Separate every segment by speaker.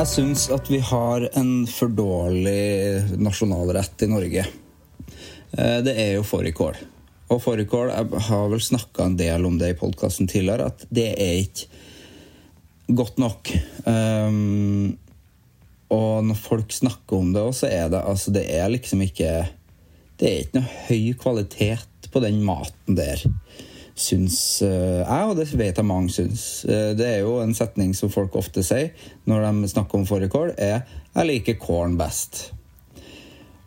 Speaker 1: Jeg syns at vi har en for dårlig nasjonalrett i Norge. Eh, Det er jo fårikål. Og fårikål Jeg har vel snakka en del om det i podkasten tidligere, at det er ikke godt nok. Um, og når folk snakker om det òg, så er det altså Det er liksom ikke Det er ikke noe høy kvalitet på den maten der, syns eh, jeg, og det vet jeg mange syns. Eh, det er jo en setning som folk ofte sier når de snakker om fårikål, er 'jeg liker kålen best'.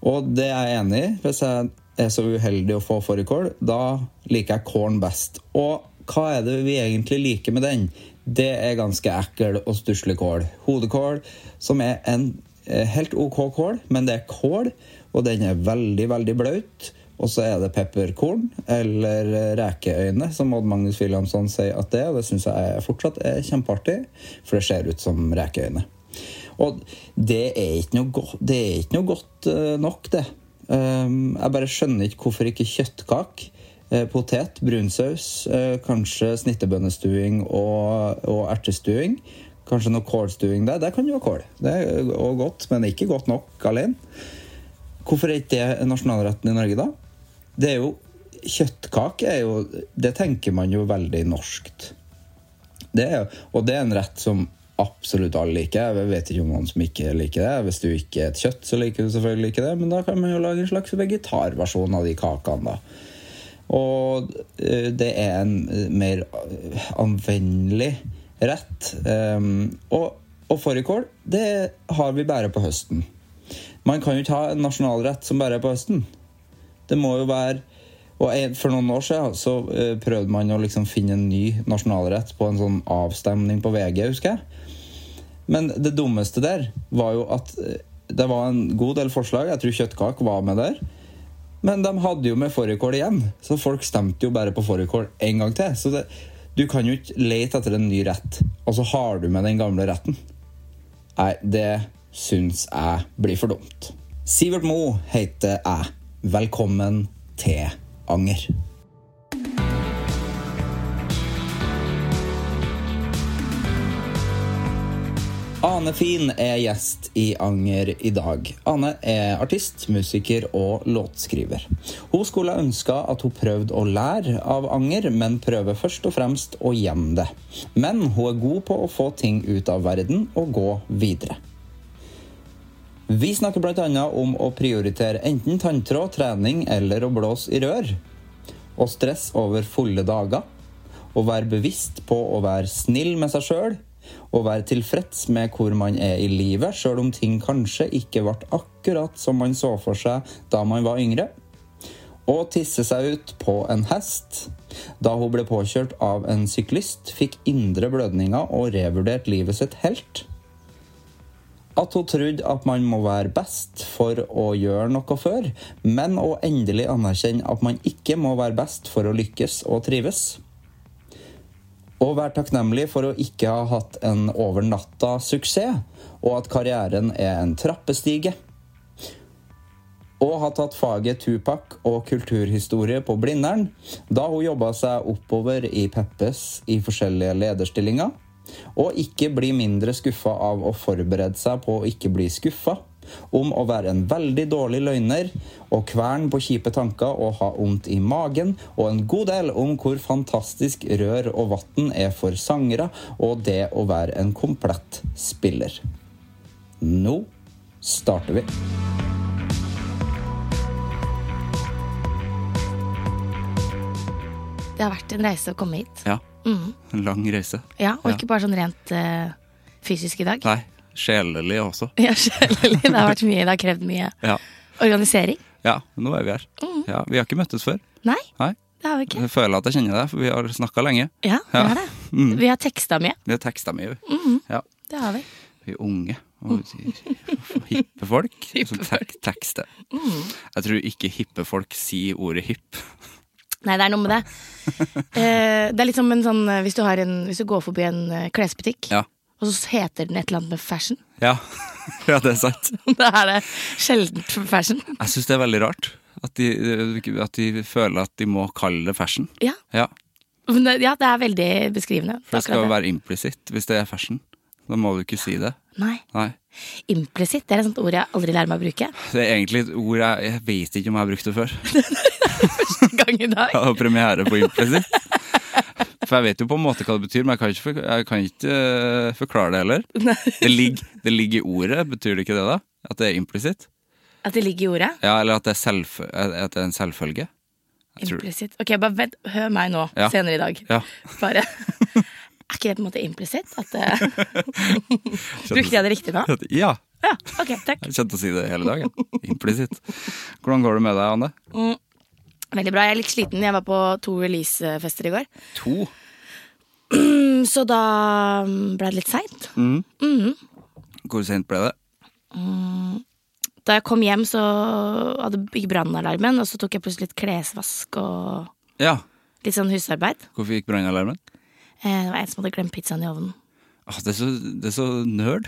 Speaker 1: Og det er jeg enig i. Hvis jeg er så uheldig å få fårikål, da liker jeg kålen best. Og hva er det vi egentlig liker med den? Det er ganske ekkel og stusslig kål. Hodekål, som er en eh, helt OK kål, men det er kål, og den er veldig, veldig blaut. Og så er det pepperkorn, eller eh, rekeøyne, som Odd Magnus Williamson sier at det er. Og det syns jeg er- fortsatt er kjempeartig, for det ser ut som rekeøyne. Og det er ikke noe godt, det er ikke noe godt eh, nok, det. Ehm, jeg bare skjønner ikke hvorfor ikke kjøttkake, eh, potet, brunsaus, eh, kanskje snittebønnestuing og, og ertestuing. Kanskje noe kålstuing der. Der kan jo ha kål. Det er også godt, men ikke godt nok alene. Hvorfor er ikke det nasjonalretten i Norge, da? Det er jo Kjøttkake er jo Det tenker man jo veldig norskt. Det er, og det er en rett som absolutt alle liker. Jeg vet ikke om noen som ikke liker det. Hvis du ikke et kjøtt, så liker du selvfølgelig ikke det, men da kan man jo lage en slags vegetarversjon av de kakene, da. Og eh, det er en eh, mer eh, anvendelig rett. Ehm, og, og fårikål, det har vi bare på høsten. Man kan jo ikke ha en nasjonalrett som bare er på høsten. Det må jo være Og en- for noen år siden så eh, prøvde man å liksom finne en ny nasjonalrett på en sånn avstemning på VG, husker jeg. Men det dummeste der var jo at eh, det var en god del forslag. Jeg tror kjøttkake var med der. Men de hadde jo med fårikål igjen, så folk stemte jo bare på fårikål en gang til. Så det, du kan jo ikke lete etter en ny rett, og så har du med den gamle retten. Nei, det syns jeg blir for dumt. Sivert Mo heter jeg. Velkommen til Anger. Ane Fin er gjest i Anger i dag. Ane er artist, musiker og låtskriver. Hun skulle ha ønska at hun prøvde å lære av anger, men prøver først og fremst å gjemme det. Men hun er god på å få ting ut av verden og gå videre. Vi snakker bl.a. om å prioritere enten tanntråd, trening eller å blåse i rør. Og stress over fulle dager. Å være bevisst på å være snill med seg sjøl. Å være tilfreds med hvor man er i livet, sjøl om ting kanskje ikke ble akkurat som man så for seg da man var yngre. Og tisse seg ut på en hest. Da hun ble påkjørt av en syklist, fikk indre blødninger og revurderte livet sitt helt. At hun trodde at man må være best for å gjøre noe før, men å endelig anerkjenne at man ikke må være best for å lykkes og trives. Og vær takknemlig for å ikke ha hatt en over natta-suksess, og at karrieren er en trappestige. Og ha tatt faget Tupac og kulturhistorie på Blindern, da hun jobba seg oppover i Peppes i forskjellige lederstillinger. Og ikke bli mindre skuffa av å forberede seg på å ikke bli skuffa. Om å være en veldig dårlig løgner og kvern på kjipe tanker og ha vondt i magen. Og en god del om hvor fantastisk rør og vann er for sangere, og det å være en komplett spiller. Nå starter vi.
Speaker 2: Det har vært en reise å komme hit.
Speaker 3: Ja. En lang reise.
Speaker 2: Ja, Og ikke bare sånn rent eh, fysisk i dag.
Speaker 3: Nei, sjelelig også.
Speaker 2: Ja, sjelelig. Det har vært mye. Det har krevd mye
Speaker 3: Ja.
Speaker 2: organisering.
Speaker 3: ja, nå er vi her. Ja, vi har ikke møttes før.
Speaker 2: Nei,
Speaker 3: Nei.
Speaker 2: det har vi ikke.
Speaker 3: Jeg føler at jeg kjenner deg, for vi har snakka lenge.
Speaker 2: Ja, vi
Speaker 3: Ja. Mm.
Speaker 2: har det. Vi har teksta mye.
Speaker 3: Vi har teksta mye. vi. Ja.
Speaker 2: Det har vi.
Speaker 3: Vi er unge og hippe folk Mm. som tek tekster. Jeg tror ikke hippe folk sier ordet hipp.
Speaker 2: Nei, det er noe med det. Eh, det er litt som en sånn eh, Hvis du, har en, hvis du går forbi en eh, klesbutikk,
Speaker 3: Ja.
Speaker 2: og så heter den et eller annet med fashion.
Speaker 3: Ja. ja, det er sant.
Speaker 2: Da er det sjeldent fashion.
Speaker 3: Jeg syns det er veldig rart at de, at de føler at de må kalle det fashion.
Speaker 2: Ja,
Speaker 3: Ja,
Speaker 2: men det, ja, det er veldig beskrivende.
Speaker 3: For det skal
Speaker 2: Akkurat
Speaker 3: jo være implisitt hvis det er fashion. Da må du ikke si det.
Speaker 2: Nei,
Speaker 3: Nei.
Speaker 2: Implisitt det er et sånt ord jeg aldri lærer meg å bruke.
Speaker 3: Det er egentlig et ord jeg, jeg vet ikke om jeg har brukt det før.
Speaker 2: Gang i dag.
Speaker 3: Jeg har premiere på implisitt. For jeg vet jo på en måte hva det betyr, men jeg kan ikke, fork- jeg kan ikke eh, forklare det heller. Det ligger, det ligger i ordet, betyr det ikke det da? At det er implisitt?
Speaker 2: At det ligger i ordet.
Speaker 3: Ja, eller at det er, selvf at det er en selvfølge? Jeg tror-
Speaker 2: Implisitt. Ok, bare vent, hør meg nå,
Speaker 3: Ja.
Speaker 2: senere i dag.
Speaker 3: Ja.
Speaker 2: Bare. Er ikke det på en måte implisitt? At det... Brukte jeg det riktig nå?
Speaker 3: Ja.
Speaker 2: Ja, ok, takk.
Speaker 3: Jeg kjente å si det hele dagen. Implisitt. Hvordan går det med deg, Anne?
Speaker 2: Veldig bra. Jeg er litt sliten. Jeg var på to releasefester i går.
Speaker 3: To.
Speaker 2: Mm, Så da mm, ble det litt seint.
Speaker 3: Hvor sent ble det?
Speaker 2: Da jeg kom hjem, så hadde gikk brannalarmen, og så tok jeg plutselig litt klesvask og
Speaker 3: Ja.
Speaker 2: litt sånn husarbeid.
Speaker 3: Hvorfor gikk brannalarmen?
Speaker 2: Eh, Det var en som hadde glemt pizzaen i ovnen.
Speaker 3: Ah, det, er så, det er så nerd.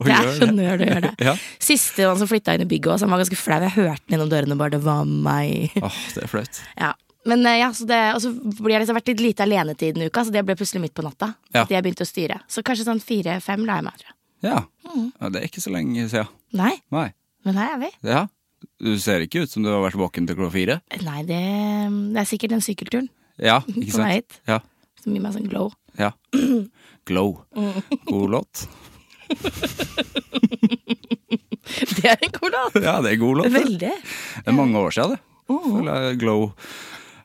Speaker 3: Å
Speaker 2: Det er
Speaker 3: gjøre
Speaker 2: så nerd å gjøre det.
Speaker 3: Ja.
Speaker 2: Siste han som flytta inn i bygget også, han var ganske flau. Jeg hørte den gjennom dørene bare, det var meg.
Speaker 3: Ah, det er flaut.
Speaker 2: Ja. Men eh, ja, så det, og så blir jeg liksom vært litt lite alenetid denne uka, så det ble plutselig midt på natta.
Speaker 3: Ja.
Speaker 2: At jeg begynte å styre. Så kanskje sånn fire-fem la jeg meg, tror jeg.
Speaker 3: Ja.
Speaker 2: Mm.
Speaker 3: ja. Det er ikke så lenge siden.
Speaker 2: Nei,
Speaker 3: Nei.
Speaker 2: men her er vi.
Speaker 3: Ja. Du ser ikke ut som du har vært våken til klokka fire.
Speaker 2: Nei, det, det er sikkert den sykkelturen
Speaker 3: Ja, ikke
Speaker 2: På vei
Speaker 3: sant?
Speaker 2: hit.
Speaker 3: Ja.
Speaker 2: som gir meg sånn glow.
Speaker 3: ja. Glow.
Speaker 2: Mm.
Speaker 3: God låt.
Speaker 2: Det er en god låt!
Speaker 3: Ja, det er god låt. Det
Speaker 2: Veldig. Oh.
Speaker 3: Det er mange år siden, det. Føler jeg Glow.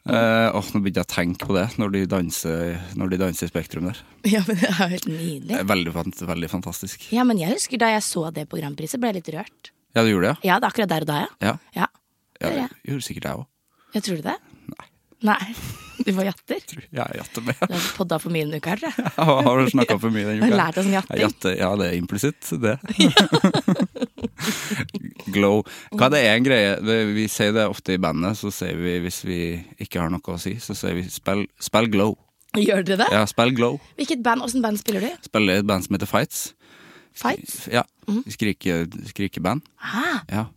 Speaker 3: Eh, åh, nå begynte jeg å tenke på det når de danser, når de danser i Spektrum der.
Speaker 2: Ja, men det er jo helt
Speaker 3: Det
Speaker 2: nydelig.
Speaker 3: er veldig, fant- veldig fantastisk.
Speaker 2: Ja, men jeg husker da jeg så det på Grand Prix, så ble jeg litt rørt.
Speaker 3: Ja, du gjorde det,
Speaker 2: Ja, det er akkurat der og da, ja.
Speaker 3: ja?
Speaker 2: Ja,
Speaker 3: Ja,
Speaker 2: det
Speaker 3: ja
Speaker 2: gjør jeg.
Speaker 3: det gjorde sikkert jeg òg.
Speaker 2: Jeg tror du det? Nei. Nei. Du var jatter?
Speaker 3: Jeg er jatter med.
Speaker 2: Du har podda for mye denne uka, her, tror jeg.
Speaker 3: Jeg har snakka for mye denne
Speaker 2: Jeg
Speaker 3: uka.
Speaker 2: har lært oss om jatting.
Speaker 3: Jeg jatter- Ja, det er implisitt, det. Glow. Hva det er en greie det- Vi sier det ofte i bandet, så sier vi hvis vi ikke har noe å si, så sier vi spill, spill glow.
Speaker 2: Gjør dere det?
Speaker 3: Ja, spill glow.
Speaker 2: Hvilket band, Åssen band spiller du?
Speaker 3: Spiller i et band som heter Fights.
Speaker 2: Fights? Mhm.
Speaker 3: Ja. Skrike, skrikeband.
Speaker 2: Ah,
Speaker 3: Ja.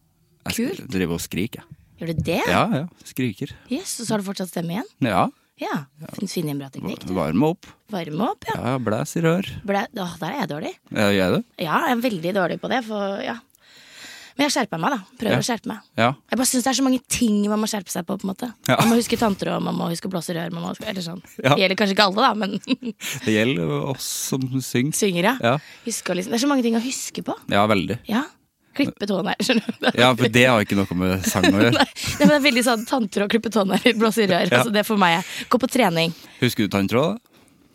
Speaker 3: Jeg sk- driver og skriker, jeg.
Speaker 2: gjør du det?
Speaker 3: Ja, ja. Skriker.
Speaker 2: Yes, og så har du fortsatt stemme igjen?
Speaker 3: Ja.
Speaker 2: Ja. Fin- Finn en bra teknikk. du.
Speaker 3: Varme opp.
Speaker 2: Varme opp, ja.
Speaker 3: Ja, blæs i rør.
Speaker 2: Ble, åh, der er jeg dårlig.
Speaker 3: Ja, gjør jeg det?
Speaker 2: Ja, jeg er veldig dårlig på det. For, ja. Men jeg skjerper meg, da. Prøver å
Speaker 3: Ja.
Speaker 2: skjerpe meg.
Speaker 3: Ja.
Speaker 2: Jeg bare syns det er så mange ting man må skjerpe seg på. på en måte
Speaker 3: Ja.
Speaker 2: Man må huske tanntråd, man må huske å blåse rør. Man må, eller sånn.
Speaker 3: Ja.
Speaker 2: Det gjelder kanskje ikke alle, da, men
Speaker 3: Det gjelder oss som synger.
Speaker 2: synger, ja.
Speaker 3: Ja.
Speaker 2: Huske å liksom. Det er så mange ting å huske på.
Speaker 3: Ja, veldig.
Speaker 2: Ja. Klippe tånegler, skjønner du.
Speaker 3: Ja, for det har ikke noe med sang å gjøre.
Speaker 2: Nei, men det er veldig sånn tanntråd, klippe tånegler, blåse i rør.
Speaker 3: Ja.
Speaker 2: Altså, det er for meg. jeg. Gå på trening.
Speaker 3: Husker du tanntråd? da?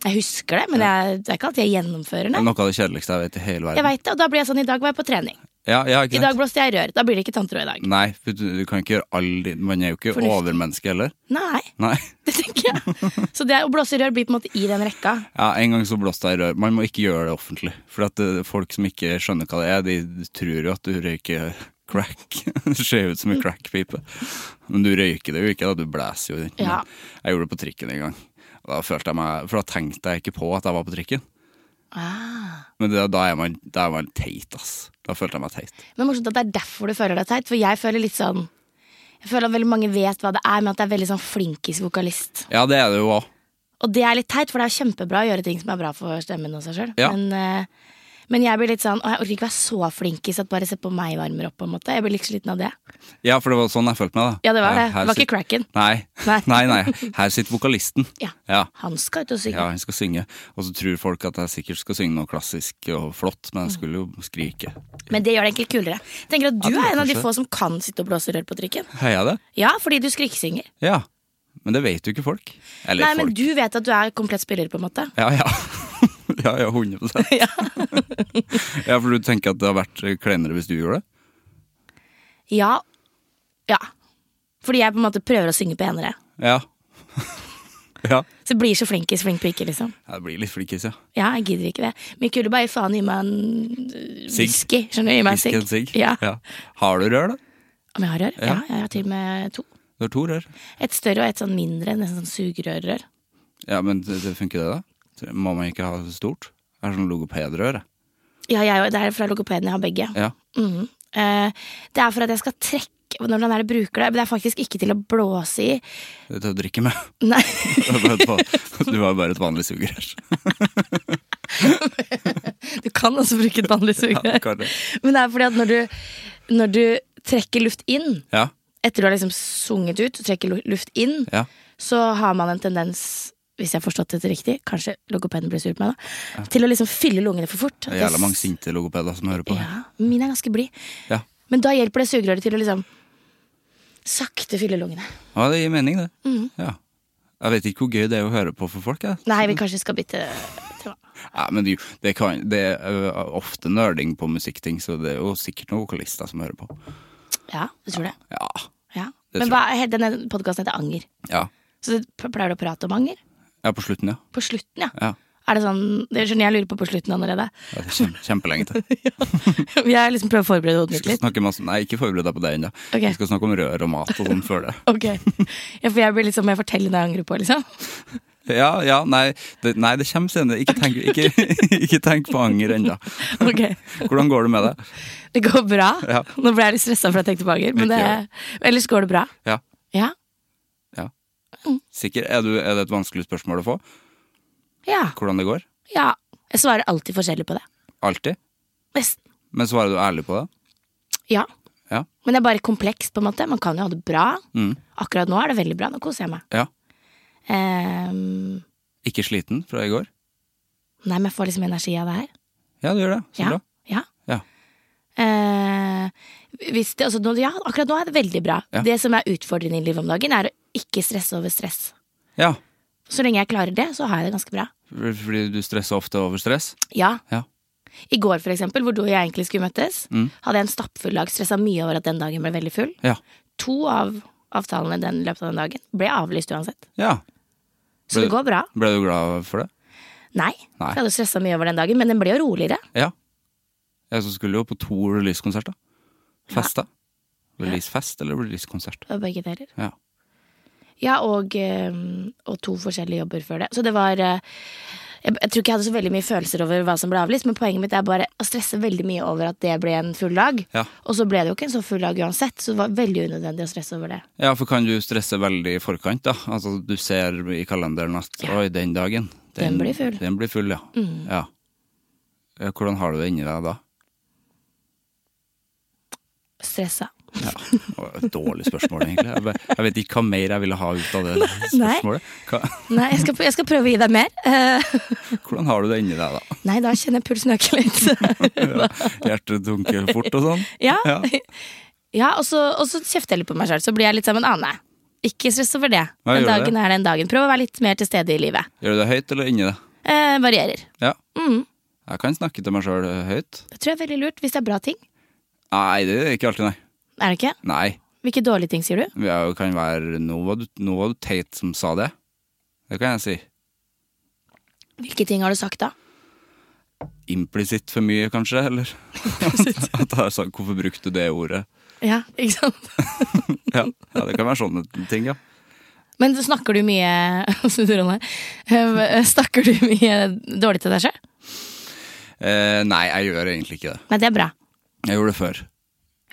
Speaker 2: Jeg husker det, men jeg, det er ikke alltid jeg gjennomfører
Speaker 3: Det
Speaker 2: det.
Speaker 3: er noe av det kjedeligste jeg vet i hele
Speaker 2: Jeg
Speaker 3: verden.
Speaker 2: vet det, og da blir jeg sånn I dag var jeg på trening.
Speaker 3: Ja, ja,
Speaker 2: I
Speaker 3: ikke
Speaker 2: dag
Speaker 3: sant?
Speaker 2: blåste jeg i rør. Da blir det ikke tanntråd i dag.
Speaker 3: Nei, for du, du kan ikke gjøre all din Man er jo ikke
Speaker 2: Fornuftig.
Speaker 3: overmenneske heller.
Speaker 2: Nei,
Speaker 3: Nei.
Speaker 2: det tenker jeg. Så det å blåse i rør blir på en måte i den rekka.
Speaker 3: Ja, En gang så blåste jeg i rør. Man må ikke gjøre det offentlig. For at eh, folk som ikke skjønner hva det er, de tror jo at du røyker crack. Det ser ut som en crackpipe. Men du røyker det jo ikke, da. Du blæser jo i den.
Speaker 2: Ja.
Speaker 3: Jeg gjorde det på trikken en gang. Da følte jeg meg, For da tenkte jeg ikke på at jeg var på trikken.
Speaker 2: Ah.
Speaker 3: Men det, da, er man, da er man teit, ass. Da følte jeg meg teit.
Speaker 2: Men morsomt at det er derfor du føler deg teit, for jeg føler litt sånn Jeg føler at veldig mange vet hva det er, men at det er veldig sånn flinkis-vokalist.
Speaker 3: Ja, det er det jo òg.
Speaker 2: Og det er litt teit, for det er kjempebra å gjøre ting som er bra for stemmen og seg sjøl.
Speaker 3: Ja.
Speaker 2: Men, eh, men jeg blir litt sånn Å, jeg orker ikke være så flinkis at bare se på meg varmer opp, på en måte. Jeg blir litt sliten av det.
Speaker 3: Ja, for det var sånn jeg følte meg, da.
Speaker 2: Ja, det var
Speaker 3: Her-
Speaker 2: det.
Speaker 3: her
Speaker 2: Det var
Speaker 3: sit-
Speaker 2: ikke cracken.
Speaker 3: Nei.
Speaker 2: Nei.
Speaker 3: nei, nei. Her sitter vokalisten.
Speaker 2: Ja.
Speaker 3: Ja.
Speaker 2: Han skal ut og synge.
Speaker 3: Ja, jeg skal synge. Og så tror folk at jeg sikkert skal synge noe klassisk og flott, men jeg skulle jo skrike.
Speaker 2: Men det gjør det egentlig kulere. Jeg tenker at Du
Speaker 3: det gjør
Speaker 2: er en av de
Speaker 3: kanskje
Speaker 2: få som kan sitte og blåse rør på trikken.
Speaker 3: Heier jeg det?
Speaker 2: Ja, fordi du skrikesynger.
Speaker 3: Ja. Men det vet jo ikke folk. Eller
Speaker 2: Nei,
Speaker 3: folk.
Speaker 2: men du vet at du er komplett spiller, på en måte.
Speaker 3: Ja, ja. ja, ja, 100 ja. for du tenker at det har vært kleinere hvis du gjorde det?
Speaker 2: Ja. Ja. Fordi jeg på en måte prøver å synge penere.
Speaker 3: Ja. ja.
Speaker 2: Så jeg blir så flinkis, flink pike, liksom.
Speaker 3: Ja, Det blir litt flinkis, ja.
Speaker 2: Ja, jeg gidder ikke det. Men jeg kunne bare gi faen gi meg en øh,
Speaker 3: Sigg.
Speaker 2: whisky. Skjønner du? Gi meg en
Speaker 3: Fisk
Speaker 2: sigg.
Speaker 3: en sigg.
Speaker 2: Ja.
Speaker 3: Ja. Har du rør, da?
Speaker 2: Om jeg har rør? Ja. jeg har til og med to.
Speaker 3: Du har to rør.
Speaker 2: Et større og et sånn mindre, nesten sånn sugerørrør.
Speaker 3: Ja, men det, det funker det, da? Må man ikke ha så stort? Jeg har sånn logopedrør, jeg.
Speaker 2: Ja, jeg, det er fra logopeden. Jeg har begge.
Speaker 3: Ja.
Speaker 2: Mhm. Eh, det er for at jeg skal trekke Hvordan er det jeg bruker det? Men det er faktisk ikke til å blåse i.
Speaker 3: Det er til å drikke med.
Speaker 2: Nei.
Speaker 3: Du har jo bare et vanlig sugerør.
Speaker 2: Du kan også bruke et vanlig
Speaker 3: Ja,
Speaker 2: sugerør.
Speaker 3: kan det.
Speaker 2: Men det er fordi at når du, når du trekker luft inn,
Speaker 3: Ja.
Speaker 2: etter du har liksom sunget ut og trekker lu- luft inn,
Speaker 3: Ja.
Speaker 2: så har man en tendens hvis jeg har forstått dette riktig, kanskje logopeden blir sur på meg, da, til å liksom fylle lungene for fort.
Speaker 3: Det er jævla mange sinte logopeder som hører på.
Speaker 2: Ja, Min er ganske blid.
Speaker 3: Ja.
Speaker 2: Men da hjelper det sugerøret til å liksom sakte fylle lungene.
Speaker 3: ja, det gir mening, det.
Speaker 2: Mhm.
Speaker 3: Ja. Jeg vet ikke hvor gøy det er å høre på for folk. Jeg.
Speaker 2: Nei, vi kanskje skal bytte tema.
Speaker 3: Nei, men det, det, kan, det er ø, ofte nerding på musikkting, så det er jo sikkert noen vokalister som hører på.
Speaker 2: Ja, jeg tror det.
Speaker 3: Ja.
Speaker 2: Ja.
Speaker 3: Det
Speaker 2: Men
Speaker 3: tror
Speaker 2: hva, denne podkasten heter Anger.
Speaker 3: Ja,
Speaker 2: Så du p- pleier du å prate om anger?
Speaker 3: ja på slutten, ja.
Speaker 2: På slutten, ja.
Speaker 3: ja.
Speaker 2: Er det sånn, Det skjønner jeg lurer på på slutten allerede.
Speaker 3: Ja, Det er kjem, kjempelenge til.
Speaker 2: Jeg liksom prøver å forberede
Speaker 3: Vi
Speaker 2: hodet mitt
Speaker 3: skal
Speaker 2: litt.
Speaker 3: snakke masse Nei, ikke forbered deg på det ennå.
Speaker 2: Ok.
Speaker 3: Vi skal snakke om rør og mat og sånn før det.
Speaker 2: Ok, ja, For jeg blir liksom, jeg forteller det jeg angrer på, liksom.
Speaker 3: Ja, ja, nei, det, nei, det kommer senere. Ikke tenk, ikke, ikke tenk på anger ennå.
Speaker 2: Ok,
Speaker 3: Hvordan går det med deg?
Speaker 2: Det går bra.
Speaker 3: Ja.
Speaker 2: Nå ble jeg litt stressa for jeg tenkte på anger, men det,
Speaker 3: Ikke
Speaker 2: ellers går det bra.
Speaker 3: Ja,
Speaker 2: Ja.
Speaker 3: sikker? Er, du, er det et vanskelig spørsmål å få?
Speaker 2: ja.
Speaker 3: Hvordan det går?
Speaker 2: Ja. Jeg svarer alltid forskjellig på det.
Speaker 3: Alltid?
Speaker 2: Nesten.
Speaker 3: Men svarer du ærlig på det?
Speaker 2: Ja.
Speaker 3: Ja.
Speaker 2: Men det er bare komplekst, på en måte. Man kan jo ha det bra.
Speaker 3: Mm.
Speaker 2: Akkurat nå er det veldig bra. Nå koser jeg meg.
Speaker 3: Ja.
Speaker 2: Ehm,
Speaker 3: Ikke sliten fra i går?
Speaker 2: nei, men jeg får liksom energi av det her.
Speaker 3: Ja, du gjør det. Så
Speaker 2: Ja.
Speaker 3: bra.
Speaker 2: ja.
Speaker 3: Ja.
Speaker 2: Eh, hvis det, altså, nå- ja, akkurat nå er det veldig bra.
Speaker 3: Ja.
Speaker 2: Det som er utfordrende i livet om dagen, er å ikke stresse over stress.
Speaker 3: ja.
Speaker 2: Så lenge jeg klarer det, så har jeg det ganske bra.
Speaker 3: Fordi du stresser ofte over stress?
Speaker 2: Ja.
Speaker 3: Ja.
Speaker 2: I går, for eksempel, hvor du og jeg egentlig skulle møttes,
Speaker 3: Mm.
Speaker 2: hadde jeg en stappfull dag. Stressa mye over at den dagen ble veldig full.
Speaker 3: Ja.
Speaker 2: To av avtalene den i løpet av den dagen ble avlyst uansett.
Speaker 3: ja.
Speaker 2: Så det går
Speaker 3: Ble-
Speaker 2: bra.
Speaker 3: Ble du glad for det?
Speaker 2: Nei.
Speaker 3: Nei.
Speaker 2: For jeg hadde stressa mye over den dagen, men den ble jo roligere.
Speaker 3: Ja. Jeg som skulle jo på to releasekonserter. Festa. Releasefest eller releasekonsert.
Speaker 2: Det var begge deler.
Speaker 3: Ja.
Speaker 2: Ja, og, eh, og to forskjellige jobber før det. Så det var eh, jeg, jeg tror ikke jeg hadde så veldig mye følelser over hva som ble avlyst, men poenget mitt er bare å stresse veldig mye over at det ble en full dag.
Speaker 3: Ja.
Speaker 2: Og så ble det jo ikke en så full dag uansett, så det var veldig unødvendig å stresse over det.
Speaker 3: ja, for kan du stresse veldig i forkant, da? Altså du ser i kalenderen at oi, den dagen
Speaker 2: Den blir full. Mm.
Speaker 3: Den blir full, ja. ja. Ja, Hvordan har du det inni deg da?
Speaker 2: Stressa.
Speaker 3: Å, et Dårlig spørsmål, egentlig. Jeg vet- Jeg vet ikke hva mer jeg ville ha ut av det
Speaker 2: nei.
Speaker 3: spørsmålet. Hva,
Speaker 2: Nei, jeg skal, jeg skal prøve å gi deg mer. Eh,
Speaker 3: hvordan har du det inni deg da?
Speaker 2: nei, da kjenner jeg pulsen øke litt.
Speaker 3: Ja, hjertet dunker fort og sånn?
Speaker 2: ja.
Speaker 3: Ja.
Speaker 2: ja, og så, og så kjefter jeg litt på meg sjøl, så blir jeg litt sammen. Ah, nei, ikke stress over det.
Speaker 3: Nei,
Speaker 2: Den
Speaker 3: gjør det.
Speaker 2: dagen er den dagen. Prøv å være litt mer til stede i livet.
Speaker 3: Gjør du det høyt eller inni deg?
Speaker 2: Eh, varierer.
Speaker 3: Ja.
Speaker 2: Mm.
Speaker 3: Jeg kan snakke til meg sjøl høyt.
Speaker 2: Det tror jeg er veldig lurt, hvis det er bra ting.
Speaker 3: Nei, det er ikke alltid, nei.
Speaker 2: Er det ikke?
Speaker 3: Nei.
Speaker 2: Hvilke dårlige ting sier du?
Speaker 3: Jeg kan være nå var, du, 'Nå var du teit som sa det'. Det kan jeg si.
Speaker 2: Hvilke ting har du sagt da?
Speaker 3: Implisitt for mye, kanskje? Eller at jeg har sagt 'hvorfor brukte du det ordet'?
Speaker 2: Ja, ikke sant?
Speaker 3: Ja, ja Det kan være sånne ting, ja.
Speaker 2: Men snakker du mye Snudde rolle. Eh, Snakker du mye dårlig til deg sjøl?
Speaker 3: Eh, nei, jeg gjør egentlig ikke det.
Speaker 2: Nei, det er bra.
Speaker 3: Jeg gjorde det før.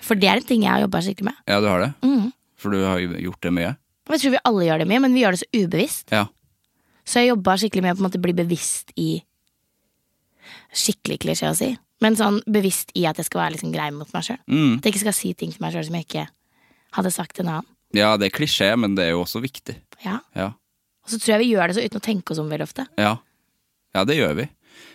Speaker 2: For det er en ting jeg har jobba skikkelig med.
Speaker 3: Ja, du har det? For du har jo gjort det mye?
Speaker 2: Og Jeg tror vi alle gjør det mye, men vi gjør det så ubevisst.
Speaker 3: Ja.
Speaker 2: Så jeg jobba skikkelig med å på en måte bli bevisst i Skikkelig klisjé å si, men sånn bevisst i at jeg skal være liksom grei mot meg sjøl. At jeg ikke skal si ting til meg sjøl som jeg ikke hadde sagt til en annen.
Speaker 3: ja, det er klisjé, men det er jo også viktig.
Speaker 2: Ja.
Speaker 3: Ja.
Speaker 2: Og så tror jeg vi gjør det så uten å tenke oss om veldig ofte.
Speaker 3: Ja, ja det gjør vi.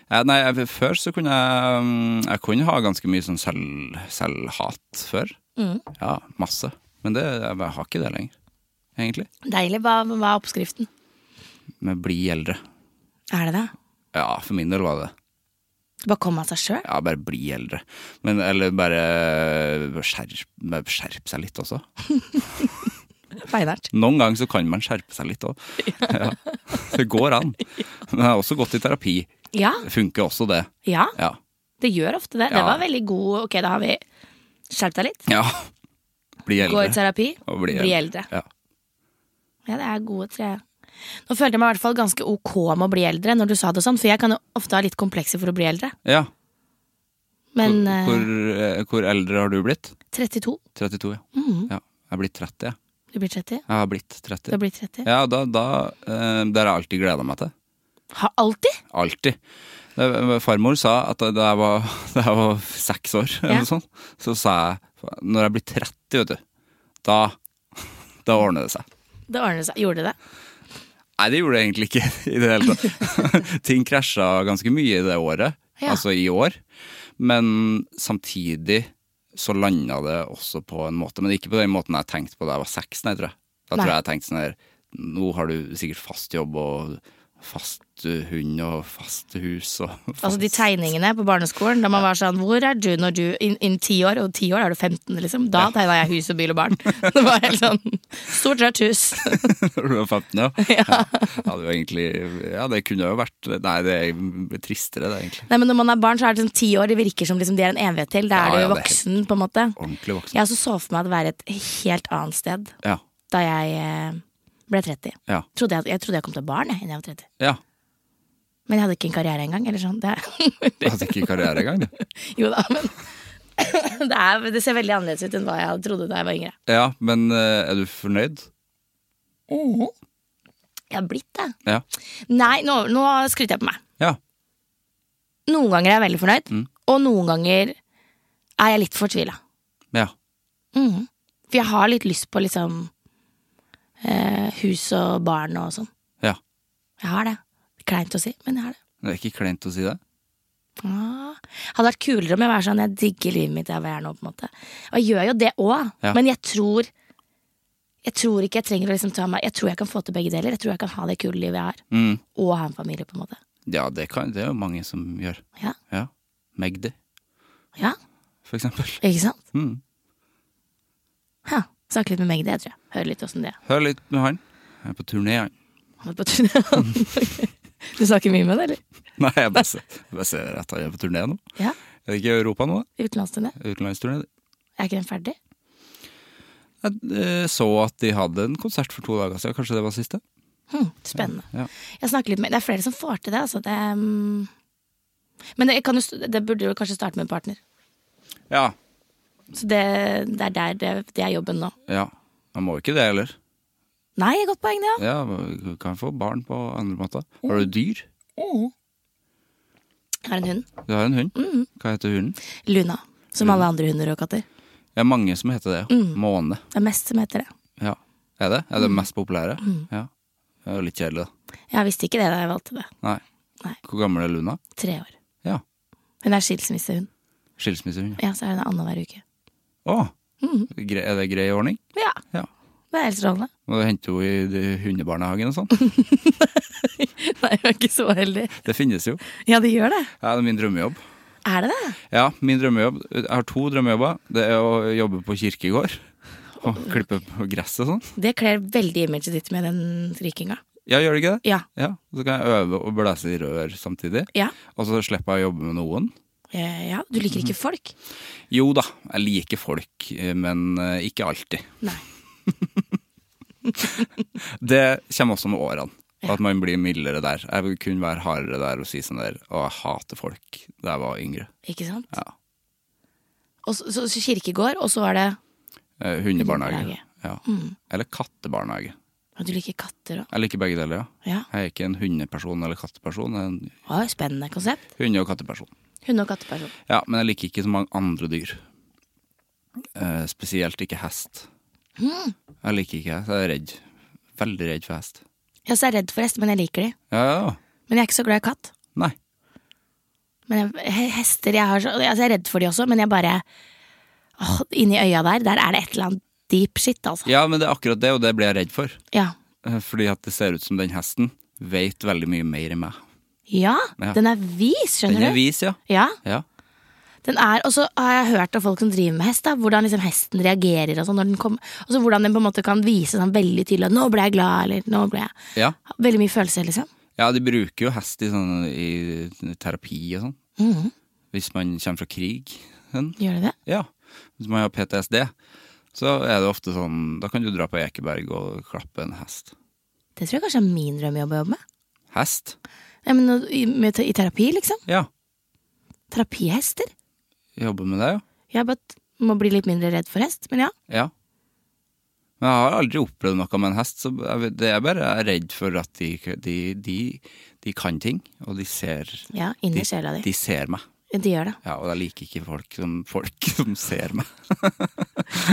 Speaker 3: Ja, nei, jeg, før så kunne jeg mm, Jeg kunne ha ganske mye sånn selv, selvhat før.
Speaker 2: Mm.
Speaker 3: Ja, masse. Men det, jeg, jeg har ikke det lenger, egentlig.
Speaker 2: Deilig. Hva, hva er oppskriften?
Speaker 3: Med bli eldre.
Speaker 2: Er det det?
Speaker 3: Ja, for min del var det det.
Speaker 2: Bare komme av seg sjøl?
Speaker 3: Ja, bare bli eldre. Men, eller bare skjerp, bare skjerp seg litt også.
Speaker 2: Beinhardt.
Speaker 3: Noen ganger så kan man skjerpe seg litt òg. Ja. Det går an. Men jeg har også gått i terapi.
Speaker 2: Ja.
Speaker 3: Det funker også, det.
Speaker 2: ja.
Speaker 3: Ja.
Speaker 2: Det gjør ofte det. Det
Speaker 3: Ja.
Speaker 2: var veldig god Ok, da har vi skjerp deg litt.
Speaker 3: ja. Bli eldre.
Speaker 2: Gå i terapi.
Speaker 3: Og bli eldre. Ja.
Speaker 2: Ja, det er gode tre. Nå følte jeg meg i hvert fall ganske ok med å bli eldre når du sa det sånn, for jeg kan jo ofte ha litt komplekser for å bli eldre.
Speaker 3: ja.
Speaker 2: Men eh,
Speaker 3: Hvor, eh, hvor eldre har du blitt?
Speaker 2: 32.
Speaker 3: 32, ja. ja. Jeg har blitt 30, jeg.
Speaker 2: Du blir 30.
Speaker 3: Jeg har blitt
Speaker 2: Du
Speaker 3: 30.
Speaker 2: Mhm. blir 30.
Speaker 3: Ja, da, da eh, Det har jeg alltid gleda meg til.
Speaker 2: Har alltid?
Speaker 3: Alltid. Det- Farmor sa at da jeg var, da jeg var seks år, eller
Speaker 2: Ja.
Speaker 3: noe sånt, så sa jeg når jeg blir 30, vet du, da, da ordner det seg.
Speaker 2: Det ordnet seg. Gjorde det det?
Speaker 3: Nei, det gjorde det egentlig ikke i det hele tatt. Ting krasja ganske mye i det året,
Speaker 2: Ja.
Speaker 3: altså i år. Men samtidig så landa det også på en måte, men ikke på den måten jeg tenkte på da jeg var seks, nei, tror jeg. Da tror
Speaker 2: Nei.
Speaker 3: jeg jeg tenkte sånn her Nå har du sikkert fast jobb og fast eh, hund og fast hus og fast
Speaker 2: Altså de tegningene på barneskolen da man var sånn Hvor er du når du Innen ti år, og ti år er du 15, liksom. Da tegna jeg hus og bil og barn. Det var helt sånn Stort rødt hus.
Speaker 3: Når du var 15, ja. ja. ja, det var egentlig Ja, det kunne jo vært Nei, det er tristere, det, egentlig.
Speaker 2: Nei, men når man er barn, så er det sånn ti år, det virker som liksom, det er en evighet til. Da
Speaker 3: Ja,
Speaker 2: er du
Speaker 3: ja,
Speaker 2: jo
Speaker 3: det er
Speaker 2: voksen, på en måte.
Speaker 3: Ordentlig voksen.
Speaker 2: Jeg også så for meg å være et helt annet sted
Speaker 3: Ja.
Speaker 2: da jeg eh, ble 30.
Speaker 3: Ja.
Speaker 2: Trodde jeg, jeg trodde jeg kom til barn jeg, innen jeg var 30.
Speaker 3: ja.
Speaker 2: Men jeg hadde ikke en karriere engang. Eller sånn. det,
Speaker 3: Jeg hadde ikke karriere engang, du.
Speaker 2: jo da, men det, er, det ser veldig annerledes ut enn hva jeg trodde da jeg var yngre.
Speaker 3: Ja, men eh, er du fornøyd?
Speaker 2: Jeg har blitt det.
Speaker 3: Ja.
Speaker 2: Nei, nå, nå skryter jeg på meg.
Speaker 3: Ja.
Speaker 2: Noen ganger er jeg veldig fornøyd,
Speaker 3: Mm.
Speaker 2: og noen ganger er jeg litt fortvila.
Speaker 3: ja.
Speaker 2: Mhm. For jeg har litt lyst på liksom eh, hus og barn og sånn.
Speaker 3: ja.
Speaker 2: Jeg har det. Kleint å si, men jeg har det.
Speaker 3: Det er ikke kleint å si det.
Speaker 2: Ah. Hadde vært kulere om jeg var sånn Jeg digger livet mitt der hvor jeg er nå. på en måte Og jeg gjør jo det òg,
Speaker 3: Ja.
Speaker 2: men jeg tror Jeg tror ikke jeg trenger å liksom ta meg Jeg tror jeg kan få til begge deler. Jeg tror jeg kan ha det kule livet jeg har,
Speaker 3: Mm.
Speaker 2: og ha en familie. på en måte
Speaker 3: Ja, det, kan, det er jo mange som gjør.
Speaker 2: Ja,
Speaker 3: Ja. Magdi,
Speaker 2: ja
Speaker 3: for eksempel.
Speaker 2: ikke sant?
Speaker 3: Mm.
Speaker 2: Ha. Snakke litt med Magdi, jeg tror jeg. Høre litt åssen det er.
Speaker 3: Hør litt med han. Jeg er på turné, han.
Speaker 2: Han er på turné. du snakker mye med det, eller?
Speaker 3: Nei, jeg bare ser, jeg bare ser at han er på turné nå.
Speaker 2: Ja,
Speaker 3: Er det ikke i Europa nå, da?
Speaker 2: Utenlandsturné.
Speaker 3: Utenlandsturné?
Speaker 2: Er ikke den ferdig?
Speaker 3: Jeg eh, så at de hadde en konsert for to dager siden, kanskje det var siste?
Speaker 2: Hm, spennende.
Speaker 3: Ja.
Speaker 2: Jeg snakker litt med, Det er flere som får til det. Altså. det mm. men det, kan jo, st- det burde jo kanskje starte med en partner.
Speaker 3: Ja.
Speaker 2: Så det, det er der det, det er jobben nå.
Speaker 3: ja. Man må ikke det heller.
Speaker 2: Nei, godt poeng, det, ja.
Speaker 3: Ja, man kan få barn på andre måter. Har du dyr?
Speaker 2: Jeg har en hund.
Speaker 3: Du har en hund. Hva heter hunden?
Speaker 2: Luna. Som alle andre hunder og katter.
Speaker 3: Det er mange som heter det. ja. Måne.
Speaker 2: Det er mest som heter det.
Speaker 3: Ja. Er det? Er det
Speaker 2: Mm.
Speaker 3: mest populære? Ja. Det er jo litt kjedelig, da.
Speaker 2: Jeg visste ikke det da jeg valgte det.
Speaker 3: Nei.
Speaker 2: Nei.
Speaker 3: Hvor gammel er Luna?
Speaker 2: Tre år.
Speaker 3: Ja.
Speaker 2: Hun er skilsmissehund.
Speaker 3: Skilsmissehund.
Speaker 2: Ja, så er hun annenhver uke.
Speaker 3: Å!
Speaker 2: Mm.
Speaker 3: Gre- Er det grei ordning?
Speaker 2: Ja,
Speaker 3: Ja.
Speaker 2: det er helt strålende.
Speaker 3: Må du hente henne i de- hundebarnehagen og sånn?
Speaker 2: Nei, hun er ikke så heldig.
Speaker 3: Det finnes jo.
Speaker 2: Ja, det gjør det.
Speaker 3: Ja, det er min drømmejobb.
Speaker 2: Er det det?
Speaker 3: Ja, min drømmejobb. Jeg har to drømmejobber. Det er å jobbe på kirkegård. Og klippe på gresset og sånn.
Speaker 2: Det kler veldig imaget ditt med den skrikinga.
Speaker 3: Ja, gjør det ikke det?
Speaker 2: Ja.
Speaker 3: Ja, Så kan jeg øve og blæse i rør samtidig.
Speaker 2: Ja.
Speaker 3: Og så slipper jeg å jobbe med noen.
Speaker 2: Eh, ja. Du liker ikke folk?
Speaker 3: Jo da, jeg liker folk, eh, men eh, ikke alltid.
Speaker 2: Nei.
Speaker 3: Det kommer også med årene. At man blir mildere der. Jeg vil kunne være hardere der og si sånn der Å, jeg hater folk da jeg var yngre.
Speaker 2: Ikke sant?
Speaker 3: Ja.
Speaker 2: Og så, så, så kirkegård, og så var det
Speaker 3: Eh, hundebarnehage.
Speaker 2: Hundebarnehage. Mm.
Speaker 3: Ja. Eller kattebarnehage.
Speaker 2: Og du liker katter òg.
Speaker 3: Jeg liker begge deler, ja.
Speaker 2: Ja.
Speaker 3: Jeg er ikke en hundeperson eller katteperson. Jeg er en
Speaker 2: Oi, Spennende konsept.
Speaker 3: hunde- og katteperson.
Speaker 2: Hunde- og katteperson.
Speaker 3: Ja, men jeg liker ikke så mange andre dyr. Eh, spesielt ikke hest.
Speaker 2: Mm.
Speaker 3: Jeg liker ikke hest. Jeg er redd. Veldig redd for hest.
Speaker 2: Jeg er også redd for hester, men jeg liker de.
Speaker 3: Ja, ja, ja.
Speaker 2: Men jeg er ikke så glad i katt.
Speaker 3: Nei.
Speaker 2: Men jeg, he- hester jeg, har, så- altså jeg er redd for de også, men jeg bare åh, Inni øya der, der er det et eller annet deep shit, altså.
Speaker 3: Ja, men det er akkurat det, og det blir jeg redd for.
Speaker 2: Ja.
Speaker 3: Eh, Fordi at det ser ut som den hesten vet veldig mye mer enn meg.
Speaker 2: Ja,
Speaker 3: Ja.
Speaker 2: den er vis, skjønner
Speaker 3: Den er
Speaker 2: du.
Speaker 3: vis, ja.
Speaker 2: Ja,
Speaker 3: ja.
Speaker 2: den er, Og så har jeg hørt av folk som driver med hest, da, hvordan liksom hesten reagerer. Og sånn når den kommer Og så hvordan den på en måte kan vise sånn veldig tydelig at 'nå ble jeg glad', eller 'nå ble jeg
Speaker 3: Ja,
Speaker 2: Veldig mye følelser, liksom.
Speaker 3: ja de bruker jo hest i, sånn, i terapi og sånn.
Speaker 2: Mhm.
Speaker 3: Hvis man kommer fra krig. Sånn.
Speaker 2: Gjør de det?
Speaker 3: Ja. Hvis man har PTSD, så er det ofte sånn Da kan du dra på Ekeberg og klappe en hest.
Speaker 2: Det tror jeg kanskje er min drømmejobb å jobbe med.
Speaker 3: Hest?
Speaker 2: Ja, men å- i, med, I terapi, liksom.
Speaker 3: Ja.
Speaker 2: Terapihester.
Speaker 3: Jobbe med det, ja.
Speaker 2: Jeg bare t- må bli litt mindre redd for hest, men ja.
Speaker 3: Ja. Men jeg har aldri opplevd noe med en hest. Så jeg, vet- det er bare jeg er redd for at de, de, de, de kan ting, og de ser
Speaker 2: Ja, Inni sjela di.
Speaker 3: De ser meg.
Speaker 2: De gjør det.
Speaker 3: Ja, og jeg liker ikke folk som, folk som ser meg.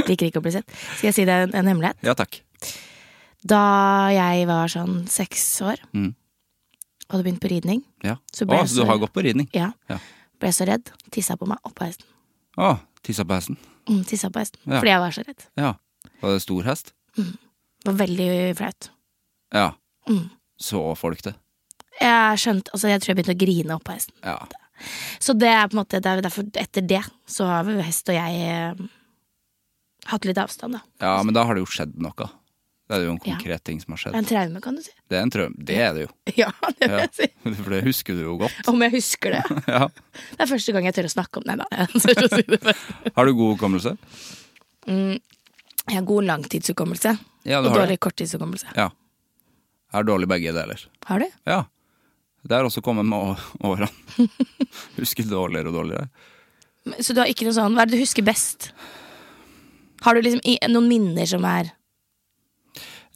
Speaker 2: Liker ikke å bli sett. Skal jeg si deg en, en hemmelighet?
Speaker 3: Ja takk.
Speaker 2: Da jeg var sånn seks år
Speaker 3: Mm.
Speaker 2: og hadde begynt på ridning,
Speaker 3: Ja.
Speaker 2: Så
Speaker 3: Så,
Speaker 2: ble
Speaker 3: Å,
Speaker 2: jeg
Speaker 3: så du
Speaker 2: så-
Speaker 3: har gått på ridning?
Speaker 2: ja,
Speaker 3: Ja.
Speaker 2: ble jeg så redd, tissa på meg oppå hesten.
Speaker 3: Å, tissa på hesten.
Speaker 2: Mm, tissa på hesten.
Speaker 3: Ja.
Speaker 2: Fordi jeg var så redd.
Speaker 3: Ja. Var det stor hest?
Speaker 2: Det var veldig flaut.
Speaker 3: Ja.
Speaker 2: Mm.
Speaker 3: Så folk det?
Speaker 2: Jeg skjønte, altså jeg tror jeg begynte å grine oppå hesten.
Speaker 3: Ja.
Speaker 2: Så det er på en måte, det er jo derfor etter det så har vel hest og jeg eh, hatt litt avstand, da.
Speaker 3: ja, men da har det jo skjedd noe. Det er jo en
Speaker 2: Ja.
Speaker 3: konkret ting som har
Speaker 2: Det er
Speaker 3: skjedd.
Speaker 2: en traume, kan du si.
Speaker 3: Det er en trøm. Det er det jo.
Speaker 2: Ja, det vil
Speaker 3: Ja.
Speaker 2: jeg si.
Speaker 3: For det husker du jo godt.
Speaker 2: Om jeg husker det.
Speaker 3: Ja.
Speaker 2: Det er første gang jeg tør å snakke om det. Da. Jeg tør å si det først.
Speaker 3: Har du god hukommelse?
Speaker 2: Jeg har god langtidshukommelse
Speaker 3: Ja,
Speaker 2: og
Speaker 3: du har
Speaker 2: dårlig
Speaker 3: det.
Speaker 2: korttidshukommelse.
Speaker 3: Ja. Jeg har dårlig begge deler.
Speaker 2: Har du?
Speaker 3: Ja. Det har også kommet med å- årene. Husker dårligere og dårligere.
Speaker 2: Men- Så du har ikke noe sånn Hva er det du husker best? Har du liksom i, noen minner som er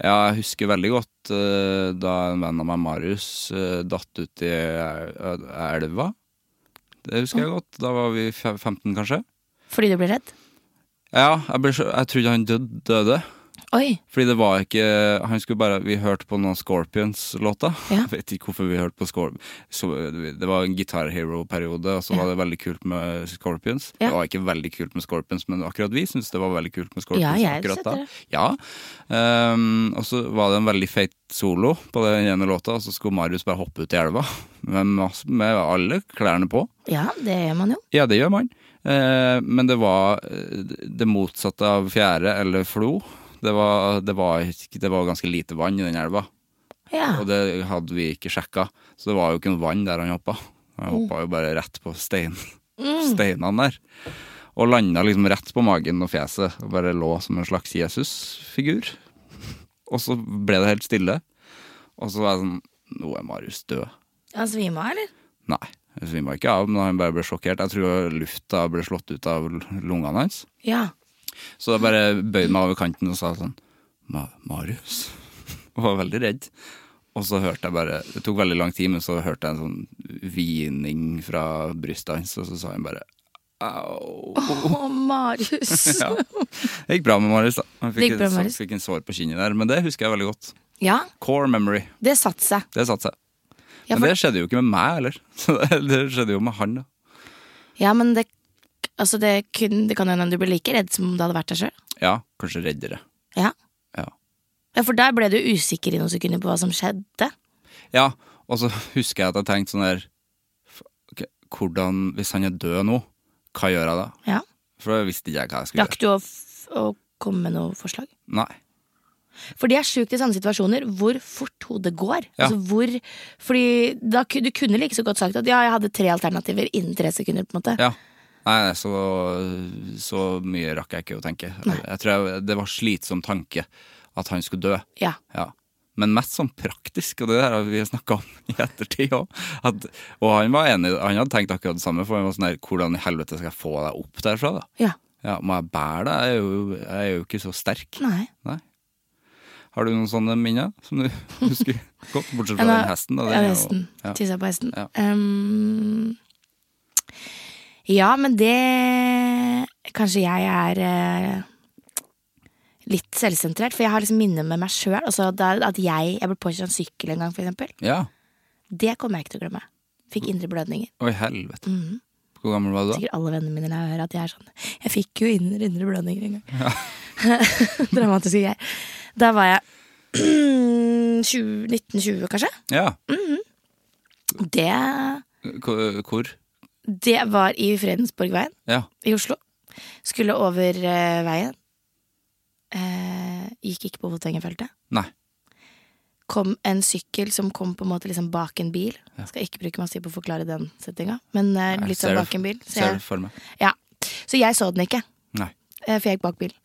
Speaker 3: Ja, jeg husker veldig godt eh, da en venn av meg, Marius, eh, datt ut i el- elva. Det husker jeg godt. Da var vi fe- 15, kanskje.
Speaker 2: fordi du blir redd?
Speaker 3: Ja, jeg, ble, så- jeg trodde han død, døde.
Speaker 2: Oi!
Speaker 3: Fordi det var ikke Han skulle bare Vi hørte på noen Scorpions-låter.
Speaker 2: Ja.
Speaker 3: Jeg vet ikke hvorfor vi hørte på Scorpions. Det var en Guitar Hero-periode, og så var det veldig kult med Scorpions.
Speaker 2: Ja.
Speaker 3: Det var ikke veldig kult med Scorpions, men akkurat vi syntes det var veldig kult med
Speaker 2: Ja,
Speaker 3: Scorpions.
Speaker 2: jeg
Speaker 3: akkurat
Speaker 2: setter det.
Speaker 3: Ja. Ehm, og så var det en veldig feit solo på den ene låta, og så skulle Marius bare hoppe ut i elva med, masse, med alle klærne på.
Speaker 2: Ja, det gjør man jo.
Speaker 3: Ja, det gjør man. Eh, men det var eh, det motsatte av fjære eller flo. Det var, det, var, ikke- det var ganske lite vann i den elva,
Speaker 2: Ja.
Speaker 3: og det hadde vi ikke sjekka. Så det var jo ikke noe vann der han hoppa. Han hoppa jo bare rett på stein, steinene der. Og landa liksom rett på magen og fjeset og bare lå som en slags Jesus-figur. Og så ble det helt stille. Og så var jeg sånn Nå er Marius død.
Speaker 2: Han svima, eller?
Speaker 3: Nei, jeg svimma ikke av, men han bare ble sjokkert. Jeg tror lufta ble slått ut av l- lungene hans.
Speaker 2: Ja.
Speaker 3: Så jeg bare bøyde meg over kanten og sa sånn Ma Marius? Og var veldig redd. Og så hørte jeg bare Det tok veldig lang tid, men så hørte jeg en sånn hvining fra brystet hans, og så sa han bare au.
Speaker 2: Å, Marius.
Speaker 3: Ja. Det gikk bra med Marius, da. Han
Speaker 2: Det
Speaker 3: fikk,
Speaker 2: gikk bra med
Speaker 3: en-
Speaker 2: Marius.
Speaker 3: fikk en sår på kinnet der, men det husker jeg veldig godt.
Speaker 2: ja,
Speaker 3: Core memory.
Speaker 2: det satte seg.
Speaker 3: Det satte seg.
Speaker 2: Ja,
Speaker 3: Men
Speaker 2: for,
Speaker 3: det skjedde jo ikke med meg heller. Så det, det skjedde jo med han, da.
Speaker 2: ja, men det, altså det, kun, det kan jo hende du blir like redd som om du hadde vært der sjøl.
Speaker 3: Ja, kanskje reddere.
Speaker 2: Ja.
Speaker 3: Ja.
Speaker 2: ja, for der ble du usikker i noen sekunder på hva som skjedde.
Speaker 3: Ja, og så husker jeg at jeg tenkte sånn der f- ok, Hvordan, hvis han er død nå, hva gjør jeg da?
Speaker 2: Ja.
Speaker 3: For da visste ikke jeg hva jeg skulle
Speaker 2: Rakk du
Speaker 3: gjøre.
Speaker 2: å, f å komme med noe forslag?
Speaker 3: Nei.
Speaker 2: For det er sjukt i sånne situasjoner hvor fort hodet går.
Speaker 3: Ja.
Speaker 2: Altså hvor, fordi da, ku- du kunne like så godt sagt at ja, jeg hadde tre alternativer innen tre sekunder. på en måte.
Speaker 3: Ja. Nei, nei, så, så mye rakk jeg ikke å tenke. Jeg, jeg tror jeg, det var slitsom tanke. at han skulle dø.
Speaker 2: Ja.
Speaker 3: Ja. Men mest sånn praktisk, og det der har vi snakka om i ettertid òg. Og han var enig, han hadde tenkt akkurat det samme, for han var sånn her Hvordan i helvete skal jeg få deg opp derfra, da?
Speaker 2: ja.
Speaker 3: Ja, Må jeg bære deg? Jeg er jo, jeg er jo ikke så sterk.
Speaker 2: Nei.
Speaker 3: Nei. Har du noen sånne minner som du husker godt? Bortsett fra
Speaker 2: Ja,
Speaker 3: den hesten, da.
Speaker 2: Ja,
Speaker 3: den er jo-
Speaker 2: hesten.
Speaker 3: Ja.
Speaker 2: Tissa på hesten.
Speaker 3: Ja.
Speaker 2: Ehm, ja, men det Kanskje jeg er eh, litt selvsentrert, for jeg har liksom minner med meg sjøl. Altså, det er at jeg, jeg ble påkjørt av en sykkel en gang, for eksempel.
Speaker 3: ja.
Speaker 2: Det kommer jeg ikke til å glemme.
Speaker 3: Mm.
Speaker 2: Fikk indre blødninger.
Speaker 3: Oi, helvete.
Speaker 2: Mhm.
Speaker 3: Hvor gammel var du da?
Speaker 2: Sikkert alle vennene mine når jeg hører at jeg er sånn Jeg fikk jo indre, indre blødninger en gang. Dramatiske greier. Da var jeg 20, 1920, kanskje.
Speaker 3: Ja.
Speaker 2: Det
Speaker 3: Hvor- Hvor?
Speaker 2: Det var i Fredensborgveien
Speaker 3: Ja.
Speaker 2: i Oslo. Skulle over eh, veien. Eh, gikk ikke på Votvengefeltet.
Speaker 3: Nei.
Speaker 2: Kom en sykkel som kom på en måte liksom bak en bil. Skal ikke bruke masse tid på å forklare den settinga, men eh,
Speaker 3: Nei,
Speaker 2: litt
Speaker 3: ser
Speaker 2: sånn
Speaker 3: det-
Speaker 2: bak en bil. Så
Speaker 3: Ser du
Speaker 2: jeg,
Speaker 3: for meg?
Speaker 2: ja. så jeg så den ikke,
Speaker 3: Nei.
Speaker 2: eh, for jeg gikk bak bilen.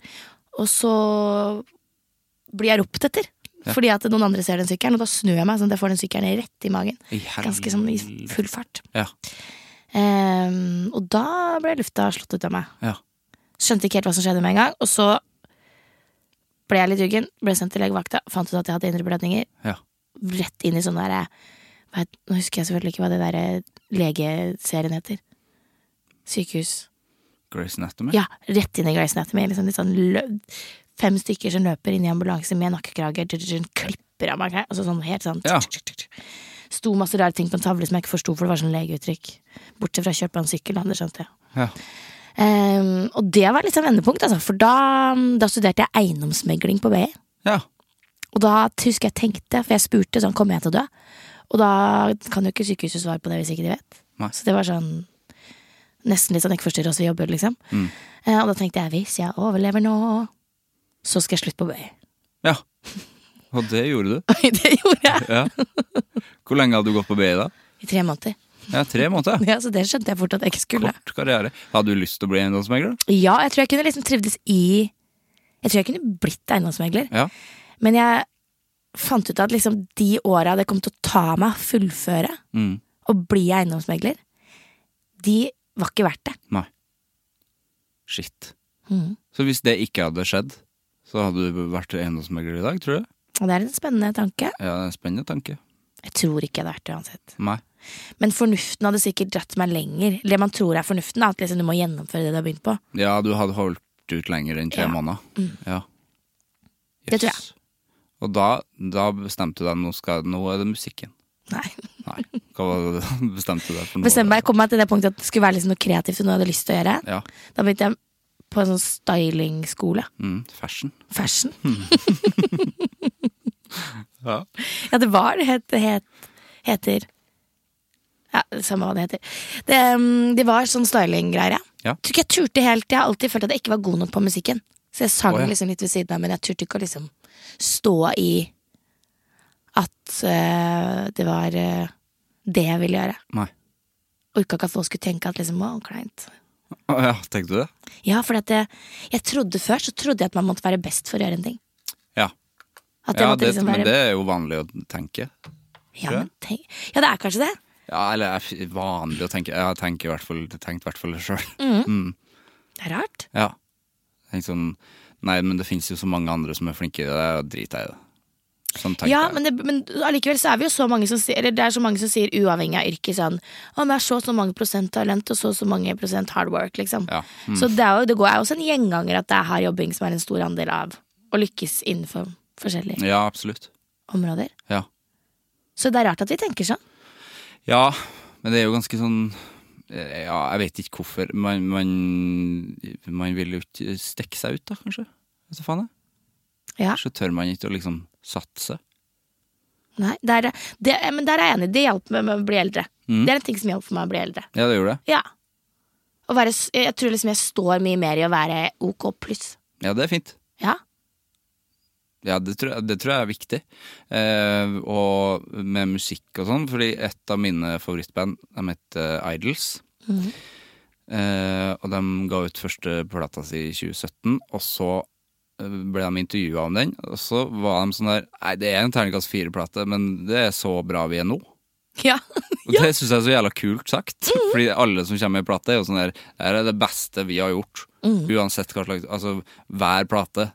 Speaker 2: Og så blir jeg ropt etter. Fordi at noen andre ser den sykkelen, og da snur jeg meg sånn at jeg får den sykkelen rett i magen.
Speaker 3: I
Speaker 2: Ganske sånn i
Speaker 3: helvete.
Speaker 2: full fart.
Speaker 3: Ja.
Speaker 2: Eh, og da ble lufta slått ut av meg.
Speaker 3: ja.
Speaker 2: Skjønte ikke helt hva som skjedde med en gang. Og så ble jeg litt juggen, ble sendt til legevakta, fant ut at jeg hadde indre blødninger.
Speaker 3: Ja.
Speaker 2: Rett inn i sånn derre hva het- Nå husker jeg selvfølgelig ikke hva det derre legeserien heter. Sykehus.
Speaker 3: Grace Anatomy?
Speaker 2: Ja, rett inn i Grace Anatomy. Liksom litt sånn lø fem stykker som løper inn i ambulanse med nakkekrager, tj- tj- tj- klipper av meg klær. Altså sånn helt sånn
Speaker 3: Ja.
Speaker 2: tj- tj- tj- tj. Sto masse rare ting på en tavle som jeg ikke forsto, for det var sånn legeuttrykk. Bortsett fra kjørt på en sykkel, da, det skjønte jeg.
Speaker 3: Ja.
Speaker 2: Ehm, og det var liksom vendepunkt, altså. For da, da studerte jeg eiendomsmegling på BI.
Speaker 3: ja.
Speaker 2: Og da husker jeg tenkte, for jeg spurte sånn, kommer jeg til å dø? Og da kan jo ikke sykehuset svare på det hvis ikke de vet.
Speaker 3: Nei.
Speaker 2: Så det var sånn nesten litt sånn ikke forstyrre oss, vi jobber, liksom. Eh, og da tenkte jeg, hvis jeg overlever nå, så skal jeg slutte på BI.
Speaker 3: Ja. Og det gjorde du.
Speaker 2: det gjorde jeg
Speaker 3: Ja. Hvor lenge hadde du gått på BI da?
Speaker 2: i tre måneder.
Speaker 3: Ja, Tre måneder.
Speaker 2: Ja, Så det skjønte jeg fort at jeg ikke skulle.
Speaker 3: Kort karriere. Hadde du lyst til å bli eiendomsmegler?
Speaker 2: Ja, jeg tror jeg kunne liksom trivdes i Jeg tror jeg kunne blitt eiendomsmegler.
Speaker 3: Ja.
Speaker 2: Men jeg fant ut at liksom de åra det kom til å ta meg å fullføre
Speaker 3: Mm.
Speaker 2: og bli eiendomsmegler, de var ikke verdt det.
Speaker 3: Nei. Shit.
Speaker 2: Mm.
Speaker 3: Så hvis det ikke hadde skjedd, så hadde du vært eiendomsmegler i dag, tror du?
Speaker 2: Og det er en spennende tanke.
Speaker 3: Ja, det er en spennende tanke.
Speaker 2: Jeg tror ikke jeg hadde vært det uansett.
Speaker 3: Nei.
Speaker 2: Men fornuften hadde sikkert dratt meg lenger. Det man tror er fornuften, er at liksom du må gjennomføre det du har begynt på.
Speaker 3: Ja, du hadde holdt ut lenger enn tre
Speaker 2: Ja. Mm.
Speaker 3: måneder. Ja.
Speaker 2: Det tror jeg.
Speaker 3: Jøss. Og da, da bestemte du deg nå, skal, nå er det musikken.
Speaker 2: Nei.
Speaker 3: Nei. Hva var det du bestemte deg for nå?
Speaker 2: Bestemte meg, jeg kom meg til det punktet at det skulle være liksom noe kreativt og noe jeg hadde lyst til å gjøre.
Speaker 3: Ja.
Speaker 2: Da begynte jeg på en sånn stylingskole.
Speaker 3: Mm, fashion.
Speaker 2: Fashion.
Speaker 3: Ja.
Speaker 2: Ja, det var det het, het, heter Ja, samme hva det heter. Det, mm, det var sånn stylinggreier, ja.
Speaker 3: Ja.
Speaker 2: Tror ikke jeg turte helt. Jeg har alltid følt at jeg ikke var god nok på musikken. Så jeg sang
Speaker 3: Å, ja.
Speaker 2: liksom litt ved siden av, men jeg turte ikke å liksom stå i at eh, det var eh, det jeg ville gjøre.
Speaker 3: Nei.
Speaker 2: Orka ikke at folk skulle tenke at liksom, å, kleint.
Speaker 3: Å ja, tenkte du det?
Speaker 2: Ja, for at jeg, jeg trodde før så trodde jeg at man måtte være best for å gjøre en ting.
Speaker 3: Ja.
Speaker 2: At jeg
Speaker 3: ja
Speaker 2: måtte
Speaker 3: det,
Speaker 2: liksom
Speaker 3: Men
Speaker 2: være
Speaker 3: det er jo vanlig å tenke.
Speaker 2: ja, men tenk, ja, det er kanskje det.
Speaker 3: Ja, eller er f- vanlig å tenke. Jeg har tenkt i hvert fall, tenkt i hvert fall det sjøl.
Speaker 2: Det er rart.
Speaker 3: Ja. Tenkt sånn Nei, men det fins jo så mange andre som er flinke, det er drit jeg i det. Sånn tenkte
Speaker 2: Ja,
Speaker 3: jeg.
Speaker 2: men, det, men allikevel så er vi jo så mange som sier Eller det er så mange som sier uavhengig av yrke sånn Å, men jeg er så og så mange prosent talent og så og så mange prosent hard work, liksom.
Speaker 3: Ja, mm.
Speaker 2: Så det er jo det går, er også en gjenganger at det er hard jobbing som er en stor andel av å lykkes innenfor forskjellige
Speaker 3: Ja, absolutt.
Speaker 2: områder.
Speaker 3: Ja.
Speaker 2: Så det er rart at vi tenker sånn.
Speaker 3: ja, men det er jo ganske sånn eh, Ja, jeg vet ikke hvorfor. Man, man, man vil jo ikke stikke seg ut, da, kanskje. Vet du faen jeg.
Speaker 2: Ja,
Speaker 3: Så tør man ikke å liksom satse.
Speaker 2: nei, det er, det, det, eh, Men der er jeg enig. Det hjalp meg med å bli eldre.
Speaker 3: Mm.
Speaker 2: Det er en ting som hjalp meg å bli eldre.
Speaker 3: Ja, det gjorde det.
Speaker 2: Ja. Å være, s- jeg tror liksom jeg står mye mer i å være OK pluss.
Speaker 3: Ja, det er fint.
Speaker 2: Ja.
Speaker 3: Ja, det tror, jeg- det tror jeg er viktig. Eh, og med musikk og sånn, fordi et av mine favorittband, de heter Idols. Eh, og de ga ut første plata si i 2017, og så ble de intervjua om den, og så var de sånn der Nei, det er en terningkast fire-plate, men det er så bra vi er nå.
Speaker 2: Ja. Mhm.
Speaker 3: Og Det syns jeg er så jævla kult sagt. Fordi alle som kommer med plate, er jo sånn der Det her er det beste vi har gjort.
Speaker 2: Mhm.
Speaker 3: Uansett hva slags Altså, hver plate.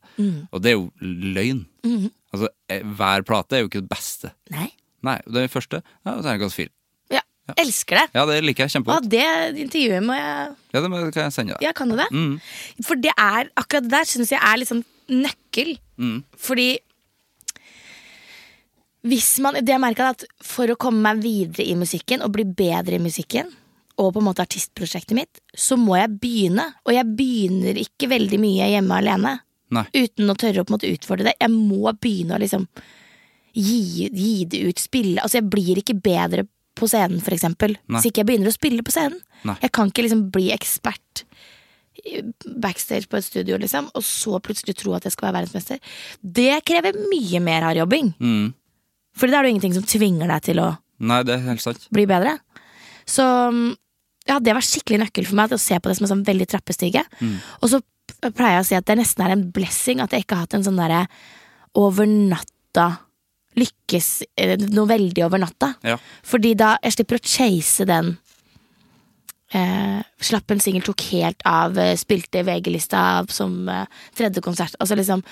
Speaker 3: Og det er jo løgn.
Speaker 2: Mhm.
Speaker 3: Altså, eh, hver plate er jo ikke det beste.
Speaker 2: Nei.
Speaker 3: Nei, den første ja, terningkast fire.
Speaker 2: Ja. Elsker det.
Speaker 3: Ja, det liker jeg
Speaker 2: Å,
Speaker 3: kjempegodt.
Speaker 2: det intervjuet må jeg
Speaker 3: Ja, det må- det kan jeg sende deg.
Speaker 2: Ja, kan du det? For det er, akkurat det der syns jeg er litt sånn nøkkel. Fordi hvis man, det jeg merket er at For å komme meg videre i musikken og bli bedre i musikken, og på en måte artistprosjektet mitt, så må jeg begynne. Og jeg begynner ikke veldig mye hjemme alene.
Speaker 3: Nei.
Speaker 2: Uten å tørre å på en måte utfordre det. Jeg må begynne å liksom gi, gi det ut, spille. Altså Jeg blir ikke bedre på scenen, for eksempel.
Speaker 3: Nei.
Speaker 2: Hvis ikke jeg begynner å spille på scenen.
Speaker 3: Nei.
Speaker 2: Jeg kan ikke liksom bli ekspert i- backstage på et studio, liksom, og så plutselig tro at jeg skal være verdensmester. Det krever mye mer hardjobbing.
Speaker 3: Mm.
Speaker 2: Fordi da er det jo ingenting som tvinger deg til å
Speaker 3: Nei, det er helt sant.
Speaker 2: bli bedre. Så um, ja, det var skikkelig nøkkel for meg at å se på det som en sånn veldig trappestige. Og så p- pleier jeg å si at det nesten er en blessing at jeg ikke har hatt en sånn derre over natta lykkes eh, noe veldig over natta.
Speaker 3: Ja.
Speaker 2: Fordi da jeg slipper å chase den eh, Slapp en singel, tok helt av, eh, spilte VG-lista som eh, tredje konsert. Altså liksom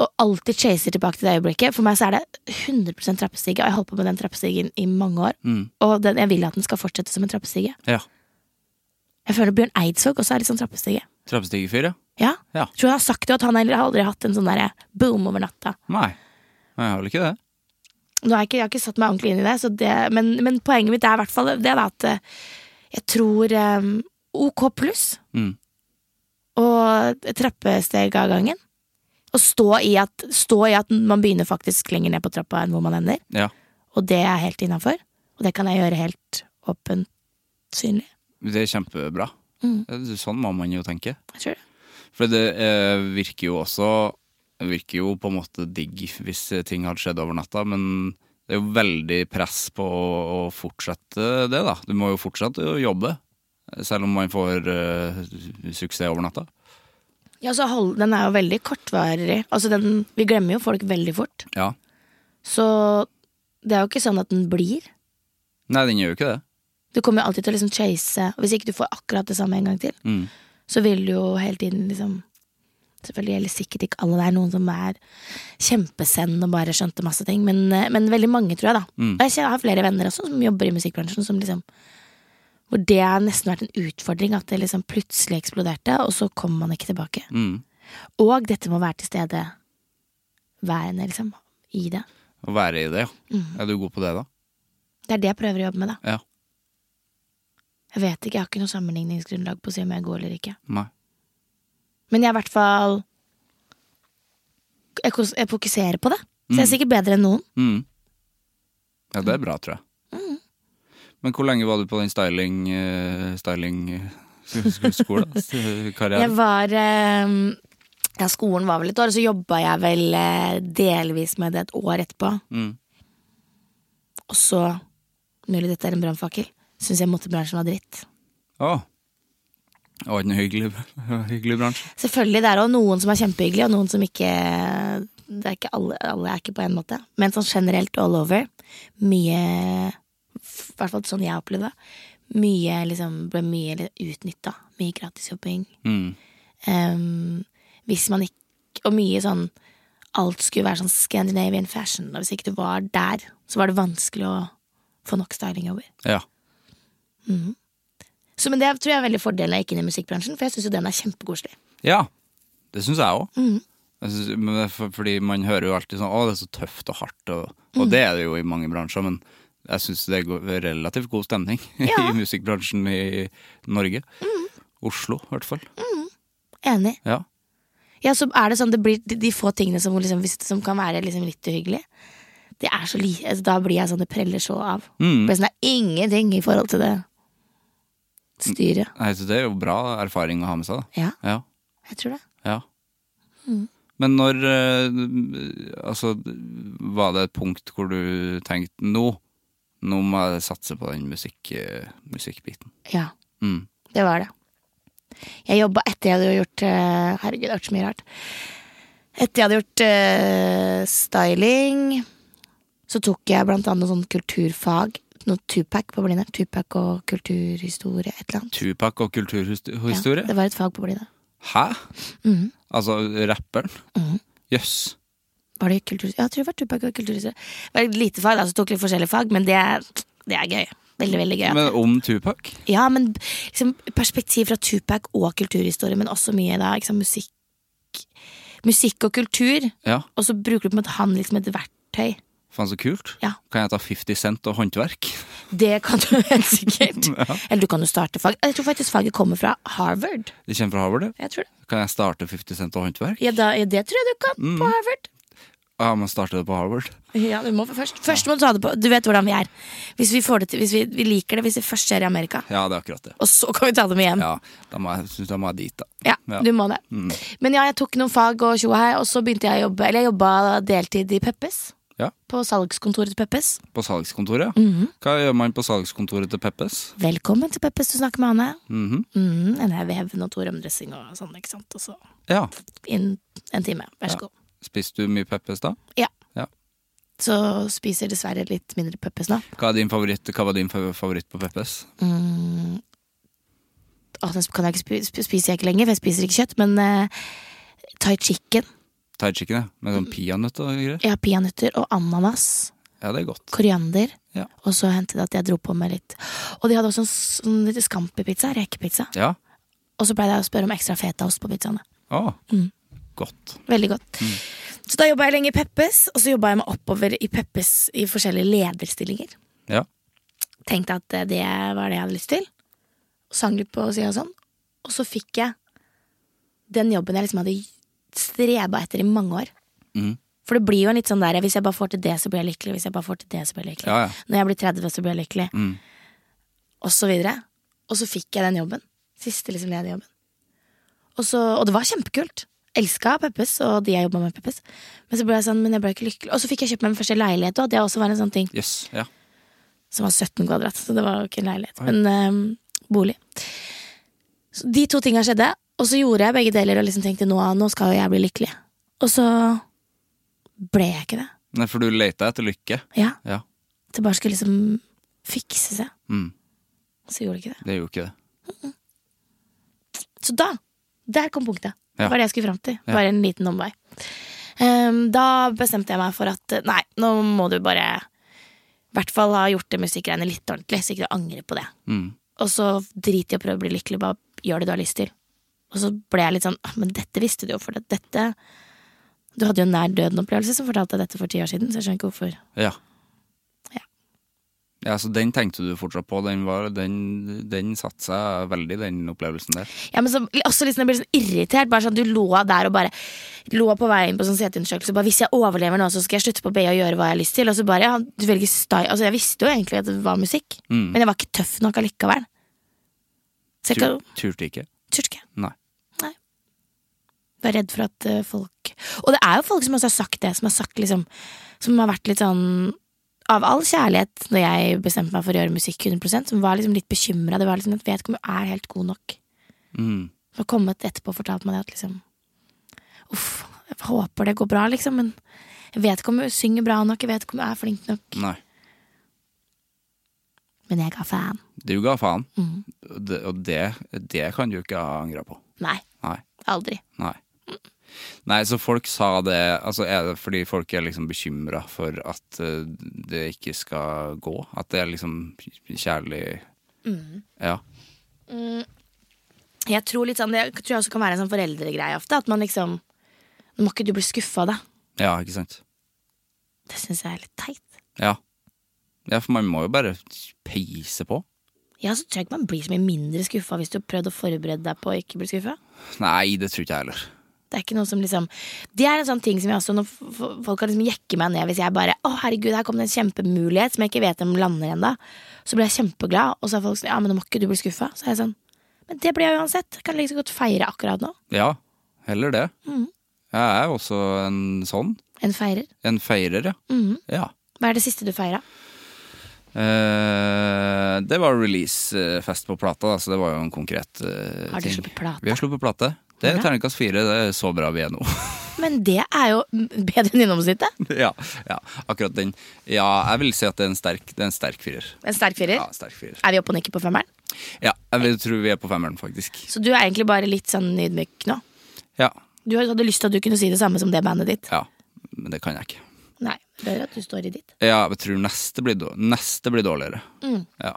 Speaker 2: Og alltid chaser tilbake til det øyeblikket. For meg så er det 100 trappestige, og jeg har holdt på med den trappestigen i mange år. Og den, jeg vil at den skal fortsette som en trappestige.
Speaker 3: Ja.
Speaker 2: Jeg føler Bjørn Eidsvåg også er litt sånn trappestige.
Speaker 3: Trappestige fire?
Speaker 2: Ja.
Speaker 3: Ja.
Speaker 2: Tror jeg har sagt det, at han heller har aldri hatt en sånn derre boom over natta.
Speaker 3: Nei. Nei, jeg har vel ikke det.
Speaker 2: Nå har jeg, ikke, jeg har ikke satt meg ordentlig inn i det, så det men, men poenget mitt er i hvert fall det da, at eh, jeg tror eh, OK pluss
Speaker 3: Mm.
Speaker 2: og et trappesteg av gangen. Og stå i, at, stå i at man begynner faktisk lenger ned på trappa enn hvor man ender.
Speaker 3: Ja.
Speaker 2: Og det er helt innafor. Og det kan jeg gjøre helt åpent synlig.
Speaker 3: Det er kjempebra.
Speaker 2: Mm.
Speaker 3: Sånn må man jo tenke.
Speaker 2: Jeg tror det.
Speaker 3: For det eh, virker jo også Virker jo på en måte digg hvis ting hadde skjedd over natta, men det er jo veldig press på å, å fortsette det, da. Du må jo fortsette å jobbe, selv om man får eh, suksess over natta.
Speaker 2: Ja, så hold, den er jo veldig kortvarig. Altså den, vi glemmer jo folk veldig fort.
Speaker 3: Ja.
Speaker 2: Så det er jo ikke sånn at den blir.
Speaker 3: Nei, den gjør jo ikke det.
Speaker 2: Du kommer jo alltid til å liksom chase og Hvis ikke du får akkurat det samme en gang til,
Speaker 3: Mm.
Speaker 2: så vil du jo hele tiden liksom Selvfølgelig gjelder sikkert ikke alle. Det er noen som er kjempesend og bare skjønte masse ting, men, eh, men veldig mange, tror jeg, da.
Speaker 3: Mm.
Speaker 2: Og jeg kjenner- har flere venner også som jobber i musikkbransjen, som liksom Hvor det har nesten vært en utfordring at det liksom plutselig eksploderte, og så kommer man ikke tilbake.
Speaker 3: Mm.
Speaker 2: Og dette må være til stede værende, liksom. I det.
Speaker 3: Å være i det, ja. Er du god på det, da?
Speaker 2: Det er det jeg prøver å jobbe med, da.
Speaker 3: Ja.
Speaker 2: Jeg vet ikke, jeg har ikke noe sammenligningsgrunnlag på å si om jeg er god eller ikke.
Speaker 3: Nei.
Speaker 2: Men jeg er i hvert fall jeg, kos- jeg fokuserer på det. Så jeg er sikkert bedre enn noen.
Speaker 3: Mm. Ja, det er bra, tror jeg. Men hvor lenge var du på den styling... eh, styling...
Speaker 2: Jeg
Speaker 3: Skolekarrieren?
Speaker 2: var eh, Ja, skolen var vel et år, og så jobba jeg vel eh, delvis med det et år etterpå.
Speaker 3: Mm.
Speaker 2: Og så Mulig dette er en brannfakkel. Syns jeg motebransjen var dritt.
Speaker 3: Å. Det var ikke en hyggelig, hyggelig bransje.
Speaker 2: Selvfølgelig, det er også noen som er kjempehyggelige, og noen som ikke Det er ikke alle, alle er ikke på en måte. Men sånn generelt all over, mye I hvert fall sånn jeg opplevde det. Mye liksom ble mye utnytta. Mye gratisjobbing.
Speaker 3: Mm.
Speaker 2: Ehm, hvis man ikke Og mye sånn Alt skulle være sånn Scandinavian fashion, og hvis ikke du var der, så var det vanskelig å få nok stylingjobber.
Speaker 3: Ja.
Speaker 2: Så, men det tror jeg er veldig fordelen av ikke inn i musikkbransjen, for jeg syns jo den er kjempekoselig.
Speaker 3: ja. Det syns jeg òg. Men det er for- Fordi man hører jo alltid sånn Å, det er så tøft og hardt, og, og det er det jo i mange bransjer, men jeg syns det er go- relativt god stemning
Speaker 2: Ja.
Speaker 3: i musikkbransjen i Norge. Oslo, i hvert fall.
Speaker 2: Enig.
Speaker 3: Ja.
Speaker 2: Ja, så er det sånn, det blir de, de få tingene som, liksom, hvis, som kan være liksom litt uhyggelig. Det er så li, altså, da blir jeg sånn, det preller så av.
Speaker 3: Mm.
Speaker 2: Det er sånn, det er ingenting i forhold til det styret.
Speaker 3: Nei, så det er jo bra erfaring å ha med seg, da.
Speaker 2: Ja,
Speaker 3: Ja,
Speaker 2: jeg tror det.
Speaker 3: ja.
Speaker 2: Mm.
Speaker 3: Men når eh, Altså, var det et punkt hvor du tenkte nå nå må jeg satse på den musikk, eh, musikkbiten.
Speaker 2: Ja,
Speaker 3: Mm.
Speaker 2: det var det. Jeg jobba etter jeg hadde gjort eh, Herregud, det har vært så mye rart. Etter jeg hadde gjort eh, styling, så tok jeg blant annet noe sånn kulturfag. Noe Tupac på Blindern. Tupac og kulturhistorie, et eller annet.
Speaker 3: Tupac og kulturhistorie?
Speaker 2: Ja, det var Mm. et fag på Blindern.
Speaker 3: Hæ? Altså rapperen?
Speaker 2: Mm.
Speaker 3: Jøss.
Speaker 2: Var det kultur... Ja, jeg tror det var Tupac og kulturhistorie. Det var et lite fag, da, så tok litt forskjellige fag, men det er, det er gøy. Veldig, veldig gøy.
Speaker 3: Men om Tupac?
Speaker 2: Ja, men liksom, perspektiv fra Tupac og kulturhistorie, men også mye da, ikke sant, musikk, musikk og kultur.
Speaker 3: Ja.
Speaker 2: Og så bruker du på en måte han liksom et verktøy.
Speaker 3: Faen, så kult.
Speaker 2: Ja.
Speaker 3: Kan jeg ta 50 Cent og håndverk?
Speaker 2: Det kan du helt sikkert. Eller du kan jo starte fag. Jeg tror faktisk faget kommer fra Harvard.
Speaker 3: Det kommer fra Harvard, det.
Speaker 2: Jeg tror det.
Speaker 3: Kan jeg starte 50 Cent og håndverk?
Speaker 2: Ja, da, ja, det tror jeg du kan på Harvard.
Speaker 3: Ja, men starte det på Harvard?
Speaker 2: Ja, du må først. Først må du ta det på Du vet hvordan vi er. Hvis vi, får det til, hvis vi, vi liker det, hvis det først skjer i Amerika.
Speaker 3: Ja, det er akkurat det.
Speaker 2: Og så kan vi ta dem igjen.
Speaker 3: Ja, da må jeg, synes jeg må jeg dit, da.
Speaker 2: Ja,
Speaker 3: Ja. Mm.
Speaker 2: du må det. Men ja, jeg tok noen fag og tjo og hei, og så begynte jeg å jobbe. Eller jeg jobba deltid i Peppes.
Speaker 3: Ja.
Speaker 2: På salgskontoret til Peppes.
Speaker 3: På salgskontoret? Hva gjør man på salgskontoret til Peppes?
Speaker 2: Velkommen til Peppes, du snakker med Anne. Mhm, en her vevn og to rømdressing og sånn, ikke sant. Og så
Speaker 3: Ja.
Speaker 2: inn en time, vær så god.
Speaker 3: Spiste du mye Peppes da?
Speaker 2: Ja.
Speaker 3: Ja.
Speaker 2: Så spiser jeg dessverre litt mindre Peppes nå.
Speaker 3: Hva, er din favoritt, hva var din fa- favoritt på Peppes?
Speaker 2: Å, den kan jeg ikke spi- sp spiser jeg ikke lenger, for jeg spiser ikke kjøtt, men eh, thai chicken.
Speaker 3: Thai chicken, ja. Med sånn peanøtt og greier?
Speaker 2: Jeg har peanøtter og ananas.
Speaker 3: Ja, det er godt.
Speaker 2: koriander.
Speaker 3: Ja.
Speaker 2: Og så hendte det at jeg dro på meg litt. Og de hadde også en sånn litt scampi-pizza, rekepizza.
Speaker 3: Ja.
Speaker 2: Og så pleide jeg å spørre om ekstra fetaost på pizzaene.
Speaker 3: Å, godt.
Speaker 2: Veldig godt. Så da jobba jeg lenge i Peppes, og så jobba jeg meg oppover i Peppes i forskjellige lederstillinger.
Speaker 3: Ja.
Speaker 2: Tenkte at eh, det var det jeg hadde lyst til. Sang litt på sida og sånn. Og så fikk jeg den jobben jeg liksom hadde streba etter i mange år.
Speaker 3: Mhm.
Speaker 2: For det blir jo en litt sånn der hvis jeg bare får til det, så blir jeg lykkelig. Hvis jeg bare får til det, så blir jeg lykkelig.
Speaker 3: Ja, ja.
Speaker 2: Når jeg blir 30, så blir jeg lykkelig.
Speaker 3: Mhm.
Speaker 2: Og så videre. Og så fikk jeg den jobben. Siste liksom lederjobben. Og, så, og det var kjempekult. Elska Peppes og de jeg jobba med. Peppes Men så ble jeg sånn, men jeg ble ikke lykkelig. Og så fikk jeg kjøpt meg min første leilighet. Og det også var en sånn ting
Speaker 3: Jøss. Yes. Ja.
Speaker 2: som var 17 kvadrat, så det var jo ikke en leilighet, men ehm, bolig. Så de to tinga skjedde, og så gjorde jeg begge deler og liksom tenkte nå, nå skal jo jeg bli lykkelig. Og så ble jeg ikke det.
Speaker 3: Nei, for du leita etter lykke.
Speaker 2: Ja,
Speaker 3: Ja.
Speaker 2: Det bare skulle liksom fikse seg.
Speaker 3: Mm.
Speaker 2: Og så gjorde det ikke det.
Speaker 3: Det gjorde ikke det.
Speaker 2: Så da, der kom punktet.
Speaker 3: Ja.
Speaker 2: Det var det jeg skulle fram til. Bare en liten omvei. Ehm, da bestemte jeg meg for at eh, nei, nå må du bare i hvert fall ha gjort det musikkgreiene litt ordentlig, så ikke du angrer på det.
Speaker 3: Mm.
Speaker 2: Og så drit i å prøve å bli lykkelig, bare gjør det du har lyst til. Og så ble jeg litt sånn, «Ah, men dette visste du jo, for det- dette Du hadde jo en nær døden-opplevelse som fortalte deg dette for ti år siden, så jeg skjønner ikke hvorfor.
Speaker 3: Ja.
Speaker 2: Ja.
Speaker 3: Ja, Så den tenkte du fortsatt på. Den, var, den, den satte seg veldig, den opplevelsen der.
Speaker 2: Ja, men så, også liksom, Jeg ble sånn irritert. Bare sånn, Du lå der og bare lå på vei inn på sånn CT-undersøkelse. Bare, 'Hvis jeg overlever nå, så skal jeg slutte på BI og gjøre hva jeg har lyst til.' Og så bare, ja, du velger sty altså, Jeg visste jo egentlig at det var musikk,
Speaker 3: Mm.
Speaker 2: men jeg var ikke tøff nok allikevel. Så jeg
Speaker 3: Tur,
Speaker 2: kan-
Speaker 3: turte ikke.
Speaker 2: turte ikke.
Speaker 3: Nei.
Speaker 2: Var redd for at eh, folk Og det er jo folk som også har sagt det, som har sagt liksom Som har vært litt sånn Av all kjærlighet, når jeg bestemte meg for å gjøre musikk 100 som var liksom litt bekymra. Det var liksom at vedkommende er helt god nok.
Speaker 3: Mm.
Speaker 2: Som har kommet etterpå og fortalt meg det at liksom Uff, jeg håper det går bra, liksom, men jeg vet ikke om hun synger bra nok, jeg vet ikke om hun er flink nok.
Speaker 3: Nei.
Speaker 2: Men jeg ga faen.
Speaker 3: Du ga faen. Og det- Og det, det kan du ikke ha angra på.
Speaker 2: Nei.
Speaker 3: Nei.
Speaker 2: Aldri.
Speaker 3: Nei. Nei, så folk sa det altså Er det fordi folk er liksom bekymra for at eh, det ikke skal gå? At det er liksom kjærlig Ja.
Speaker 2: Jeg tror litt sånn, det tror jeg også kan være en sånn foreldregreie ofte, at man liksom Nå må ikke du bli skuffa, da.
Speaker 3: ja, ikke sant?
Speaker 2: Det syns jeg er litt teit.
Speaker 3: Ja. ja, for man må jo bare peise på.
Speaker 2: Ja, så tror jeg ikke man blir så mye mindre skuffa hvis du har prøvd å forberede deg på å ikke bli skuffa.
Speaker 3: Nei, det tror ikke jeg heller.
Speaker 2: Det er ikke noe som liksom Det er en sånn ting som jeg også Når f- f- folk kan liksom jekke meg ned hvis jeg bare Å, herregud, her kom det en kjempemulighet som jeg ikke vet om lander ennå. Så blir jeg kjempeglad, og så er folk sånn Ja, men nå må ikke du bli skuffa. Så er jeg sånn Men det blir jeg uansett. Jeg Kan like så godt feire akkurat nå.
Speaker 3: Ja, heller det. Jeg er også en sånn.
Speaker 2: En feirer. Mhm.
Speaker 3: En feirer, ja. ja.
Speaker 2: Hva er det siste du feira?
Speaker 3: Eh, det var releasefest på plata, da, så det var jo en konkret eh, ting.
Speaker 2: Har du sluppet plate?
Speaker 3: Vi har sluppet plate. Det er
Speaker 2: Bra.
Speaker 3: terningkast fire. Det er så bra vi er nå.
Speaker 2: men det er jo bedre enn innomsnittet.
Speaker 3: Ja, ja, akkurat den. Ja, jeg vil si at det er en sterk, det er en sterk firer.
Speaker 2: En sterk firer.
Speaker 3: Ja, sterk firer.
Speaker 2: Er vi oppe og nikker på femmeren?
Speaker 3: Ja, jeg vil tro vi er på femmeren, faktisk.
Speaker 2: Så du er egentlig bare litt sånn ydmyk nå.
Speaker 3: Ja,
Speaker 2: Du hadde lyst til at du kunne si det samme som det bandet ditt.
Speaker 3: ja, men det kan jeg ikke.
Speaker 2: Nei, rører at du står i ditt.
Speaker 3: Ja, jeg tror neste blir, dår- neste blir dårligere.
Speaker 2: Mm.
Speaker 3: Ja.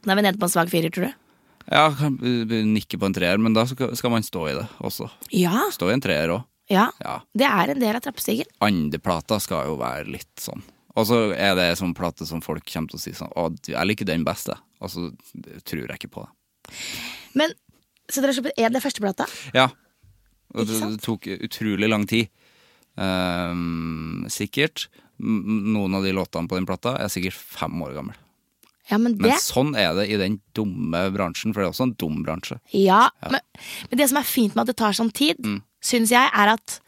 Speaker 2: Da er vi nede på en svak firer, tror du?
Speaker 3: Ja, kan- b- b- nikke på en treer, men da skal skal man stå i det også.
Speaker 2: Ja.
Speaker 3: Stå i en treer òg.
Speaker 2: ja.
Speaker 3: Ja.
Speaker 2: Det er en del av trappestigen.
Speaker 3: Andreplata skal jo være litt sånn. Og så er det sånn plate som folk kommer til å si sånn Å, du, jeg liker den best, jeg. Og så tror jeg ikke på det.
Speaker 2: Men så dere har sluppet Er det førsteplata?
Speaker 3: Ja. Og
Speaker 2: Ikke
Speaker 3: det,
Speaker 2: sant?
Speaker 3: det tok utrolig lang tid. Ehm, sikkert. M- Noen av de låtene på den plata er sikkert fem år gammel.
Speaker 2: Ja, men
Speaker 3: Men
Speaker 2: det
Speaker 3: sånn er det i den dumme bransjen, for det er også en dum bransje.
Speaker 2: Ja, Men, men det som er fint med at det tar sånn tid, syns jeg, er at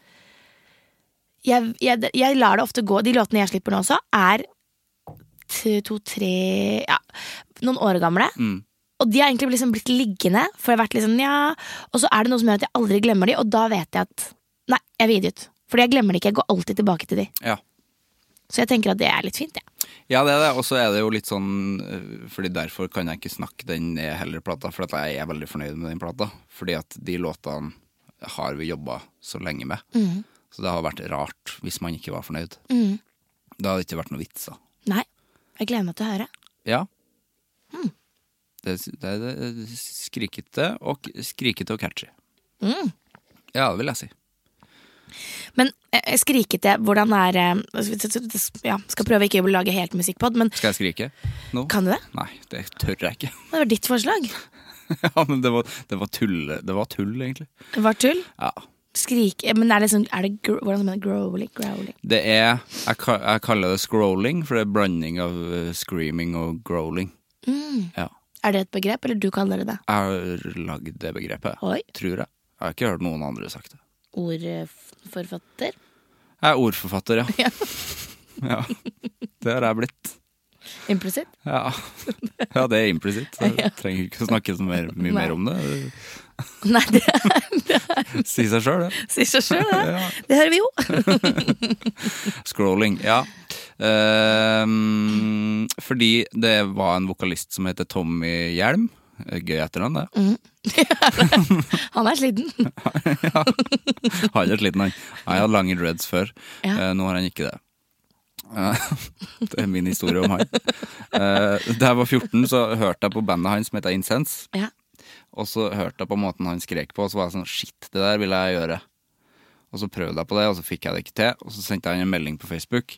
Speaker 2: jeg, jeg, jeg lar det ofte gå De låtene jeg slipper nå også, er t- to-tre ja, noen år gamle. Og de har egentlig liksom blitt liggende, for jeg har vært litt sånn, ja Og så er det noe som gjør at jeg aldri glemmer de, og da vet jeg at Nei, jeg vil gi de ut. Fordi jeg glemmer de ikke. Jeg går alltid tilbake til de.
Speaker 3: Ja.
Speaker 2: Så jeg tenker at det er litt fint, jeg.
Speaker 3: Ja, det er det. Og så er det jo litt sånn øh, Fordi derfor kan jeg ikke snakke den ned heller, plata. For at jeg er veldig fornøyd med den plata. Fordi at de låtene har vi jobba så lenge med. Så det har vært rart hvis man ikke var fornøyd. Da hadde det ikke vært noe vitser.
Speaker 2: Nei. Jeg gleder meg til å høre.
Speaker 3: Ja. Det, det, det skrikete og skrikete og catchy. Ja, det vil jeg si.
Speaker 2: Men eh, skrikete, hvordan er eh, ja, Skal prøve ikke å lage helt musikkpod, men
Speaker 3: Skal jeg skrike nå?
Speaker 2: kan du det?
Speaker 3: Nei, det tør jeg ikke.
Speaker 2: Det var ditt forslag.
Speaker 3: ja, men det var, det var tull, det var tull egentlig.
Speaker 2: Det var tull.
Speaker 3: Ja.
Speaker 2: Skrik eh, Men er det sånn er det gro Hvordan mener du? Growling? growling?
Speaker 3: Det er jeg, ka- jeg kaller det scrolling, for det er blanding av eh, screaming og growling. Ja.
Speaker 2: Mm. Er det et begrep, eller du kaller det det?
Speaker 3: Jeg har lagd det begrepet,
Speaker 2: Oi. eh,
Speaker 3: tror jeg. Jeg har ikke hørt noen andre sagt det.
Speaker 2: Ordforfatter?
Speaker 3: Jeg er ordforfatter, ja. ja. Det har jeg blitt.
Speaker 2: Implisitt?
Speaker 3: Ja, ja det er implisitt. Jeg trenger ikke å snakke så mer, mye mer om det.
Speaker 2: Nei, det
Speaker 3: Det sier seg sjøl, det.
Speaker 2: sier seg sjøl, det. Det hører vi jo.
Speaker 3: Scrolling, ja. Ehm, fordi det var en vokalist som heter Tommy Hjelm. Gøy etternavn, det.
Speaker 2: Han er sliten.
Speaker 3: Han er sliten, han. Han hadde lange dreads før.
Speaker 2: Ja.
Speaker 3: Eh, nå har han ikke det. Eh, det er min historie om han. Eh, da jeg var 14, så hørte jeg på bandet hans som heter Incense.
Speaker 2: Ja.
Speaker 3: Og så hørte jeg på måten han skrek på, og så var jeg sånn Shit, det der vil jeg gjøre. Og så prøvde jeg på det, og så fikk jeg det ikke til. Og så sendte jeg han en melding på Facebook.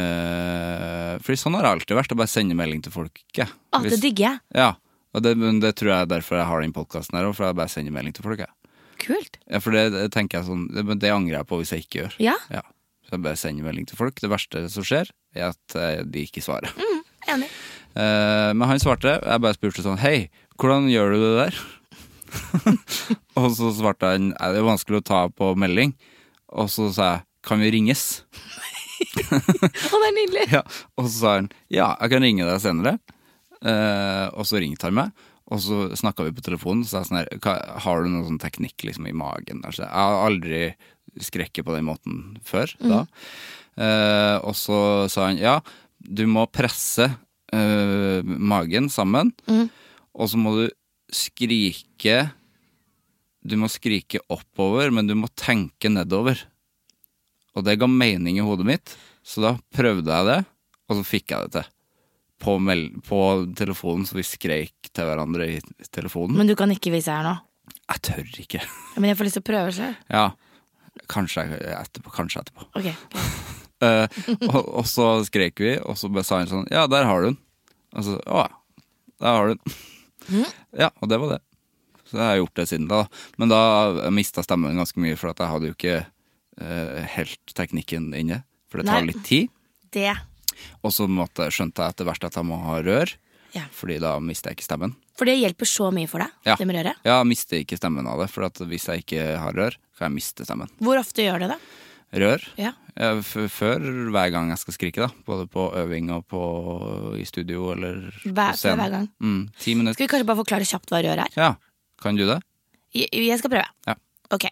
Speaker 3: Eh, fordi sånn har det alltid vært, å bare sende melding til folk. ikke?
Speaker 2: Å, det
Speaker 3: Hvis-
Speaker 2: digger jeg.
Speaker 3: ja, og det, men det tror jeg er derfor jeg har den podkasten her òg, for jeg bare sender melding til folk. Jeg.
Speaker 2: Kult.
Speaker 3: Ja, for det, det tenker jeg sånn det, men det angrer jeg på hvis jeg ikke gjør.
Speaker 2: Ja,
Speaker 3: Ja. Så jeg bare sender melding til folk. Det verste som skjer, er at eh, de ikke svarer.
Speaker 2: enig.
Speaker 3: Eh, men han svarte. Jeg bare spurte sånn Hei, hvordan gjør du det der? og så svarte han «Nei, Det er vanskelig å ta på melding. Og så sa jeg Kan vi ringes?
Speaker 2: Å, det er nydelig.
Speaker 3: Ja. Og så sa han Ja, jeg kan ringe deg senere. Eh, og så ringte han meg. Og så snakka vi på telefonen, så sa jeg sånn her «Hva- Har du noen sånn teknikk liksom i magen? Altså, jeg har aldri skrekket på den måten før. da Eh, Og så sa han ja, du må presse eh, magen sammen, og så må du skrike Du må skrike oppover, men du må tenke nedover. Og det ga mening i hodet mitt, så da prøvde jeg det, og så fikk jeg det til. På, mel på telefonen, så vi skreik til hverandre i telefonen.
Speaker 2: Men du kan ikke vise her nå.
Speaker 3: Jeg tør ikke.
Speaker 2: Men jeg får lyst til å prøve sjøl.
Speaker 3: Ja, kanskje jeg- etterpå. Kanskje etterpå.
Speaker 2: Ok.
Speaker 3: Eh, og, og så skrek vi, og så bare sa han sånn Ja, der har du den. Og så Å ja, der har du den.
Speaker 2: Mm.
Speaker 3: Ja, og det var det. Så jeg har gjort det siden da. Men da mista stemmen ganske mye, for at jeg hadde jo ikke eh, helt teknikken inne. For det tar
Speaker 2: Nei.
Speaker 3: litt tid.
Speaker 2: Det.
Speaker 3: Og så måtte, skjønte jeg etter hvert at jeg må ha rør,
Speaker 2: Ja.
Speaker 3: Fordi da mister jeg ikke stemmen.
Speaker 2: For det hjelper så mye for deg,
Speaker 3: Ja.
Speaker 2: det med røret.
Speaker 3: Ja, jeg mister ikke stemmen av det, for at hvis jeg ikke har rør, kan jeg miste stemmen.
Speaker 2: Hvor ofte gjør det det?
Speaker 3: Rør
Speaker 2: Ja.
Speaker 3: Ja, f før hver gang jeg skal skrike, da. Både på øving og på, i studio eller
Speaker 2: Hver-
Speaker 3: på scenen.
Speaker 2: hver gang.
Speaker 3: Mm, ti minutter.
Speaker 2: Skal vi kanskje bare forklare kjapt hva rør er?
Speaker 3: Ja, kan du det?
Speaker 2: Jeg- Jeg skal prøve.
Speaker 3: Ja.
Speaker 2: Ok.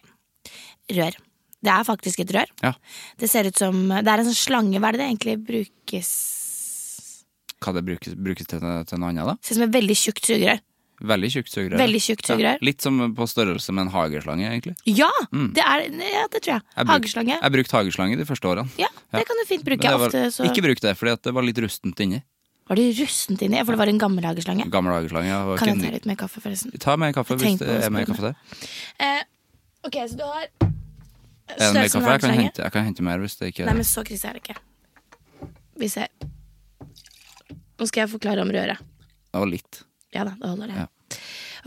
Speaker 2: Rør. Det er faktisk et rør.
Speaker 3: Ja.
Speaker 2: Det ser ut som Det er en sånn slange. Hva er det det egentlig brukes
Speaker 3: Hva det brukes, brukes til, til noe annet, da?
Speaker 2: Ser ut som et veldig tjukt sugerør.
Speaker 3: Veldig tjukt sugerør.
Speaker 2: Veldig tjukt sugerør.
Speaker 3: Ja, litt som på størrelse med en hageslange, egentlig.
Speaker 2: Ja! Det er ja, det tror jeg.
Speaker 3: Mm. Jeg bruk-
Speaker 2: Hageslange.
Speaker 3: Jeg brukte hageslange de første årene.
Speaker 2: Ja, det kan du fint
Speaker 3: Men
Speaker 2: bruke.
Speaker 3: det var,
Speaker 2: Ofte så
Speaker 3: Ikke bruk det, fordi at det var litt rustent inni.
Speaker 2: var det rustent inni, for det var en gammel hageslange.
Speaker 3: Gammel hageslange. ja, var
Speaker 2: Kan
Speaker 3: ikke
Speaker 2: jeg
Speaker 3: en
Speaker 2: ta litt mer kaffe, forresten?
Speaker 3: ny- Ta mer kaffe
Speaker 2: Jeg
Speaker 3: hvis
Speaker 2: tenkte
Speaker 3: det
Speaker 2: på det
Speaker 3: er mer
Speaker 2: som
Speaker 3: kaffe der.
Speaker 2: Eh, ok, så du har
Speaker 3: Er det mer
Speaker 2: størrelsen
Speaker 3: kaffe?
Speaker 2: av
Speaker 3: Jeg kan,
Speaker 2: hageslange.
Speaker 3: hente, jeg kan hente mer hvis det ikke
Speaker 2: Nei, men så krise er det ikke. Vi ser. Nå skal jeg forklare om røret.
Speaker 3: Det var litt.
Speaker 2: Ja da, det holder det.
Speaker 3: Ja.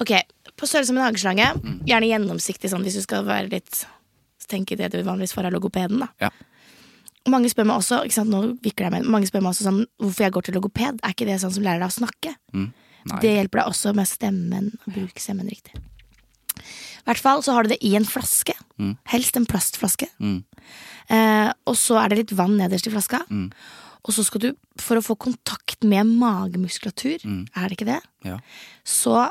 Speaker 2: Ok, På størrelse med en hageslange, gjerne gjennomsiktig sånn hvis du skal være litt Tenke det du vanligvis får av logopeden. da
Speaker 3: Ja.
Speaker 2: Og Mange spør meg også ikke sant, nå vikler jeg meg, inn, mange spør meg også sånn, hvorfor jeg går til logoped. Er ikke det sånn som lærer deg å snakke?
Speaker 3: Nei.
Speaker 2: Det hjelper deg også med stemmen. å Bruke stemmen riktig. I hvert fall så har du det i en flaske. Helst en plastflaske. Eh, og så er det litt vann nederst i flaska. Og så skal du, for å få kontakt med magemuskulatur, er det ikke det,
Speaker 3: Ja.
Speaker 2: så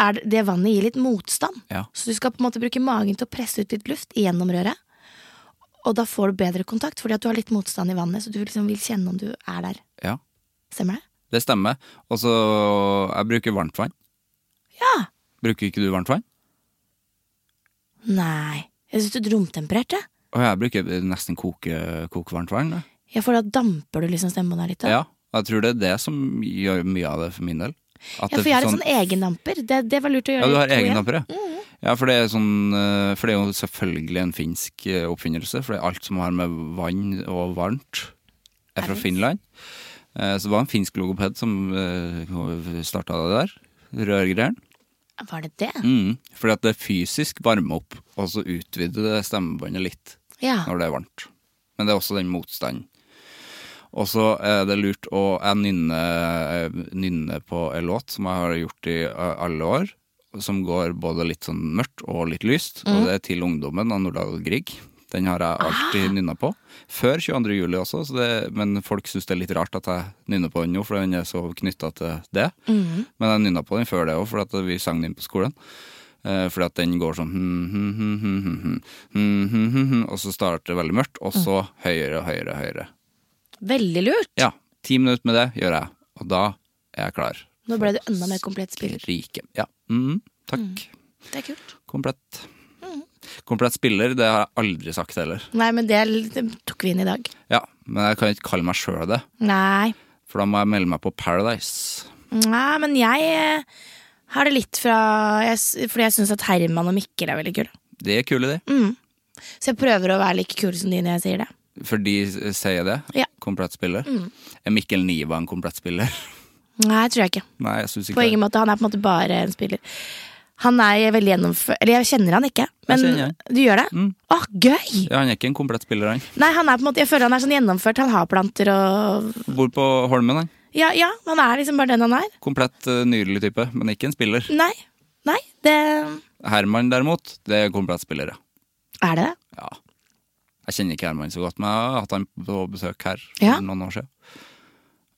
Speaker 2: er det, det vannet gir litt motstand.
Speaker 3: Ja.
Speaker 2: Så du skal på en måte bruke magen til å presse ut litt luft gjennom røret. Og da får du bedre kontakt, fordi at du har litt motstand i vannet. Så du liksom vil kjenne om du er der.
Speaker 3: ja.
Speaker 2: Stemmer det?
Speaker 3: Det stemmer. Og så Jeg bruker varmt vann.
Speaker 2: Ja!
Speaker 3: Bruker ikke du varmt vann?
Speaker 2: Nei. Jeg syns du romtempererte.
Speaker 3: Og jeg bruker nesten koke, kokevarmt vann. da.
Speaker 2: Ja, for da damper du liksom stemmen der litt. Da.
Speaker 3: Ja. Jeg tror det er det som gjør mye av det for min del. At
Speaker 2: Ja, for
Speaker 3: det
Speaker 2: jeg
Speaker 3: er
Speaker 2: har sånn en sånn egendamper. Det, det var lurt å gjøre.
Speaker 3: Ja, du har
Speaker 2: to igjen.
Speaker 3: egendamper, ja. Ja, for det, er sånn, eh, for det er jo selvfølgelig en finsk eh, oppfinnelse, for det er alt som har med vann og varmt, er fra Finland. Eh, Så det var en finsk logoped som starta det der, rørgreieren.
Speaker 2: Var det det?
Speaker 3: Mm. Fordi at det fysisk varmer opp, og så utvider det stemmebåndet litt
Speaker 2: Ja.
Speaker 3: når det er varmt. Men det er også den motstanden. Og så er det lurt å Jeg nynner nynner på en låt som jeg har gjort i eh, alle år, som går både litt sånn mørkt og litt lyst, og det er 'Til ungdommen' av Nordahl Grieg. Den har jeg alltid nynna på. Før 22. juli også, så det, men folk syns det er litt rart at jeg nynner på den nå, for den er så knytta til det. Men jeg nynna på den før det òg, for at vi sang den på skolen. Eh, Fordi at den går sånn hmm, hmm, hmm, hmm, hmm, hmm, hmm, hmm, hmm, hmm, Og så starter det veldig mørkt,
Speaker 2: Mm.
Speaker 3: og så høyere, høyere, høyere.
Speaker 2: Veldig lurt.
Speaker 3: Ja, ti minutter med det gjør jeg, og da er jeg klar.
Speaker 2: Nå ble du enda mer komplett spiller.
Speaker 3: Rike. Ja. Mm, takk.
Speaker 2: Det er kult.
Speaker 3: Komplett.
Speaker 2: Mm.
Speaker 3: Komplett spiller, det har jeg aldri sagt heller.
Speaker 2: Nei, men det, det tok vi inn i dag.
Speaker 3: Ja, men jeg kan ikke kalle meg sjøl det,
Speaker 2: Nei.
Speaker 3: for da må jeg melde meg på Paradise.
Speaker 2: Nei, men jeg eh, har det litt fra jeg, s- Fordi jeg syns at Herman og Mikkel er veldig kule.
Speaker 3: Det er kule,
Speaker 2: Mm.
Speaker 3: de.
Speaker 2: Så jeg prøver å være like kul som de når jeg sier det.
Speaker 3: For de s- sier det.
Speaker 2: Ja. Mm.
Speaker 3: Komplett spiller. Er Mikkel Niva en komplett spiller?
Speaker 2: Nei, tror jeg ikke.
Speaker 3: Nei, jeg syns ikke
Speaker 2: På ingen måte. Han er på en måte bare en spiller. Han er veldig gjennomført Eller jeg kjenner han ikke, men
Speaker 3: Jeg kjenner han. Mm.
Speaker 2: du gjør det? Å, gøy!
Speaker 3: Ja, han er ikke en komplett spiller, han.
Speaker 2: Nei, han er på en måte Jeg føler han er sånn gjennomført. Han har planter og
Speaker 3: Bor på Holmen, han.
Speaker 2: Ja, ja, han er liksom bare den han er.
Speaker 3: Komplett eh, nydelig type, men ikke en spiller.
Speaker 2: Nei. Nei, det
Speaker 3: Herman derimot, det er komplett spiller, ja.
Speaker 2: Er det det?
Speaker 3: ja. Jeg kjenner ikke Herman så godt, men jeg har hatt han på besøk her
Speaker 2: Ja.
Speaker 3: for noen år siden.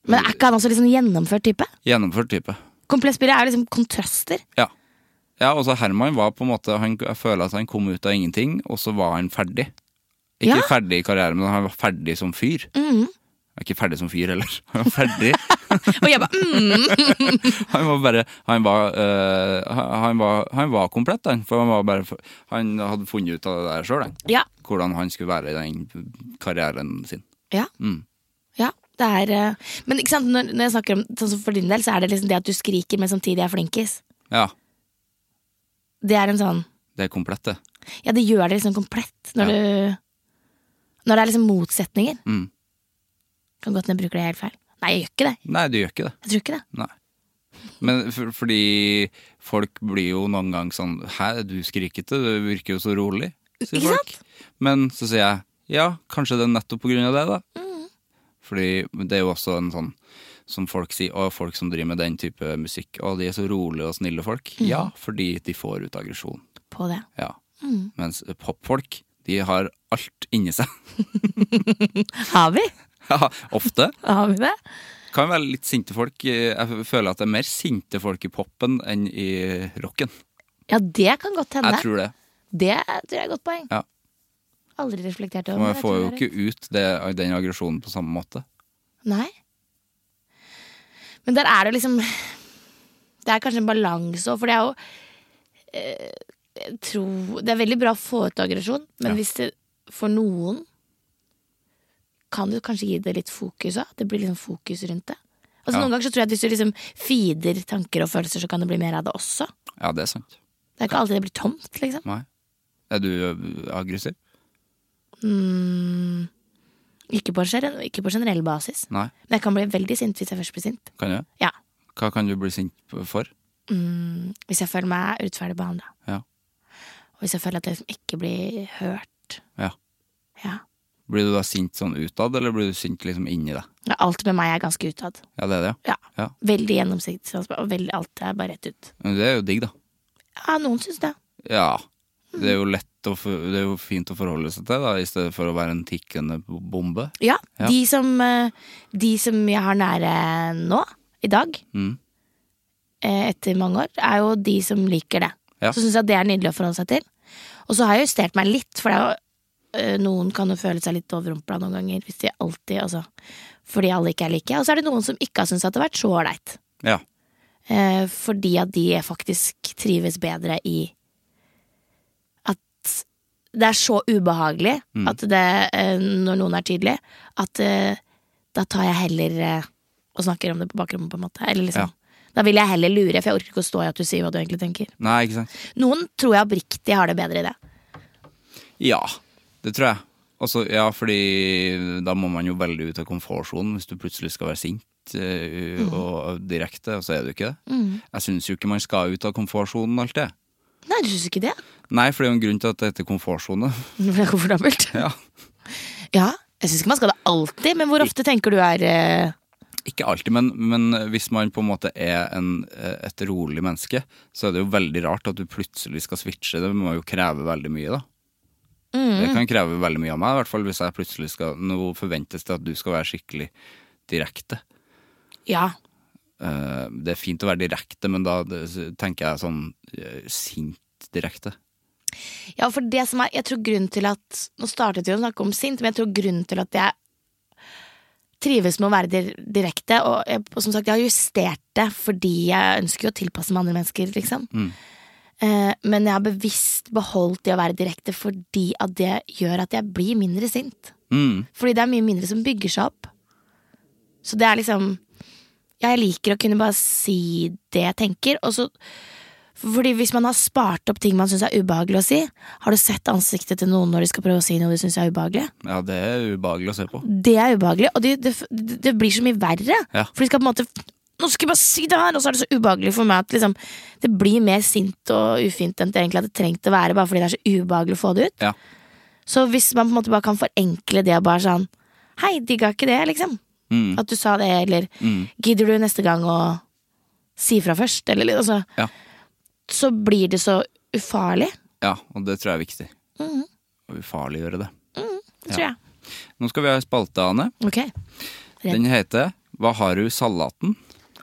Speaker 2: Men er ikke han også litt sånn gjennomført type?
Speaker 3: Gjennomført type.
Speaker 2: Komplett spiller er jo liksom kontraster.
Speaker 3: Ja. Ja, også Herman var på en måte han, Jeg føler at han kom ut av ingenting, og så var han ferdig. Ikke
Speaker 2: Ja. Mm.
Speaker 3: ferdig i karrieren, men han var ferdig som fyr. Han er Ikke ferdig som fyr heller. Han var ferdig.
Speaker 2: Og jeg bare mm.
Speaker 3: Han var bare Han var, eh, han- han var, han var komplett, han. For han, var bare, han hadde funnet ut av det der sjøl, han.
Speaker 2: Ja.
Speaker 3: hvordan han skulle være i den karrieren sin.
Speaker 2: Ja.
Speaker 3: Mm.
Speaker 2: ja. Det er eh, Men ikke sant, når, når jeg snakker om sånn som for din del, så er det liksom det at du skriker, men samtidig er flinkis.
Speaker 3: Ja,
Speaker 2: Det er en sånn
Speaker 3: det er komplett, det.
Speaker 2: Ja, det gjør det liksom komplett når du Når det er liksom motsetninger.
Speaker 3: Mm.
Speaker 2: Kan godt hende jeg bruker det helt feil. Nei, jeg gjør ikke det.
Speaker 3: Nei, du gjør ikke det.
Speaker 2: Jeg tror ikke det.
Speaker 3: Nei. Men for, fordi folk blir jo noen gang sånn Hæ, du skrikete, du virker jo så rolig. sier
Speaker 2: Ikke
Speaker 3: folk. Men så sier jeg ja, kanskje det er nettopp på grunn av det, da. Fordi det er jo også en sånn som folk sier, å, folk som driver med den type musikk, å, de er så rolige og snille folk. Ja, fordi de får ut aggresjon.
Speaker 2: På det.
Speaker 3: Ja. Mens popfolk, de har alt inni seg.
Speaker 2: Har vi?
Speaker 3: Ja, ofte.
Speaker 2: Har vi det?
Speaker 3: Kan være litt sinte folk. Jeg føler at det er mer sinte folk i popen enn i rocken.
Speaker 2: Ja, det kan godt hende.
Speaker 3: Jeg tror det.
Speaker 2: Det tror jeg er et godt poeng.
Speaker 3: Ja.
Speaker 2: aldri reflektert over.
Speaker 3: Men
Speaker 2: men
Speaker 3: jeg
Speaker 2: jeg
Speaker 3: får
Speaker 2: tror
Speaker 3: jo
Speaker 2: det er-
Speaker 3: ikke ut det, den aggresjonen på samme måte.
Speaker 2: Nei. Men der er det jo liksom Det er kanskje en balanse òg, for det er jo eh, jeg tror, Det er veldig bra å få ut aggresjon, men
Speaker 3: Ja.
Speaker 2: hvis det for noen kan du kanskje gi det litt fokus òg. Det blir liksom fokus rundt det. Altså
Speaker 3: Ja.
Speaker 2: Noen ganger så tror jeg at hvis du liksom feeder tanker og følelser, så kan det bli mer av det også.
Speaker 3: Ja, det er sant.
Speaker 2: Det er ikke alltid det blir tomt, liksom.
Speaker 3: Nei. Er du ø, aggressiv?
Speaker 2: Mm, ikke, på generell, ikke på generell basis.
Speaker 3: Nei.
Speaker 2: Men jeg kan bli veldig sint hvis jeg først blir sint.
Speaker 3: Kan du?
Speaker 2: Ja.
Speaker 3: Hva kan du bli sint p- for?
Speaker 2: Mm, hvis jeg føler meg urettferdig behandla.
Speaker 3: Ja.
Speaker 2: Og hvis jeg føler at jeg liksom ikke blir hørt.
Speaker 3: Ja.
Speaker 2: Ja.
Speaker 3: Blir du da sint sånn utad, eller blir du sint liksom inni deg?
Speaker 2: Ja, Alt med meg er ganske utad.
Speaker 3: Ja, det er det,
Speaker 2: Ja.
Speaker 3: Ja.
Speaker 2: Veldig gjennomsiktig. sånn og Veldig, alt er bare rett ut.
Speaker 3: Men det er jo digg, da.
Speaker 2: Ja, noen syns det.
Speaker 3: Ja. Det er jo lett å, for- det er jo fint å forholde seg til, da, i stedet for å være en tikkende bombe.
Speaker 2: Ja,
Speaker 3: Ja.
Speaker 2: De, som, eh, de som jeg har nære nå, i dag,
Speaker 3: Mm.
Speaker 2: eh, etter mange år, er jo de som liker det.
Speaker 3: Ja.
Speaker 2: Så syns jeg det er nydelig å forholde seg til. Og så har jeg justert meg litt, for det er jo eh, noen kan jo føle seg litt overrumpla noen ganger. Hvis de alltid, altså, fordi alle ikke er like. Og så er det noen som ikke har syntes at det har vært så ålreit.
Speaker 3: Ja.
Speaker 2: Eh, fordi at de faktisk trives bedre i at det er så ubehagelig at det, eh, når noen er tydelig, at eh, da tar jeg heller eh, og snakker om det på bakrommet, på en måte. Eller liksom. Da vil jeg heller lure, for jeg orker ikke å stå i at du sier hva du egentlig tenker.
Speaker 3: Nei, ikke sant?
Speaker 2: Noen tror jeg oppriktig har det bedre i det.
Speaker 3: Ja, det tror jeg. Altså, ja, fordi da må man jo veldig ut av komfortsonen hvis du plutselig skal være sint eh, og direkte, og så er du ikke det. Jeg syns jo ikke man skal ut av komfortsonen alltid.
Speaker 2: Nei, du syns ikke det?
Speaker 3: Nei, for det er jo en grunn til at det heter komfortsone.
Speaker 2: Det er komfortabelt.
Speaker 3: Ja.
Speaker 2: Ja, jeg syns ikke man skal det alltid, men hvor ofte tenker du er eh,
Speaker 3: Ikke alltid, men, men hvis man på en måte er en, eh, et rolig menneske, så er det jo veldig rart at du plutselig skal switche. Det må jo kreve veldig mye, da. Det kan kreve veldig mye av meg, i hvert fall hvis jeg plutselig skal Nå forventes det at du skal være skikkelig direkte.
Speaker 2: Ja.
Speaker 3: Eh, Det er fint å være direkte, men da det- tenker jeg sånn eh, sint direkte.
Speaker 2: Ja, for det som er, jeg tror grunnen til at Nå startet vi å snakke om sint, men jeg tror grunnen til at jeg trives med å være dir direkte, og, jeg, og som sagt, jeg har justert det fordi jeg ønsker jo å tilpasse meg andre mennesker, liksom. Eh, men jeg har bevisst beholdt det å være direkte fordi at det gjør at jeg blir mindre sint.
Speaker 3: Mm.
Speaker 2: Fordi det er mye mindre som bygger seg opp. Så det er liksom Jeg liker å kunne bare si det jeg tenker. Og så, fordi hvis man har spart opp ting man syns er ubehagelig å si Har du sett ansiktet til noen når de skal prøve å si noe de syns er ubehagelig?
Speaker 3: Ja, det er ubehagelig å se på.
Speaker 2: Det er ubehagelig, og det, det, det blir så mye verre.
Speaker 3: Ja.
Speaker 2: For de skal på en måte Nå skal jeg bare si det her! Og så er det så ubehagelig for meg at liksom, det blir mer sint og ufint enn det egentlig hadde trengt å være, bare fordi det er så ubehagelig å få det ut.
Speaker 3: Ja.
Speaker 2: Så hvis man på en måte bare kan forenkle det og bare sånn Hei, digga ikke det, liksom.
Speaker 3: Mm.
Speaker 2: At du sa det, eller gidder du neste gang å si fra først, eller litt, altså.
Speaker 3: Ja.
Speaker 2: Så blir det så ufarlig,
Speaker 3: ja, og det tror jeg er viktig. Å ufarliggjøre det.
Speaker 2: tror jeg.
Speaker 3: Nå skal vi ha ei spalte, Ane.
Speaker 2: Ok. Ja.
Speaker 3: Den heter Hva har du i salaten?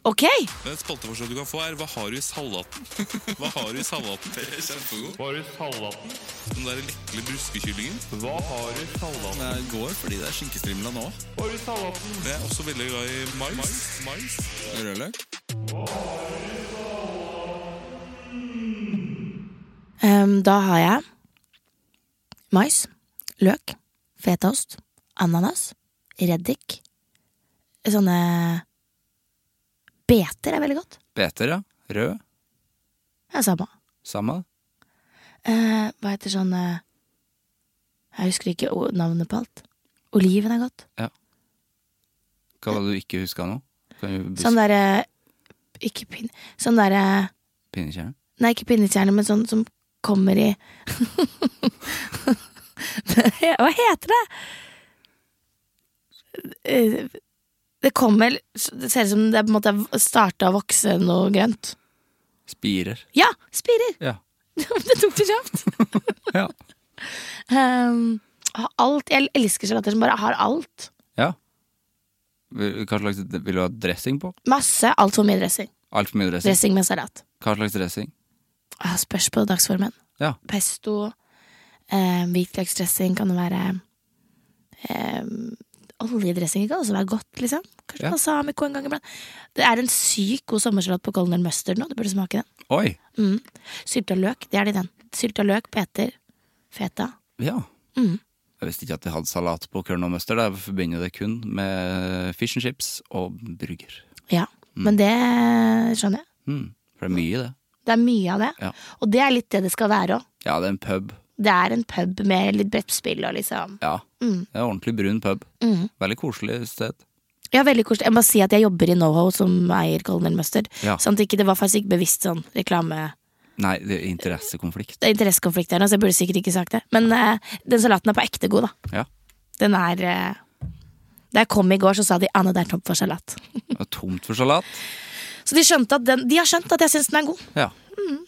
Speaker 2: Ok!
Speaker 4: Et spalteforslag du kan få, er Hva har du i salaten? Hva har du i salaten? Det er kjempegod. Hva har du i salaten? Den der lekle bruskekyllingen. Hva har du i salaten? Det går fordi det er skinkestrimla nå. Hva har du i salaten? Jeg er også veldig glad i mais. mais. mais. Rødløk.
Speaker 2: Ehm, da har jeg mais, løk, fetaost, ananas, reddik, sånne Beter er veldig godt.
Speaker 3: Beter, ja. Rød.
Speaker 2: Det er samme.
Speaker 3: Samme.
Speaker 2: Eh, hva heter sånn eh, Jeg husker ikke o- navnet på alt. Oliven er godt.
Speaker 3: Hva var det du ikke huska nå? Kan du
Speaker 2: Sånn
Speaker 3: buske
Speaker 2: derre Ikke pin... Sånn derre
Speaker 3: pinnekjernen?
Speaker 2: Nei, ikke pinnekjerne, men sånn som kommer i Hva heter det? Eh, Det kommer Det ser ut som det på en måte starta å vokse noe grønt.
Speaker 3: Spirer.
Speaker 2: Ja! Spirer!
Speaker 3: Ja.
Speaker 2: det tok det kjapt.
Speaker 3: ja.
Speaker 2: Um, ha alt. Jeg elsker salater som bare har alt.
Speaker 3: ja. Vil- Hva slags Vil du ha dressing på?
Speaker 2: Masse, altfor mye dressing.
Speaker 3: Altfor mye dressing.
Speaker 2: Dressing med salat.
Speaker 3: Hva slags dressing?
Speaker 2: Ah, Spørs på dagsformen.
Speaker 3: Ja.
Speaker 2: Pesto, Eh, hvitløksdressing kan jo være eh, Oljedressing kan også være godt, liksom. Kanskje
Speaker 3: Ja.
Speaker 2: balsamico en gang iblant. Det er en sykt god sommersalat på Golden Mustard nå, du burde smake den.
Speaker 3: Oi.
Speaker 2: Mm. Sylta løk, det er det i den. Sylta løk, Peter, feta.
Speaker 3: Ja.
Speaker 2: Mm.
Speaker 3: Jeg visste ikke at de hadde salat på Kørn og Mustard. Jeg forbinder det kun med fish and chips og burger.
Speaker 2: Ja. Men det skjønner jeg.
Speaker 3: Mm. For det er mye, det.
Speaker 2: Det er mye av det.
Speaker 3: Ja.
Speaker 2: Og det er litt det det skal være òg.
Speaker 3: Ja, det er en pub.
Speaker 2: Det er en pub med litt brettspill og liksom
Speaker 3: Ja. Det er en ordentlig brun pub.
Speaker 2: Mm.
Speaker 3: Veldig koselig sted.
Speaker 2: Ja, veldig koselig. Jeg må bare si at jeg jobber i NoHo som eier Golden Mustard.
Speaker 3: Ja.
Speaker 2: Sånn at ikke, det var faktisk ikke bevisst sånn reklame...
Speaker 3: Nei, det er interessekonflikt.
Speaker 2: Det er interessekonflikt her nå, så jeg burde sikkert ikke sagt det. Men eh, den salaten er på ekte god, da.
Speaker 3: Ja.
Speaker 2: Den er eh, Da jeg kom i går, så sa de Anne, det er tomt for salat.
Speaker 3: Det er tomt for salat.
Speaker 2: Så de, skjønte at den, de har skjønt at jeg syns den er god.
Speaker 3: Ja.
Speaker 2: Mm.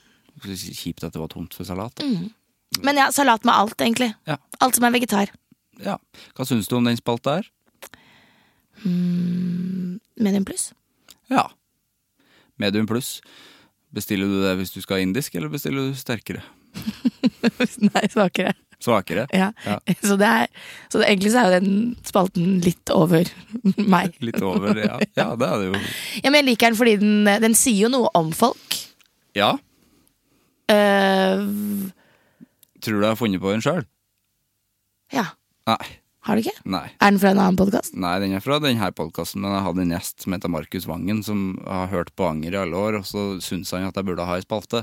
Speaker 3: Kjipt at det var tomt for salat.
Speaker 2: Men ja, salat med alt, egentlig.
Speaker 3: Ja.
Speaker 2: Alt som er vegetar.
Speaker 3: Ja. Hva syns du om den spalta her?
Speaker 2: Medium pluss.
Speaker 3: Ja. Medium pluss. Bestiller du det hvis du skal ha indisk, eller bestiller du sterkere?
Speaker 2: Nei, svakere.
Speaker 3: Svakere?
Speaker 2: Ja.
Speaker 3: Ja.
Speaker 2: Så, det er, så det, egentlig så er jo den spalten litt over meg.
Speaker 3: Litt over, ja. Ja, det er det jo.
Speaker 2: Ja, men jeg liker den fordi den, den sier jo noe om folk.
Speaker 3: Ja.
Speaker 2: Eh,
Speaker 3: Tror du jeg har funnet på den sjøl?
Speaker 2: ja.
Speaker 3: Nei.
Speaker 2: Har du ikke?
Speaker 3: Nei.
Speaker 2: Er den fra en annen podkast?
Speaker 3: Nei, den er fra denne podkasten, men jeg hadde en gjest som heter Markus Vangen, som har hørt på Anger i alle år, og så syntes han at jeg burde ha ei spalte.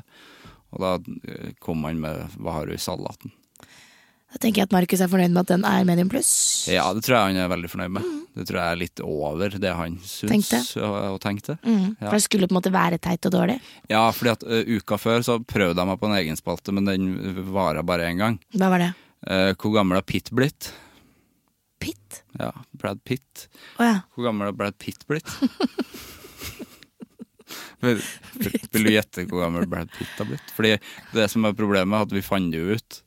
Speaker 3: Og da eh, kom han med Hva har du i salaten?
Speaker 2: Da tenker jeg at Markus er fornøyd med at den er medium pluss.
Speaker 3: Ja, det tror jeg han er veldig fornøyd med. Det tror jeg er litt over det han syns
Speaker 2: Tenkte. Mm.
Speaker 3: og, og tenkte. Ja.
Speaker 2: For det skulle på en måte være teit og dårlig.
Speaker 3: Ja, fordi at eh, uka før så prøvde jeg meg på en egen spalte, men den vara bare én gang.
Speaker 2: Hva var det?
Speaker 3: Eh, hvor gammel er Pitt blitt?
Speaker 2: Pitt?
Speaker 3: Ja, Brad Pitt.
Speaker 2: Å ja.
Speaker 3: Hvor gammel er Brad Pitt blitt? vil, vil, vil du gjette hvor gammel Brad Pitt har blitt? Fordi det som er problemet, er at vi fant det jo ut.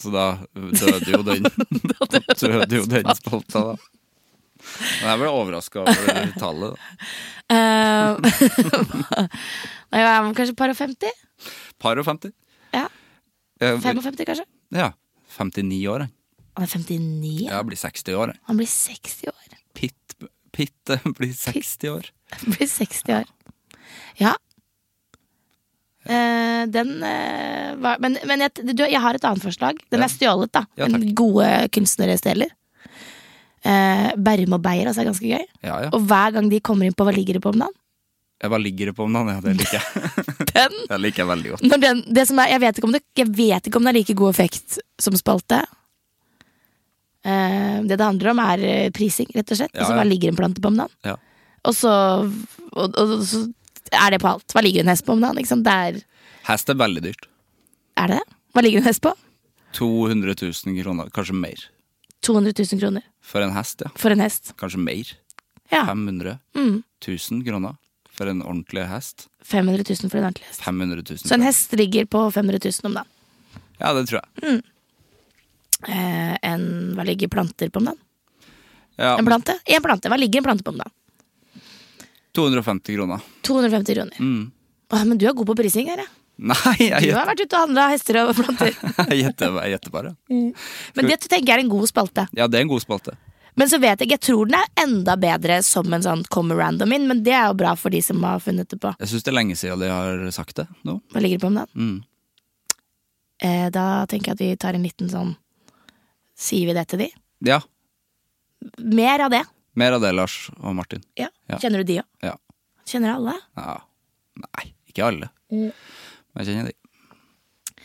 Speaker 3: Så da døde jo den Da døde jo den spalta, da. Men jeg ble overraska over det tallet. da.
Speaker 2: Eh, Nei, jeg var kanskje par og 50?
Speaker 3: Par og 50.
Speaker 2: Ja.
Speaker 3: Jeg,
Speaker 2: 55, kanskje?
Speaker 3: ja. 59 år, han.
Speaker 2: Han er 59. ja.
Speaker 3: Jeg blir 60 år, jeg.
Speaker 2: Han blir 60 år.
Speaker 3: Pitt, Pitt eh, blir 60 år.
Speaker 2: Han blir 60 år. Ja. Eh, den eh, var Men, men jeg, du, jeg har et annet forslag. Den
Speaker 3: Ja.
Speaker 2: er stjålet, da.
Speaker 3: Ja,
Speaker 2: men
Speaker 3: takk.
Speaker 2: gode kunstnere stjeler. Eh, Berrum og Beyer altså, er ganske gøy.
Speaker 3: Ja, ja.
Speaker 2: Og hver gang de kommer inn på Hva ligger det på om dagen?
Speaker 3: Jeg bare ligger det på om dagen, ja. Det liker jeg.
Speaker 2: Den
Speaker 3: Det liker jeg veldig godt.
Speaker 2: Når den, det som er, jeg, vet ikke om det, jeg vet ikke om det er like god effekt som spalte. Eh, det det handler om, er eh, prising, rett og slett.
Speaker 3: Ja,
Speaker 2: Og så
Speaker 3: ja.
Speaker 2: hva ligger en plante på om dagen?
Speaker 3: Ja.
Speaker 2: Og så, og, og, så er det på alt. Hva ligger en hest på om dagen? Ikke sant? Der
Speaker 3: Hest er veldig dyrt.
Speaker 2: er det det. Hva ligger en hest på?
Speaker 3: 200 000 kroner, kanskje mer.
Speaker 2: 200 000 kroner
Speaker 3: For en hest, ja.
Speaker 2: for en hest.
Speaker 3: Kanskje mer.
Speaker 2: Ja. Mm.
Speaker 3: 500 000 kroner for en ordentlig hest.
Speaker 2: 500 000 for en ordentlig hest.
Speaker 3: 500 000
Speaker 2: Så en hest ligger på 500 000 om dagen.
Speaker 3: kroner. Ja, det tror jeg.
Speaker 2: Eh, en, hva ligger planter på om dagen?
Speaker 3: Ja,
Speaker 2: En plante? En plante. Hva ligger en plante på om dagen?
Speaker 3: 250 kroner.
Speaker 2: 250 kroner.
Speaker 3: Mm.
Speaker 2: Åh, men du er god på prising her, ja.
Speaker 3: Nei, jeg
Speaker 2: Du
Speaker 3: gjetter
Speaker 2: har vært ute og handla hester og planter.
Speaker 3: jeg gjetter- jeg gjetter bare.
Speaker 2: Men det tenker jeg er en god spalte.
Speaker 3: Ja, det er en god spalte.
Speaker 2: Men så vet jeg, jeg tror den er enda bedre som en sånn kommer random in, men det er jo bra for de som har funnet det på.
Speaker 3: Jeg syns det er lenge siden de har sagt det nå.
Speaker 2: Hva ligger det på om den?
Speaker 3: Mm.
Speaker 2: Eh, da tenker jeg at vi tar en liten sånn Sier vi det til de?
Speaker 3: Ja.
Speaker 2: Mer av det.
Speaker 3: Mer av det, Lars og Martin.
Speaker 2: Ja.
Speaker 3: Ja.
Speaker 2: Kjenner du de òg?
Speaker 3: Ja.
Speaker 2: Kjenner alle?
Speaker 3: ja. Nei, ikke alle.
Speaker 2: Eh.
Speaker 3: Men jeg kjenner de.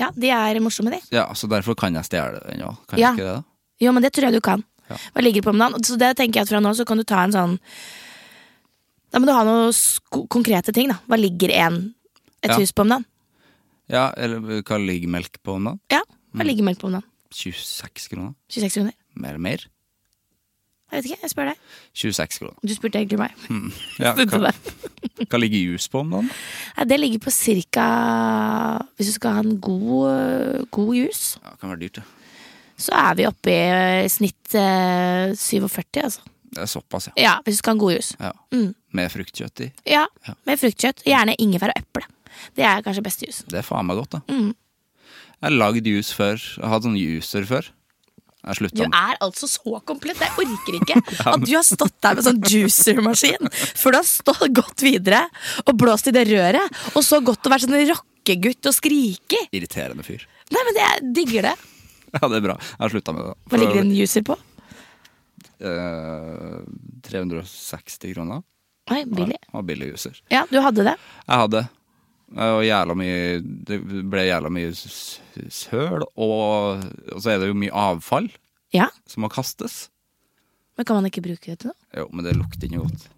Speaker 2: Ja, de er morsomme, de.
Speaker 3: Ja, Så derfor kan jeg stjele den òg. Kan
Speaker 2: Ja.
Speaker 3: jeg ikke det, da?
Speaker 2: Jo, men det tror jeg du kan.
Speaker 3: Ja.
Speaker 2: Hva ligger det på om dagen? Så det tenker jeg at fra nå så kan du ta en sånn Da må du ha noen sko- konkrete ting, da. Hva ligger en, et
Speaker 3: Ja.
Speaker 2: hus på om dagen?
Speaker 3: Ja, eller hva ligger melk på om dagen?
Speaker 2: Ja, hva ligger melk på om dagen?
Speaker 3: 26 kroner?
Speaker 2: 26 kroner.
Speaker 3: Mer eller mer?
Speaker 2: Jeg vet ikke, jeg spør deg.
Speaker 3: 26 kroner.
Speaker 2: Du spurte egentlig meg.
Speaker 3: Ja,
Speaker 2: Spurte
Speaker 3: hva,
Speaker 2: deg.
Speaker 3: hva ligger jus på om dagen?
Speaker 2: Nei, det ligger på cirka Hvis du skal ha en god, god jus,
Speaker 3: Ja, det kan være dyrt, det.
Speaker 2: så er vi oppe i eh, snitt eh, 47, altså.
Speaker 3: Det er såpass, ja.
Speaker 2: Ja, hvis du skal ha en god jus.
Speaker 3: ja.
Speaker 2: Mm.
Speaker 3: Med fruktkjøtt i.
Speaker 2: Ja,
Speaker 3: Ja.
Speaker 2: Med fruktkjøtt. Gjerne ingefær og eple. Det er kanskje beste jusen.
Speaker 3: Det er faen meg godt, da. Jeg har lagd juice før. Jeg har hatt sånn juicer før. Jeg
Speaker 2: Du
Speaker 3: slutta med
Speaker 2: er altså så komplett. Jeg orker ikke at du har stått der med sånn juicer-maskin før du har stått, gått videre og blåst i det røret, og så gått og vært sånn rockegutt og skrike.
Speaker 3: irriterende fyr.
Speaker 2: Nei, men jeg digger det.
Speaker 3: Ja, det er bra. Jeg har slutta med det.
Speaker 2: Hva ligger det en juicer på?
Speaker 3: eh, 360 kroner.
Speaker 2: Oi, billig.
Speaker 3: Ja, billig juicer.
Speaker 2: Ja, du hadde det.
Speaker 3: Jeg hadde. eh, Og jævla mye Det ble jævla mye s- søl, og, og så er det jo mye avfall
Speaker 2: Ja,
Speaker 3: som må kastes.
Speaker 2: men kan man ikke bruke det til noe?
Speaker 3: Jo, men det lukter ikke godt.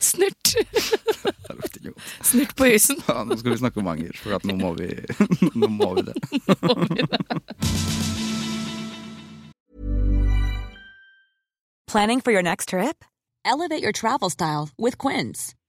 Speaker 2: Snurt.
Speaker 3: Det lukter ikke godt.
Speaker 2: Snurt på jusen.
Speaker 3: Ja, nå skal vi snakke om anger, for at nå, må vi, nå må vi det.
Speaker 5: Planning for your next trip? Elevate your travel style with Quince.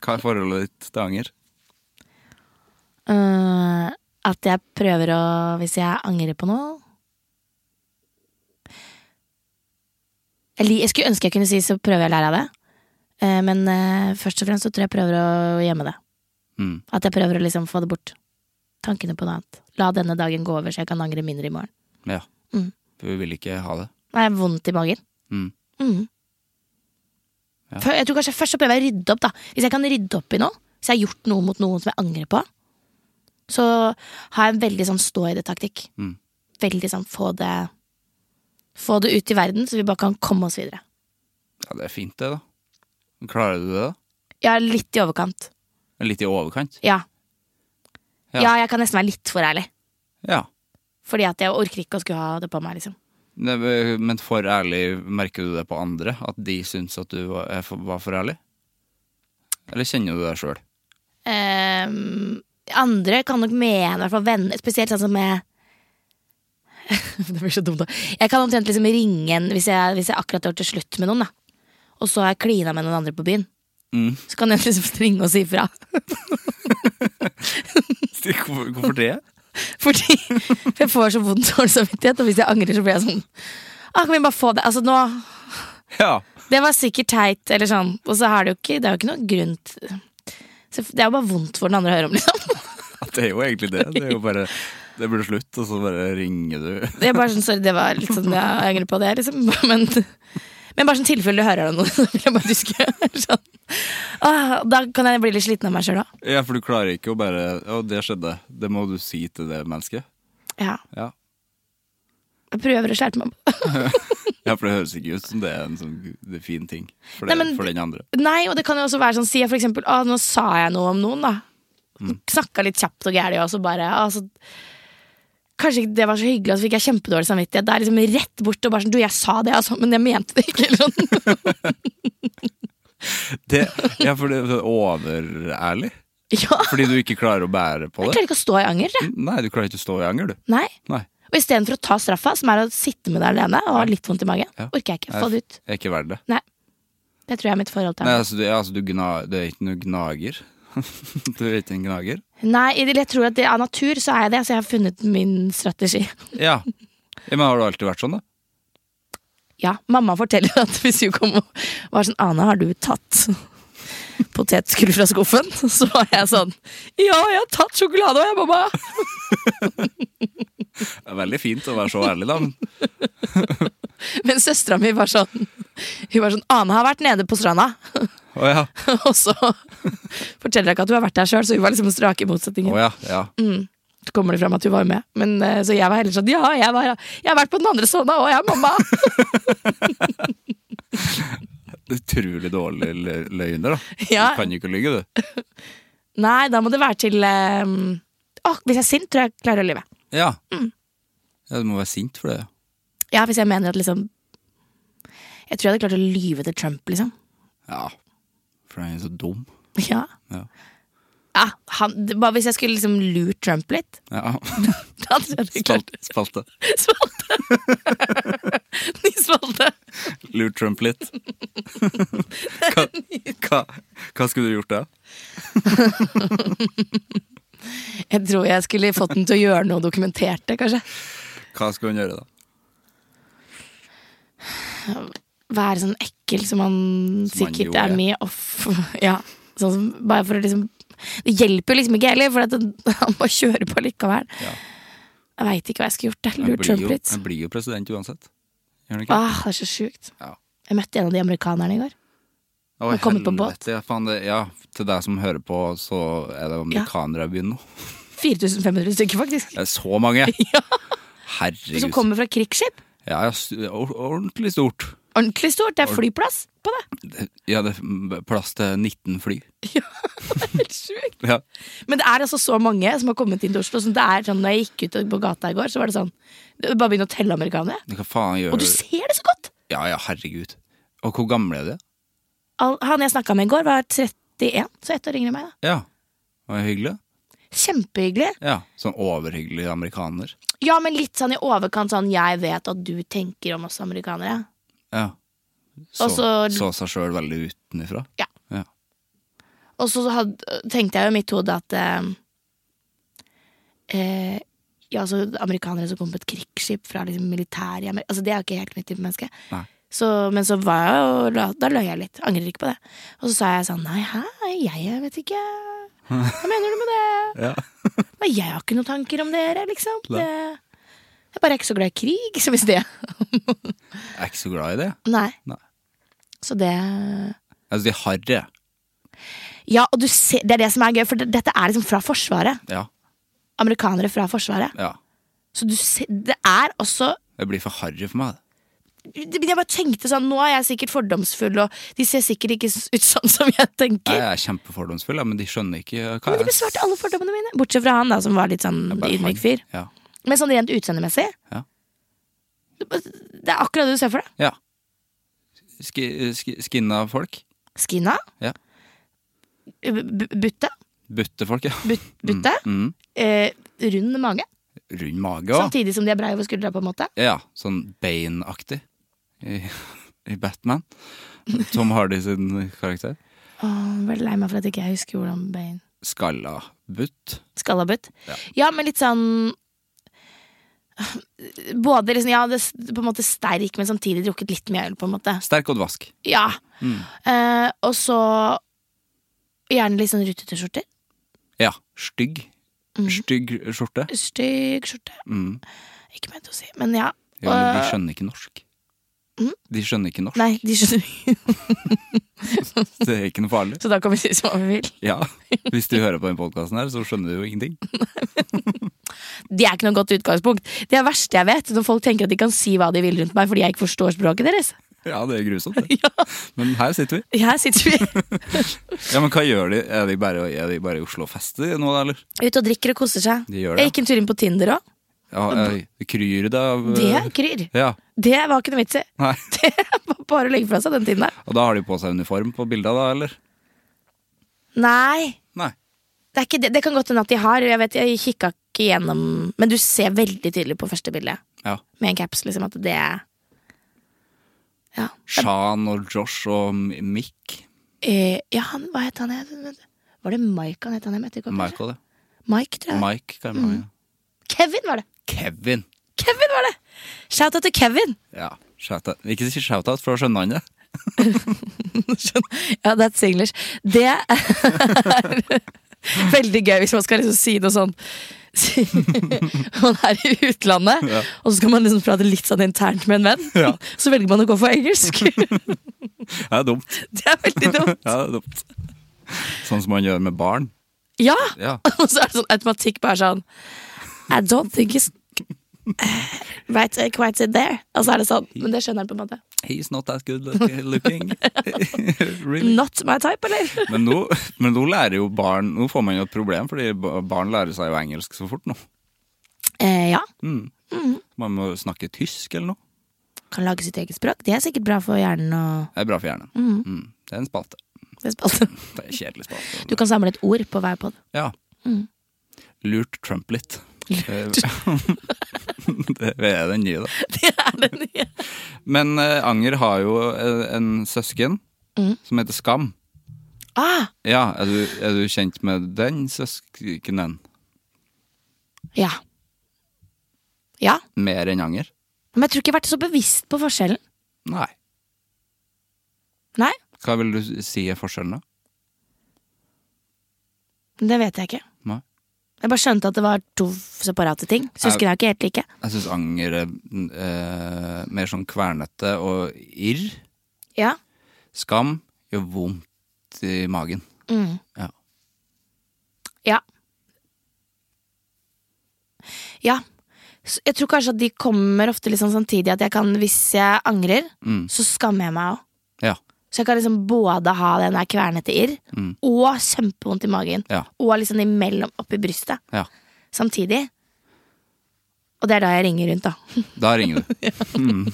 Speaker 3: Hva er forholdet ditt til anger?
Speaker 2: Eh, at jeg prøver å Hvis jeg angrer på noe jeg, li- jeg skulle ønske jeg kunne si så prøver jeg å lære av det. Eh, men eh, først og fremst så tror jeg jeg prøver å gjemme det.
Speaker 3: Mm.
Speaker 2: At jeg prøver å liksom få det bort. Tankene på noe annet. La denne dagen gå over, så jeg kan angre mindre i morgen.
Speaker 3: Ja.
Speaker 2: Mm.
Speaker 3: For vi vil ikke ha det.
Speaker 2: Nei, jeg har vondt i magen.
Speaker 3: Mm.
Speaker 2: Mm.
Speaker 3: Ja.
Speaker 2: Før, jeg tror kanskje Først så prøver jeg å rydde opp. da Hvis jeg kan rydde opp i noe, hvis jeg har gjort noe mot noen som jeg angrer på, så har jeg en veldig sånn stå i det-taktikk.
Speaker 3: Mm.
Speaker 2: Veldig sånn få det Få det ut i verden, så vi bare kan komme oss videre.
Speaker 3: Ja, det er fint, det, da. Men Klarer du det, da?
Speaker 2: Ja, litt i overkant.
Speaker 3: Litt i overkant?
Speaker 2: Ja.
Speaker 3: Ja.
Speaker 2: ja. jeg kan nesten være litt for ærlig.
Speaker 3: Ja.
Speaker 2: Fordi at jeg orker ikke å skulle ha det på meg, liksom.
Speaker 3: Ne, Men for ærlig, merker du det på andre? At de syns at du var er for- var for ærlig? Eller kjenner du deg sjøl?
Speaker 2: Ehm, andre kan nok mene, i hvert fall venner, spesielt sånn som jeg Det blir så dumt, da. Jeg kan omtrent liksom ringe en hvis jeg, hvis jeg akkurat har gjort det slutt med noen, da. Og så har jeg klina med noen andre på byen.
Speaker 3: Mm.
Speaker 2: Så kan jeg liksom ringe og si ifra.
Speaker 3: Hvorfor, hvorfor det?
Speaker 2: Fordi for jeg får så vondt dårlig samvittighet, og hvis jeg angrer, så blir jeg sånn ah, Kan vi bare få det? Altså, nå
Speaker 3: Ja.
Speaker 2: Det var sikkert teit, eller sånn. Og så har det jo ikke Det er jo ikke noe grunn til så Det er jo bare vondt for den andre å høre om, liksom.
Speaker 3: At det er jo egentlig det. Det er jo bare Det blir slutt, og så bare ringer du.
Speaker 2: Det er bare sånn, sorry, det var litt sånn jeg angrer på det, liksom. Men, men bare sånn tilfelle du hører det nå, så vil jeg bare huske sånn. ah, Da kan jeg bli litt sliten av meg sjøl òg.
Speaker 3: Ja, for du klarer ikke å bare Å, det skjedde. Det må du si til det mennesket.
Speaker 2: Ja.
Speaker 3: Ja.
Speaker 2: Jeg prøver å slerte meg på.
Speaker 3: ja, for det høres ikke ut som det er en sånn det er fin ting for, det,
Speaker 2: Nei, men-
Speaker 3: for den andre.
Speaker 2: Nei, og det kan jo også være sånn, sier jeg for eksempel ah, nå sa jeg noe om noen, da. Snakka litt kjapt og gæli, og så bare ah, så, Kanskje ikke det var så hyggelig, og så fikk jeg kjempedårlig samvittighet. Det er liksom rett bort og bare sånn Du, jeg sa det, altså, men jeg mente det ikke. Eller sånn.
Speaker 3: Det, ja, for det er overærlig.
Speaker 2: Ja.
Speaker 3: Fordi du ikke klarer å bære på
Speaker 2: Jeg
Speaker 3: det.
Speaker 2: klarer ikke å stå i anger. jeg.
Speaker 3: Nei, du klarer ikke å stå i anger, du.
Speaker 2: Nei.
Speaker 3: Nei.
Speaker 2: Og istedenfor å ta straffa, som er å sitte med deg alene og ha litt vondt i magen,
Speaker 3: Ja.
Speaker 2: orker jeg ikke. Få det ut.
Speaker 3: Det er ikke verdt det.
Speaker 2: Nei. Det tror jeg er mitt forhold til
Speaker 3: Nei,
Speaker 2: ham.
Speaker 3: altså, du, altså, du, gna, du er ikke noen gnager. du er ikke en gnager.
Speaker 2: Nei, eller jeg tror at det, av natur så er jeg det, så jeg har funnet min strategi.
Speaker 3: Ja. ja. Men har du alltid vært sånn, da?
Speaker 2: Ja, mamma forteller at hvis hun kom og var sånn Ane, har du tatt potetskull fra skuffen? Så var jeg sånn Ja, jeg har tatt sjokolade òg, jeg, mamma!
Speaker 3: Det er veldig fint å være så ærlig, da. men-
Speaker 2: Men søstera mi var sånn Hun var sånn Ane har vært nede på stranda,
Speaker 3: Å ja.
Speaker 2: og så Forteller deg ikke at du har vært der sjøl, så vi var liksom strake motsetninger.
Speaker 3: Å ja, ja.
Speaker 2: Så kommer det fram at du var med. Men, eh, så jeg var heller sånn ja, jeg, var, jeg har vært på den andre sona òg, jeg, mamma.
Speaker 3: Utrolig dårlig lø- løgner, da.
Speaker 2: Ja.
Speaker 3: Du kan jo ikke lyve, du.
Speaker 2: Nei, da må det være til eh, åh, Hvis jeg er sint, tror jeg jeg klarer å lyve.
Speaker 3: Ja.
Speaker 2: Mm.
Speaker 3: ja. Du må være sint for det.
Speaker 2: Ja, hvis jeg mener at liksom Jeg tror jeg hadde klart å lyve til Trump, liksom.
Speaker 3: Ja. For han er så dum.
Speaker 2: Ja.
Speaker 3: Ja.
Speaker 2: Ja, han, det- bare hvis jeg skulle liksom lurt Trump litt.
Speaker 3: ja.
Speaker 2: Da hadde jeg klart
Speaker 3: Spalt, spalte.
Speaker 2: Spalte! Ny spalte.
Speaker 3: Lurt Trump litt. hva, hva, hva skulle du gjort da?
Speaker 2: Jeg tror jeg skulle fått den til å gjøre noe dokumentert det, kanskje.
Speaker 3: Hva skulle han gjøre da?
Speaker 2: Være sånn ekkel som han
Speaker 3: Som han
Speaker 2: sikkert
Speaker 3: gjorde,
Speaker 2: er
Speaker 3: ja.
Speaker 2: mye off. Ja, sånn som bare for å liksom Det hjelper jo liksom ikke heller, for at han bare kjører på likevel.
Speaker 3: Ja.
Speaker 2: Jeg veit ikke hva jeg skulle gjort. Jeg
Speaker 3: Han
Speaker 2: lurt
Speaker 3: blir,
Speaker 2: Trump
Speaker 3: jo,
Speaker 2: litt.
Speaker 3: han blir jo president uansett. Gjør han ikke?
Speaker 2: Ah, det er så sjukt.
Speaker 3: Ja.
Speaker 2: Jeg møtte en av de amerikanerne i går.
Speaker 3: Å,
Speaker 2: han kommer på
Speaker 3: helvete, Ja, faen, det, ja, til deg som hører på, så er det amerikanere i byen nå.
Speaker 2: 4500 stykker, faktisk.
Speaker 3: Det er så mange!
Speaker 2: Ja. Som
Speaker 3: Herregud.
Speaker 2: kommer fra krigsskip.
Speaker 3: Ja, ja, st- or- ordentlig stort.
Speaker 2: Ordentlig stort. Det er flyplass på det.
Speaker 3: Det- Ja, det er plass til 19 fly.
Speaker 2: Ja, det er helt sjukt.
Speaker 3: Ja.
Speaker 2: Men det er altså så mange som har kommet inn til Oslo. Så det er sånn, når jeg gikk ut på gata i går, så var det sånn du Bare begynn å telle amerikanere.
Speaker 3: Hva faen gjør
Speaker 2: Og du ser det så godt!
Speaker 3: Ja, ja, herregud. Og hvor gamle er de?
Speaker 2: Al- Han jeg snakka med i går, var 31, så ett år yngre enn meg. da
Speaker 3: Ja. Var det hyggelig?
Speaker 2: Kjempehyggelig.
Speaker 3: Ja. Sånn overhyggelig amerikaner.
Speaker 2: Ja, men litt sånn i overkant sånn 'jeg vet at du tenker om oss amerikanere'.
Speaker 3: Ja. Så,
Speaker 2: Og så-
Speaker 3: så seg sjøl veldig utenfra.
Speaker 2: Ja.
Speaker 3: Ja.
Speaker 2: Og så had, tenkte jeg jo i mitt hode at eh, eh, Ja, altså amerikanere som kom på et krigsskip fra liksom militæret i Amerika altså, Det er jo ikke helt mitt type menneske.
Speaker 3: Nei.
Speaker 2: Så, men så var jeg jo la- Da løy jeg litt. Angrer ikke på det. Og så sa jeg sånn Nei, hæ? Jeg, jeg vet ikke. Hva mener du med det?
Speaker 3: Ja.
Speaker 2: Nei, jeg har ikke noen tanker om dere, liksom. Det, jeg bare er ikke så glad i krig, som hvis det
Speaker 3: Jeg er ikke så glad i det.
Speaker 2: Nei.
Speaker 3: Nei.
Speaker 2: Så det
Speaker 3: Altså, de er harry.
Speaker 2: Ja, og du ser, det er det som er gøy, for det- dette er liksom fra Forsvaret.
Speaker 3: Ja.
Speaker 2: Amerikanere fra Forsvaret.
Speaker 3: ja.
Speaker 2: Så du ser, det er også
Speaker 3: Det blir for harry for meg. det.
Speaker 2: det- Jeg bare tenkte sånn, nå er jeg sikkert fordomsfull, og de ser sikkert ikke s- ut sånn som jeg tenker.
Speaker 3: Jeg er kjempefordomsfull, ja, men de skjønner ikke hva
Speaker 2: Men de
Speaker 3: jeg
Speaker 2: besvarte alle fordommene mine, bortsett fra han da, som var litt sånn
Speaker 3: bare han.
Speaker 2: ydmyk fyr.
Speaker 3: Ja.
Speaker 2: Men sånn rent utseendemessig
Speaker 3: Ja.
Speaker 2: det- Det er akkurat det du ser for deg.
Speaker 3: ja. Sk sk skinna folk.
Speaker 2: Skina.
Speaker 3: Ja.
Speaker 2: Eh, b- b- Butte.
Speaker 3: Butte folk, ja.
Speaker 2: but- Butte.
Speaker 3: Mm.
Speaker 2: Eh, rund mage.
Speaker 3: Rund mage òg.
Speaker 2: Samtidig som de er brei over skuldra, på en måte.
Speaker 3: Ja, sånn Bane-aktig i, i Batman. Tom Hardy sin karakter.
Speaker 2: Åh, jeg ble lei meg for at ikke jeg husker hvordan bein
Speaker 3: Skalla butt.
Speaker 2: Skallabutt.
Speaker 3: Ja.
Speaker 2: Ja. men litt sånn Både liksom, ja, det, på en måte sterk, men samtidig drukket litt mye øl, på en måte.
Speaker 3: Sterk og dvask.
Speaker 2: Ja.
Speaker 3: Mm.
Speaker 2: Eh, og så gjerne litt sånn rutete skjorter.
Speaker 3: Ja, stygg.
Speaker 2: Mm.
Speaker 3: Stygg skjorte.
Speaker 2: Stygg skjorte.
Speaker 3: Mm.
Speaker 2: Ikke ment å si, men ja.
Speaker 3: Ja, men de
Speaker 2: Eh,
Speaker 3: skjønner ikke norsk. De skjønner ikke norsk.
Speaker 2: Mm? Nei, de skjønner ikke.
Speaker 3: Det er ikke noe farlig.
Speaker 2: Så da kan vi si som vi vil.
Speaker 3: Ja, Hvis du hører på den podkasten her, så skjønner du jo ingenting.
Speaker 2: Det er ikke noe godt utgangspunkt. Det er det verste jeg vet, når folk tenker at de kan si hva de vil rundt meg fordi jeg ikke forstår språket deres.
Speaker 3: Ja, det er grusomt, det.
Speaker 2: Ja,
Speaker 3: Men her sitter vi.
Speaker 2: Her sitter vi
Speaker 3: Ja, Men hva gjør de? Er de bare, er de bare i Oslo og fester nå, da, eller?
Speaker 2: ute og drikker og koser seg.
Speaker 3: De gjør det.
Speaker 2: Jeg gikk en tur inn på Tinder òg.
Speaker 3: Ja, eh, kryr det av eh,
Speaker 2: Det kryr.
Speaker 3: Ja.
Speaker 2: Det var ikke noe vits i.
Speaker 3: Nei.
Speaker 2: Det var bare å legge fra seg den tiden der.
Speaker 3: Og da har de på seg uniform på bildet, da, eller?
Speaker 2: Nei,
Speaker 3: Nei.
Speaker 2: det, er ikke det. det kan godt hende at de har. Jeg vet, jeg kikka ikke gjennom Men du ser veldig tydelig på første bilde
Speaker 3: Ja.
Speaker 2: med en caps liksom, at det er ja.
Speaker 3: Shan og Josh og Mick.
Speaker 2: Eh, ja, han, hva het han? igjen? Var det Mike han het? Han, jeg møtte i går, kanskje?
Speaker 3: Michael, det.
Speaker 2: Mike, tror jeg.
Speaker 3: Mike, hva er det
Speaker 2: Mm.
Speaker 3: med han?
Speaker 2: Kevin var det!
Speaker 3: Kevin.
Speaker 2: Kevin var det! Shout-out til Kevin!
Speaker 3: Ja, shout-out. Ikke si shout-out, for da skjønner han det.
Speaker 2: Skjønner. Ja, that's English. Det er veldig gøy hvis man skal liksom si noe sånn si- Man er i utlandet, og så skal man liksom prate litt sånn internt med en venn.
Speaker 3: Ja.
Speaker 2: Så velger man å gå for engelsk.
Speaker 3: Det er dumt.
Speaker 2: Det er veldig dumt.
Speaker 3: Ja, det er dumt. Sånn som man gjør med barn.
Speaker 2: Ja!
Speaker 3: Ja.
Speaker 2: Og så er det sånn automatikk bare sånn I don't think it's right uh, quite there. Og så er det sånn. Men det skjønner han på en måte.
Speaker 3: He's not that good look- looking. really.
Speaker 2: Not my type, eller?
Speaker 3: Men nå, men nå lærer jo barn Nå får man jo et problem, fordi ba- barn lærer seg jo engelsk så fort nå.
Speaker 2: Eh, ja.
Speaker 3: Man må snakke tysk eller noe.
Speaker 2: Kan lage sitt eget språk. Det er sikkert bra for hjernen og
Speaker 3: Det er bra for hjernen. Mm. Det er en spalte.
Speaker 2: det spalte.
Speaker 3: Det er en kjedelig spalte.
Speaker 2: Du kan Mm. samle et ord på hver pod.
Speaker 3: Ja. Lurt Trump litt. Eh, det er den nye, da.
Speaker 2: Det er den nye.
Speaker 3: Men eh, Anger har jo eh, en søsken
Speaker 2: Mm.
Speaker 3: som heter Skam.
Speaker 2: Ah,
Speaker 3: Ja, er du, er du kjent med den søskenen?
Speaker 2: ja. Ja.
Speaker 3: Mer enn Anger?
Speaker 2: Men jeg tror ikke jeg har vært så bevisst på forskjellen.
Speaker 3: Nei.
Speaker 2: Nei,
Speaker 3: Hva vil du si er forskjellen, da?
Speaker 2: det vet jeg ikke.
Speaker 3: Nei.
Speaker 2: Jeg bare skjønte at det var to separate ting. Søsken er jo ikke helt like.
Speaker 3: Jeg syns Anger er eh, mer sånn kvernete og irr.
Speaker 2: Ja.
Speaker 3: Skam gjør vondt i magen. Ja.
Speaker 2: Ja. Ja. Så Jeg tror kanskje at de kommer ofte litt sånn samtidig at jeg kan, hvis jeg angrer, så skammer jeg meg òg.
Speaker 3: ja.
Speaker 2: Så jeg kan liksom både ha den der kvernete irr og kjempevondt i magen.
Speaker 3: Mm. Ja.
Speaker 2: Og liksom imellom oppi brystet.
Speaker 3: Ja.
Speaker 2: Samtidig. Og det er da jeg ringer rundt, da.
Speaker 3: Da ringer du. Mm.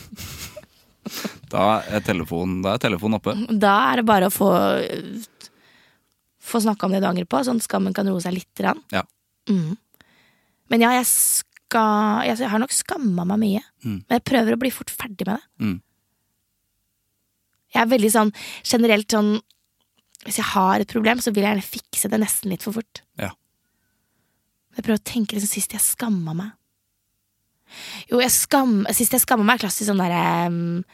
Speaker 3: Da er telefonen, da er telefonen oppe.
Speaker 2: Da er det bare å få Få snakka om det du angrer på, sånn at skammen kan roe seg litt. Grann.
Speaker 3: Ja.
Speaker 2: Men ja, jeg, skal, jeg har nok skamma meg mye. Men jeg prøver å bli fort ferdig med det.
Speaker 3: Mm.
Speaker 2: Jeg er veldig sånn generelt sånn Hvis jeg har et problem, så vil jeg gjerne fikse det nesten litt for fort.
Speaker 3: Ja.
Speaker 2: Men Jeg prøver å tenke liksom sist jeg skamma meg. Jo, jeg skam, sist jeg skamma meg, er klassisk sånn derre um,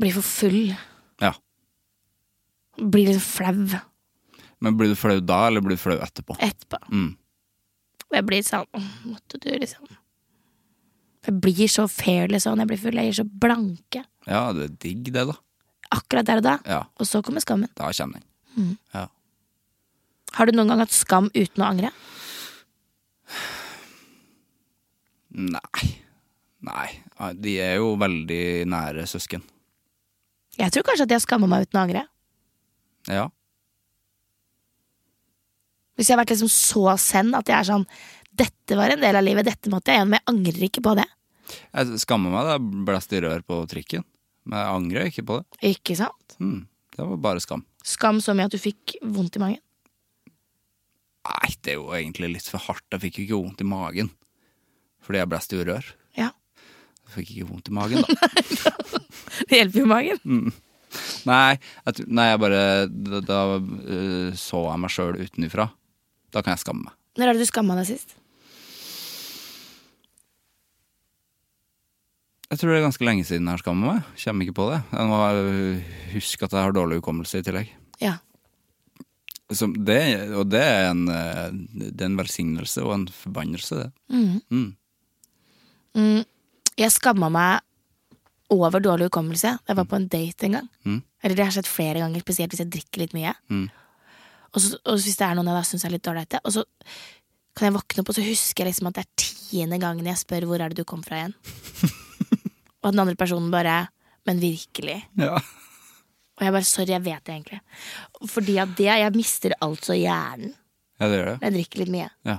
Speaker 2: Blir for full.
Speaker 3: ja.
Speaker 2: Blir liksom flau
Speaker 3: Men blir du flau da, eller blir du flau etterpå?
Speaker 2: etterpå.
Speaker 3: Mm.
Speaker 2: Og jeg blir sånn «Åh, Måtte du, liksom. Jeg blir så fairless sånn, jeg blir full, jeg gir så blanke.
Speaker 3: Ja, det er digg det, da.
Speaker 2: Akkurat der og da.
Speaker 3: Ja,
Speaker 2: Og så kommer skammen.
Speaker 3: da kommer den. Ja.
Speaker 2: Har du noen gang hatt skam uten å angre?
Speaker 3: Nei. Nei. Ja, De er jo veldig nære søsken.
Speaker 2: Jeg tror kanskje at jeg har skamma meg uten å angre.
Speaker 3: Ja.
Speaker 2: Hvis jeg har vært liksom så send at jeg er sånn Dette var en del av livet, dette måtte jeg gjennom, jeg angrer ikke på det.
Speaker 3: Jeg skammer meg da jeg blåste i rør på trikken, men jeg angrer ikke på det.
Speaker 2: Ikke sant?
Speaker 3: Mm. Det var bare skam.
Speaker 2: Skam så mye at du fikk vondt i magen.
Speaker 3: Nei, det er jo egentlig litt for hardt. Jeg fikk jo ikke vondt i magen fordi jeg blåste i rør.
Speaker 2: Ja.
Speaker 3: Jeg fikk ikke vondt i magen, da.
Speaker 2: Det hjelper jo magen.
Speaker 3: Nei, jeg, tr- nei, jeg bare Da, da øh, så jeg meg sjøl utenfra. Da kan jeg skamme meg.
Speaker 2: Når er det du skamma deg sist?
Speaker 3: Jeg tror det er ganske lenge siden jeg har skamma meg. Kommer ikke på det. Jeg må øh, huske at jeg har dårlig hukommelse i tillegg.
Speaker 2: Ja.
Speaker 3: Som det, og det er, en, øh, det er en velsignelse og en forbannelse, det.
Speaker 2: Jeg skamma meg over dårlig hukommelse. Jeg var på en date en gang. Eller det har skjedd flere ganger, spesielt hvis jeg drikker litt mye. Og, så, og hvis det er noen jeg da syns er litt ålreite. Og så kan jeg våkne opp, og så husker jeg liksom at det er tiende gangen jeg spør hvor er det du kom fra igjen. og den andre personen bare Men virkelig?
Speaker 3: Ja.
Speaker 2: Og jeg bare sorry, jeg vet det egentlig. Fordi at det, jeg mister altså hjernen
Speaker 3: ja, det gjør det.
Speaker 2: når jeg drikker litt mye.
Speaker 3: Ja.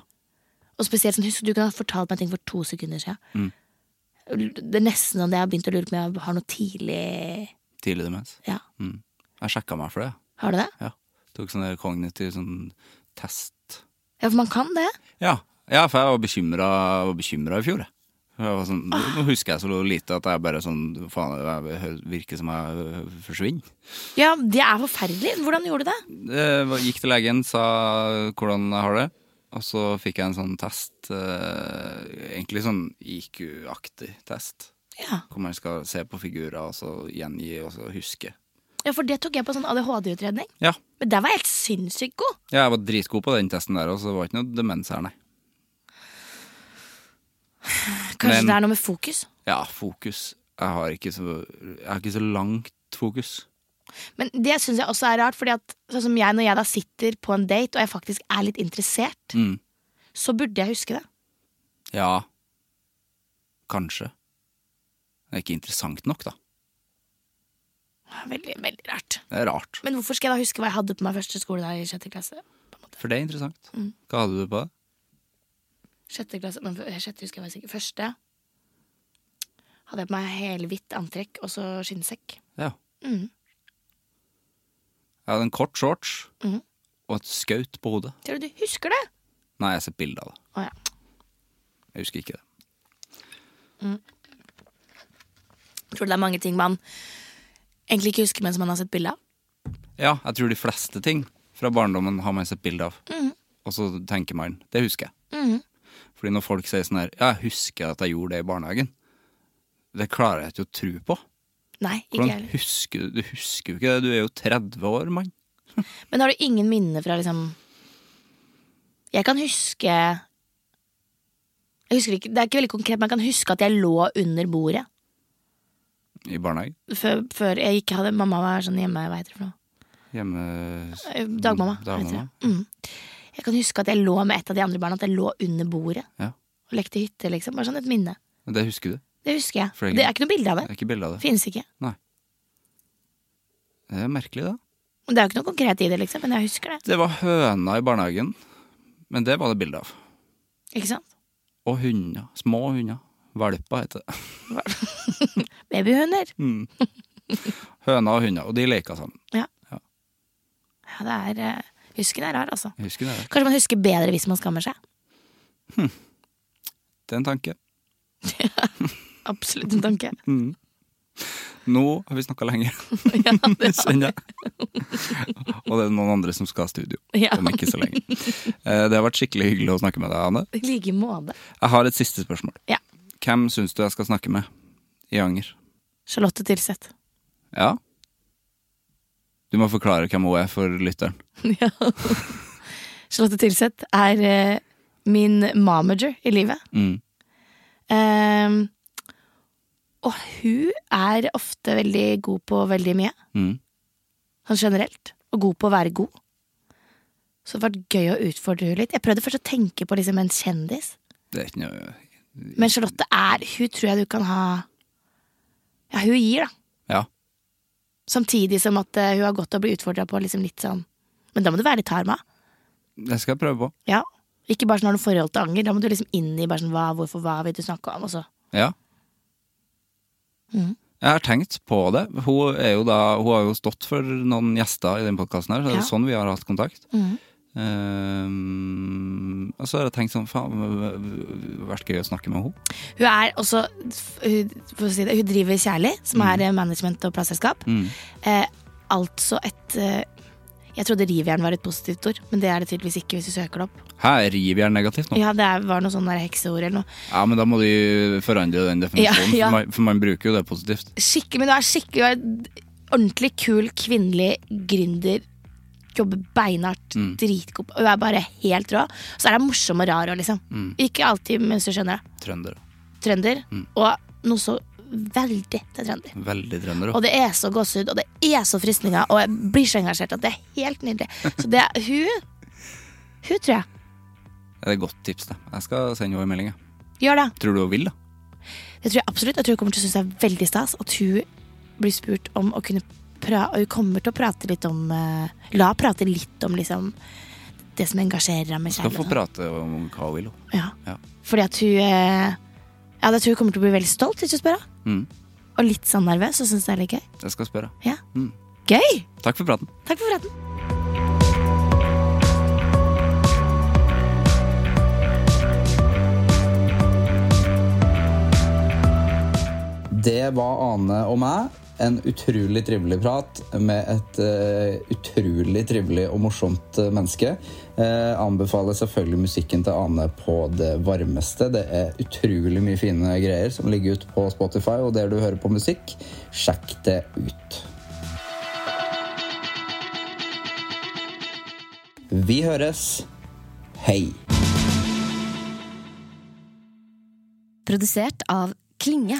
Speaker 2: Og spesielt sånn, husk, Du kunne ha fortalt meg ting for to sekunder siden.
Speaker 3: Mm.
Speaker 2: Det er nesten sånn at jeg har begynt å lure på om jeg har noe tidlig
Speaker 3: Tidlig demens.
Speaker 2: Ja,
Speaker 3: Mm. Jeg sjekka meg for det.
Speaker 2: Har du det?
Speaker 3: Ja. Tok sånn der kognitiv sånn test.
Speaker 2: Ja, for man kan det.
Speaker 3: Ja, ja for jeg var bekymra, var bekymra i fjor. jeg. Jeg var sånn, nå husker jeg så lite at jeg bare sånn Faen, jeg hø- virker som jeg øh, forsvinner.
Speaker 2: Ja, Det er forferdelig. Hvordan gjorde du det?
Speaker 3: Eh, var- Gikk til legen, sa hvordan jeg har det. Og så fikk jeg en sånn test. Eh, egentlig sånn IQ-aktig test.
Speaker 2: Ja,
Speaker 3: Hvor man skal se på figurer og så gjengi og så huske.
Speaker 2: ja For det tok jeg på sånn ADHD-utredning.
Speaker 3: Ja.
Speaker 2: Men der var jeg helt sinnssykt god.
Speaker 3: ja, jeg var dritgod på den testen der, og så det var ikke noe demens her, nei.
Speaker 2: Kanskje
Speaker 3: Men-
Speaker 2: det er noe med fokus.
Speaker 3: Ja, fokus. Jeg har ikke så, jeg har ikke så langt fokus.
Speaker 2: Men det syns jeg også er rart, Fordi at sånn som jeg når jeg da sitter på en date og jeg faktisk er litt interessert,
Speaker 3: Mm.
Speaker 2: så burde jeg huske det.
Speaker 3: Ja. Kanskje. Det er ikke interessant nok, da.
Speaker 2: Veldig, veldig rart.
Speaker 3: Det er rart.
Speaker 2: Men hvorfor skal jeg da huske hva jeg hadde på meg første skoledag i sjette klasse? På en måte.
Speaker 3: For det er interessant. Hva hadde du på deg?
Speaker 2: Sjette klasse, men f- sjette husker jeg faktisk ikke. Første hadde jeg på meg helhvitt antrekk og så skinnsekk.
Speaker 3: Ja.
Speaker 2: Mm.
Speaker 3: Jeg hadde en kort shorts
Speaker 2: Mhm.
Speaker 3: og et skaut på hodet.
Speaker 2: Tror du du husker det?
Speaker 3: Nei, jeg har sett bilde av det.
Speaker 2: Å ja.
Speaker 3: Jeg husker ikke det.
Speaker 2: Tror du det er mange ting man egentlig ikke husker, men som man har sett bilde av?
Speaker 3: Ja, jeg tror de fleste ting fra barndommen har man sett bilde av.
Speaker 2: Mhm.
Speaker 3: Og så tenker man det husker jeg. Fordi når folk sier sånn her Ja, jeg husker at jeg gjorde det i barnehagen. Det klarer jeg ikke å tro på.
Speaker 2: Nei, ikke
Speaker 3: Hvordan
Speaker 2: heller.
Speaker 3: husker du Du husker jo ikke det. Du er jo 30 år, mann.
Speaker 2: Men har du ingen minner fra liksom Jeg kan huske Jeg husker ikke, Det er ikke veldig konkret, men jeg kan huske at jeg lå under bordet
Speaker 3: I barnehagen.
Speaker 2: før, før jeg ikke hadde Mamma var sånn hjemme, hva heter det for noe?
Speaker 3: Hjemme
Speaker 2: Eh, Dagmamma. heter
Speaker 3: Dagmamma.
Speaker 2: det. Mm. Jeg kan huske at jeg lå med et av de andre barna, at jeg lå under bordet
Speaker 3: Ja.
Speaker 2: og lekte hytte, liksom. Bare sånn et minne.
Speaker 3: Men Det husker du.
Speaker 2: Det husker jeg.
Speaker 3: For jeg-
Speaker 2: Og Det er ikke noe bilde av
Speaker 3: Det
Speaker 2: det.
Speaker 3: er ikke bilde av det.
Speaker 2: Finnes ikke.
Speaker 3: Det er merkelig, da.
Speaker 2: Og Det er jo ikke noe konkret i det, liksom, men jeg husker det.
Speaker 3: Det var høna i barnehagen, men det var det bilde av.
Speaker 2: Ikke sant?
Speaker 3: Og hunder. Små hunder. Valper heter det.
Speaker 2: Babyhunder.
Speaker 3: Mm. Høna og hunder, og de leker sammen.
Speaker 2: Ja, det er eh, Husken er rar, altså.
Speaker 3: Jeg husker det.
Speaker 2: Kanskje man husker bedre hvis man skammer seg.
Speaker 3: Det er en tanke.
Speaker 2: Absolutt en tanke.
Speaker 3: Nå har vi snakka lenge,
Speaker 2: ja, det,
Speaker 3: kjenner jeg. Og det er noen andre som skal ha studio
Speaker 2: ja.
Speaker 3: om ikke så lenge. Eh, Det har vært skikkelig hyggelig å snakke med deg, Anne.
Speaker 2: I like måte.
Speaker 3: Jeg har et siste spørsmål.
Speaker 2: Ja.
Speaker 3: Hvem syns du jeg skal snakke med i Anger?
Speaker 2: Charlotte Tilseth.
Speaker 3: Ja? Du må forklare hvem hun er for lytteren.
Speaker 2: Ja. Charlotte Tilseth er eh, min mamager i livet.
Speaker 3: Mm.
Speaker 2: Ehm, og hun er ofte veldig god på veldig mye,
Speaker 3: Mm.
Speaker 2: sånn generelt. Og god på å være god. Så det hadde vært gøy å utfordre henne litt. Jeg prøvde først å tenke på liksom en kjendis.
Speaker 3: Det er ikke noe
Speaker 2: Men Charlotte er Hun tror jeg du kan ha Ja, hun gir, da.
Speaker 3: Ja.
Speaker 2: Samtidig som at eh, hun har godt av å bli utfordra på liksom litt sånn Men da må du være litt hard med henne.
Speaker 3: Det skal jeg prøve på.
Speaker 2: Ja. Ikke bare sånn har du forhold til anger. Da må du liksom inn i bare sånn hva, hvorfor, hva vil du snakke om? Og så
Speaker 3: Ja.
Speaker 2: Mhm.
Speaker 3: Jeg har tenkt på det. Hun, er jo da, hun har jo stått for noen gjester i den podkasten her, så det er jo
Speaker 2: Ja.
Speaker 3: sånn vi har hatt kontakt.
Speaker 2: Mhm.
Speaker 3: Ehm, og så har jeg tenkt sånn, faen, det hadde vært gøy å snakke med henne.
Speaker 2: Hun er også hun, for å si det, hun driver Kjærlig, som er eh, management og plateselskap.
Speaker 3: Mm.
Speaker 2: Eh, altså et eh, Jeg trodde rivjern var et positivt ord, men det er det tydeligvis ikke hvis du søker det opp.
Speaker 3: Her river jeg negativt nå. Ja.
Speaker 2: Ja, det er, var noe sånn der hekseord eller noe.
Speaker 3: men da må de forandre den definisjonen,
Speaker 2: Ja, ja.
Speaker 3: For, man, for man bruker jo det positivt.
Speaker 2: Skikkelig, men hun er skikkelig hun er en ordentlig kul kvinnelig gründer. Jobber beinhardt, dritgod på Hun er bare helt rå. Så er hun morsom og rar òg, liksom. Ikke alltid mens du skjønner det.
Speaker 3: Trøndere.
Speaker 2: Trønder.
Speaker 3: Mm.
Speaker 2: Og noe så veldig til trønder.
Speaker 3: Veldig trøndere.
Speaker 2: Og det er så gåsehud, og det er så frysninger, og jeg blir så engasjert at det er helt nydelig. Så det er hun Hun, tror jeg.
Speaker 3: Det er et godt tips, det. Jeg skal sende henne en melding. jeg.
Speaker 2: Gjør det.
Speaker 3: Tror du hun vil, da?
Speaker 2: Det tror jeg absolutt. Jeg tror hun kommer til å synes det er veldig stas at hun blir spurt om å kunne pra og Hun kommer til å prate litt om eh, La prate litt om liksom det som engasjerer henne med
Speaker 3: Skal få
Speaker 2: kjærligheten.
Speaker 3: prate om hva hun vil. hun.
Speaker 2: Ja.
Speaker 3: Ja.
Speaker 2: Fordi at hun eh, Ja, jeg tror hun kommer til å bli veldig stolt, hvis du spør henne.
Speaker 3: Mm.
Speaker 2: Og litt sånn nervøs, og syns det er litt gøy.
Speaker 3: Jeg skal spørre.
Speaker 2: Ja.
Speaker 3: Mm.
Speaker 2: Gøy!
Speaker 3: Takk for praten.
Speaker 2: Takk for praten.
Speaker 1: Det var Ane og meg. En utrolig trivelig prat med et eh, utrolig trivelig og morsomt eh, menneske. Eh, anbefaler selvfølgelig musikken til Ane på det varmeste. Det er utrolig mye fine greier som ligger ute på Spotify, og der du hører på musikk, sjekk det ut. Vi høres. Hei.
Speaker 6: Produsert av Klinge.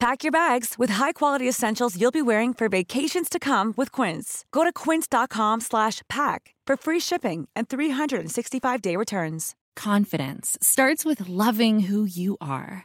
Speaker 7: Pack your bags with high-quality essentials you'll be wearing for vacations to come with Quince. Go to quince.com/pack for free shipping and 365-day returns.
Speaker 5: Confidence starts with loving who you are.